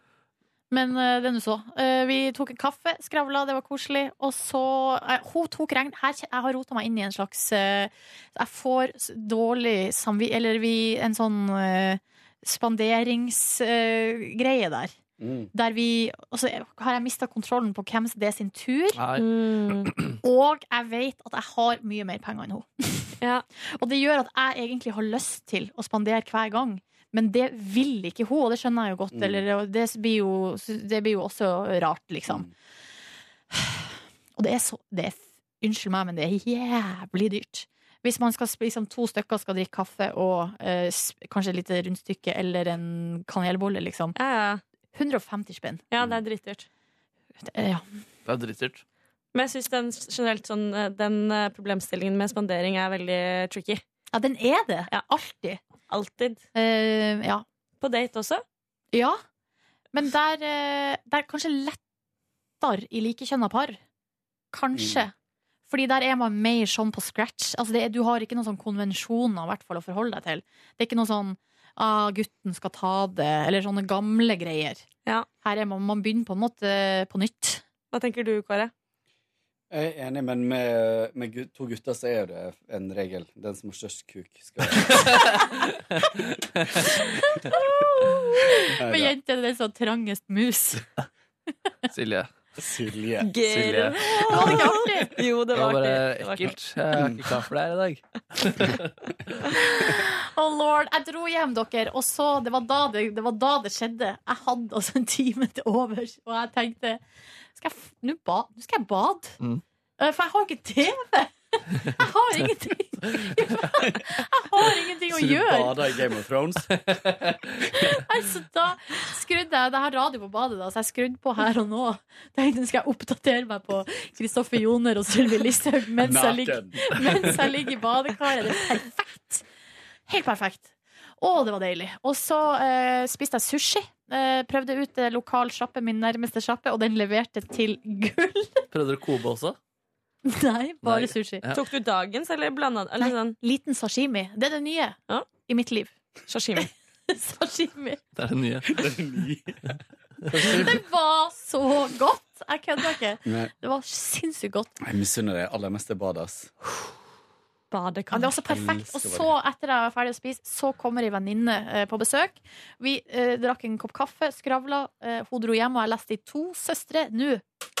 Speaker 2: Men eh, den du så. Eh, vi tok en kaffe, skravla, det var koselig. Og så eh, Hun tok regn. Her, kje- jeg har rota meg inn i en slags eh, Jeg får s- dårlig samvittighet Eller vi, en sånn spanderingsgreie der. Der vi Og så har jeg mista kontrollen på hvem det er sin tur.
Speaker 3: Nei.
Speaker 2: Og jeg vet at jeg har mye mer penger enn hun. Og det gjør at jeg egentlig har lyst til å spandere hver gang. Men det vil ikke hun, og det skjønner jeg jo godt.
Speaker 19: Mm.
Speaker 2: Eller, og det, blir jo, det blir jo også rart, liksom. Og det er så det er, Unnskyld meg, men det er jævlig dyrt. Hvis man skal, sp- liksom, to stykker skal drikke kaffe og eh, sp- kanskje et lite rundstykke eller en kanelbolle, liksom. 150 spenn.
Speaker 19: Ja, det er dritdyrt.
Speaker 2: Ja.
Speaker 3: Det er dritdyrt.
Speaker 19: Men jeg syns den generelt sånn eh, Den eh, problemstillingen med spandering er veldig tricky.
Speaker 2: Ja, den er det. Alltid.
Speaker 19: Alltid.
Speaker 2: Eh, ja.
Speaker 19: På date også?
Speaker 2: Ja. Men der, eh, der kanskje lettere i likekjønna par. Kanskje. Fordi der er man mer sånn på scratch. Altså det, er- du har ikke noen sånn konvensjoner i hvert fall, å forholde deg til. Det er ikke noe sånn ah, 'gutten skal ta det', eller sånne gamle greier.
Speaker 19: Ja.
Speaker 2: Her er man, man begynner på en måte på nytt.
Speaker 19: Hva tenker du, Kåre?
Speaker 18: Jeg er enig, men med, med gut- to gutter så er det en regel. Den som har størst kuk, skal
Speaker 2: Men jenter er den som har trangest mus.
Speaker 3: Silje.
Speaker 18: Silje.
Speaker 3: Silje.
Speaker 2: Var det ikke artig?
Speaker 19: Jo,
Speaker 3: Det var bare ekkelt. Jeg er ikke klar for det her i dag.
Speaker 2: Oh lord, Jeg dro hjem, dere, og så Det var da det, det, var da det skjedde. Jeg hadde altså en time til overs, og jeg tenkte Skal jeg f- Nå ba, nå skal jeg bade.
Speaker 3: Mm.
Speaker 2: Eh, For jeg har ikke TV! Jeg har ingenting Jeg har ingenting å
Speaker 18: Så du
Speaker 2: gjøre.
Speaker 18: bader i Game of Thrones?
Speaker 2: Altså, da skrudde jeg Det her radio på badet, da, så jeg skrudde på her og nå. Tenkte nå skal jeg oppdatere meg på Kristoffer Joner og Sylvi Listhaug mens, jeg ligger-
Speaker 19: Naken.
Speaker 2: mens jeg ligger i badekaret. Det er perfekt! Helt perfekt. Å, det var deilig. Og så eh, spiste jeg sushi. Eh, prøvde ut eh, lokal sjappe, min nærmeste sjappe, og den leverte til gull.
Speaker 3: Prøvde dere Kobe også?
Speaker 2: Nei, bare
Speaker 3: Nei.
Speaker 2: sushi.
Speaker 3: Ja.
Speaker 19: Tok du dagens, eller blanda? Eller sånn?
Speaker 2: Nei, liten sashimi. Det er det nye i mitt liv.
Speaker 19: Sashimi.
Speaker 2: sashimi.
Speaker 3: Det er det nye.
Speaker 2: Det var så godt! Jeg kødder ikke.
Speaker 18: Nei.
Speaker 2: Det var sinnssykt godt.
Speaker 18: Jeg misunner deg aller mest det badet, ass.
Speaker 2: Ja, det var så perfekt. Og
Speaker 18: Elsker
Speaker 2: så, etter jeg var ferdig å spise, så kommer ei venninne eh, på besøk. Vi eh, drakk en kopp kaffe, skravla. Eh, hun dro hjem, og jeg leste i to søstre. Nå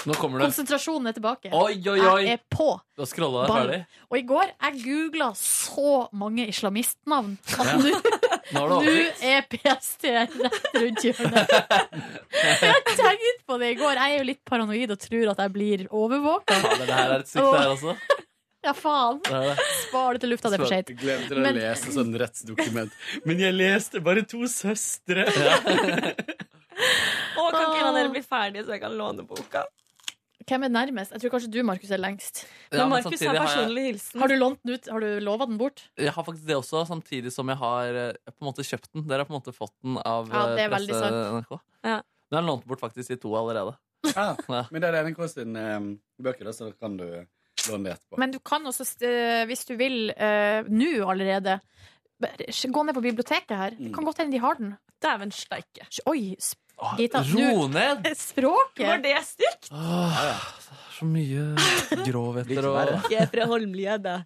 Speaker 3: Nå kommer det.
Speaker 2: konsentrasjonen er tilbake.
Speaker 3: Oi, oi, oi.
Speaker 2: Jeg er på.
Speaker 3: Du har scrolla deg
Speaker 2: Ball.
Speaker 3: ferdig.
Speaker 2: Og i går jeg googla så mange islamistnavn at
Speaker 3: Ja.
Speaker 2: nå
Speaker 3: Nå har du
Speaker 2: nå
Speaker 3: oversikt.
Speaker 2: er PST rett rundt hjørnet. Jeg tenkte på det i går. Jeg er jo litt paranoid og tror at jeg blir overvåka.
Speaker 3: Ja, men det her er et sykt, det her altså.
Speaker 2: Ja, faen.
Speaker 3: Det er det.
Speaker 2: Spar det til lufta, det er for
Speaker 18: Jeg
Speaker 2: seint.
Speaker 18: Glemte å
Speaker 2: Men-
Speaker 18: lese sånn rettsdokument. Men jeg leste bare to søstre!
Speaker 19: Å, kan ikke en av dere bli ferdig, så jeg kan låne boka?
Speaker 2: Hvem er nærmest? Jeg tror kanskje du, Markus, er lengst.
Speaker 3: Ja, Men men Markus samtidig har har jeg- personlig
Speaker 19: hilsen.
Speaker 2: Har du, lånt den ut? Har du lova den bort?
Speaker 3: Jeg har faktisk det også, samtidig som jeg har eh, på en måte kjøpt den. Dere har på en måte fått den av
Speaker 2: Ja, det er
Speaker 3: eh,
Speaker 2: veldig
Speaker 3: presse
Speaker 2: sant.
Speaker 3: NRK.
Speaker 19: Ja.
Speaker 3: Den har jeg lånt bort faktisk i to allerede.
Speaker 18: Ah, Men det er NRK sin eh, bøker, da, så da kan du låne det etterpå.
Speaker 2: Men du kan også, eh, hvis du vil, eh, nå allerede bare Gå ned på biblioteket her. Det
Speaker 3: Mm.
Speaker 2: kan godt hende de har den.
Speaker 19: Dæven steike.
Speaker 2: Oi, sp- Gita.
Speaker 3: ro
Speaker 2: nå-
Speaker 3: ned!
Speaker 2: Språket!
Speaker 19: Var det stygt?
Speaker 3: Så mye grovheter og
Speaker 19: Jeg er fra Holmlia, da.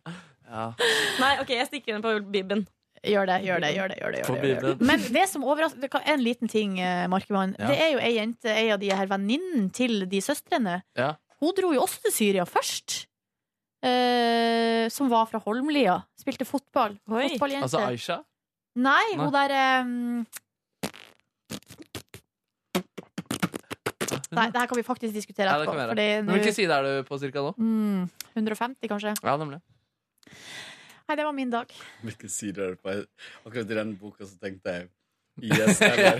Speaker 3: ja.
Speaker 19: Nei, OK, jeg stikker inn på Bibben.
Speaker 2: Gjør det, gjør det, gjør det. Gjør det,
Speaker 3: På
Speaker 2: gjør det, gjør det.
Speaker 3: Bibelen.
Speaker 2: Men det som overrasker det kan- En liten ting, eh, Markemann.
Speaker 3: Ja.
Speaker 2: Det er jo ei jente, ei av de her venninnen til de søstrene.
Speaker 3: Ja.
Speaker 2: Hun dro jo også til Syria først. Eh, som var fra Holmlia. Spilte fotball. Fotballjente.
Speaker 3: Altså Aisha?
Speaker 2: Nei,
Speaker 3: Nei.
Speaker 2: hun der eh, Nei, det her kan vi faktisk diskutere
Speaker 3: Ja, det
Speaker 2: etterpå.
Speaker 3: kan være.
Speaker 2: fordi
Speaker 3: Men
Speaker 2: nå-
Speaker 3: hvilken side er du på cirka nå?
Speaker 2: Mm, 150, kanskje.
Speaker 3: Ja, nemlig.
Speaker 2: Nei, det var min dag.
Speaker 18: Hvilken side er det på? Akkurat i den boka så tenkte jeg Yes, eller?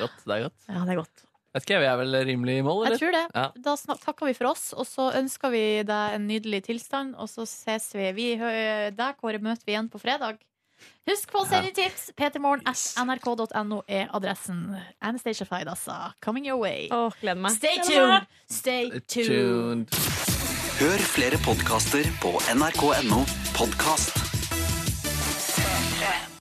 Speaker 3: Godt, det er godt.
Speaker 2: Ja, det er godt.
Speaker 3: Vet ikke, jeg, vi er vel rimelig i mål,
Speaker 2: Jeg
Speaker 3: eller?
Speaker 2: tror det.
Speaker 3: Ja.
Speaker 2: Da snak- takker vi for oss, og så ønsker vi deg en nydelig tilstand, og så ses vi. vi hø- deg, Kåre, møter vi igjen på fredag. Husk på å sende inn tips! Petermorgen.nrk.no er adressen. Anastacia Faidasa, altså. coming your way. Stay
Speaker 19: Gleder meg.
Speaker 2: tuned! Stay tuned!
Speaker 12: Hør flere podkaster på nrk.no podkast.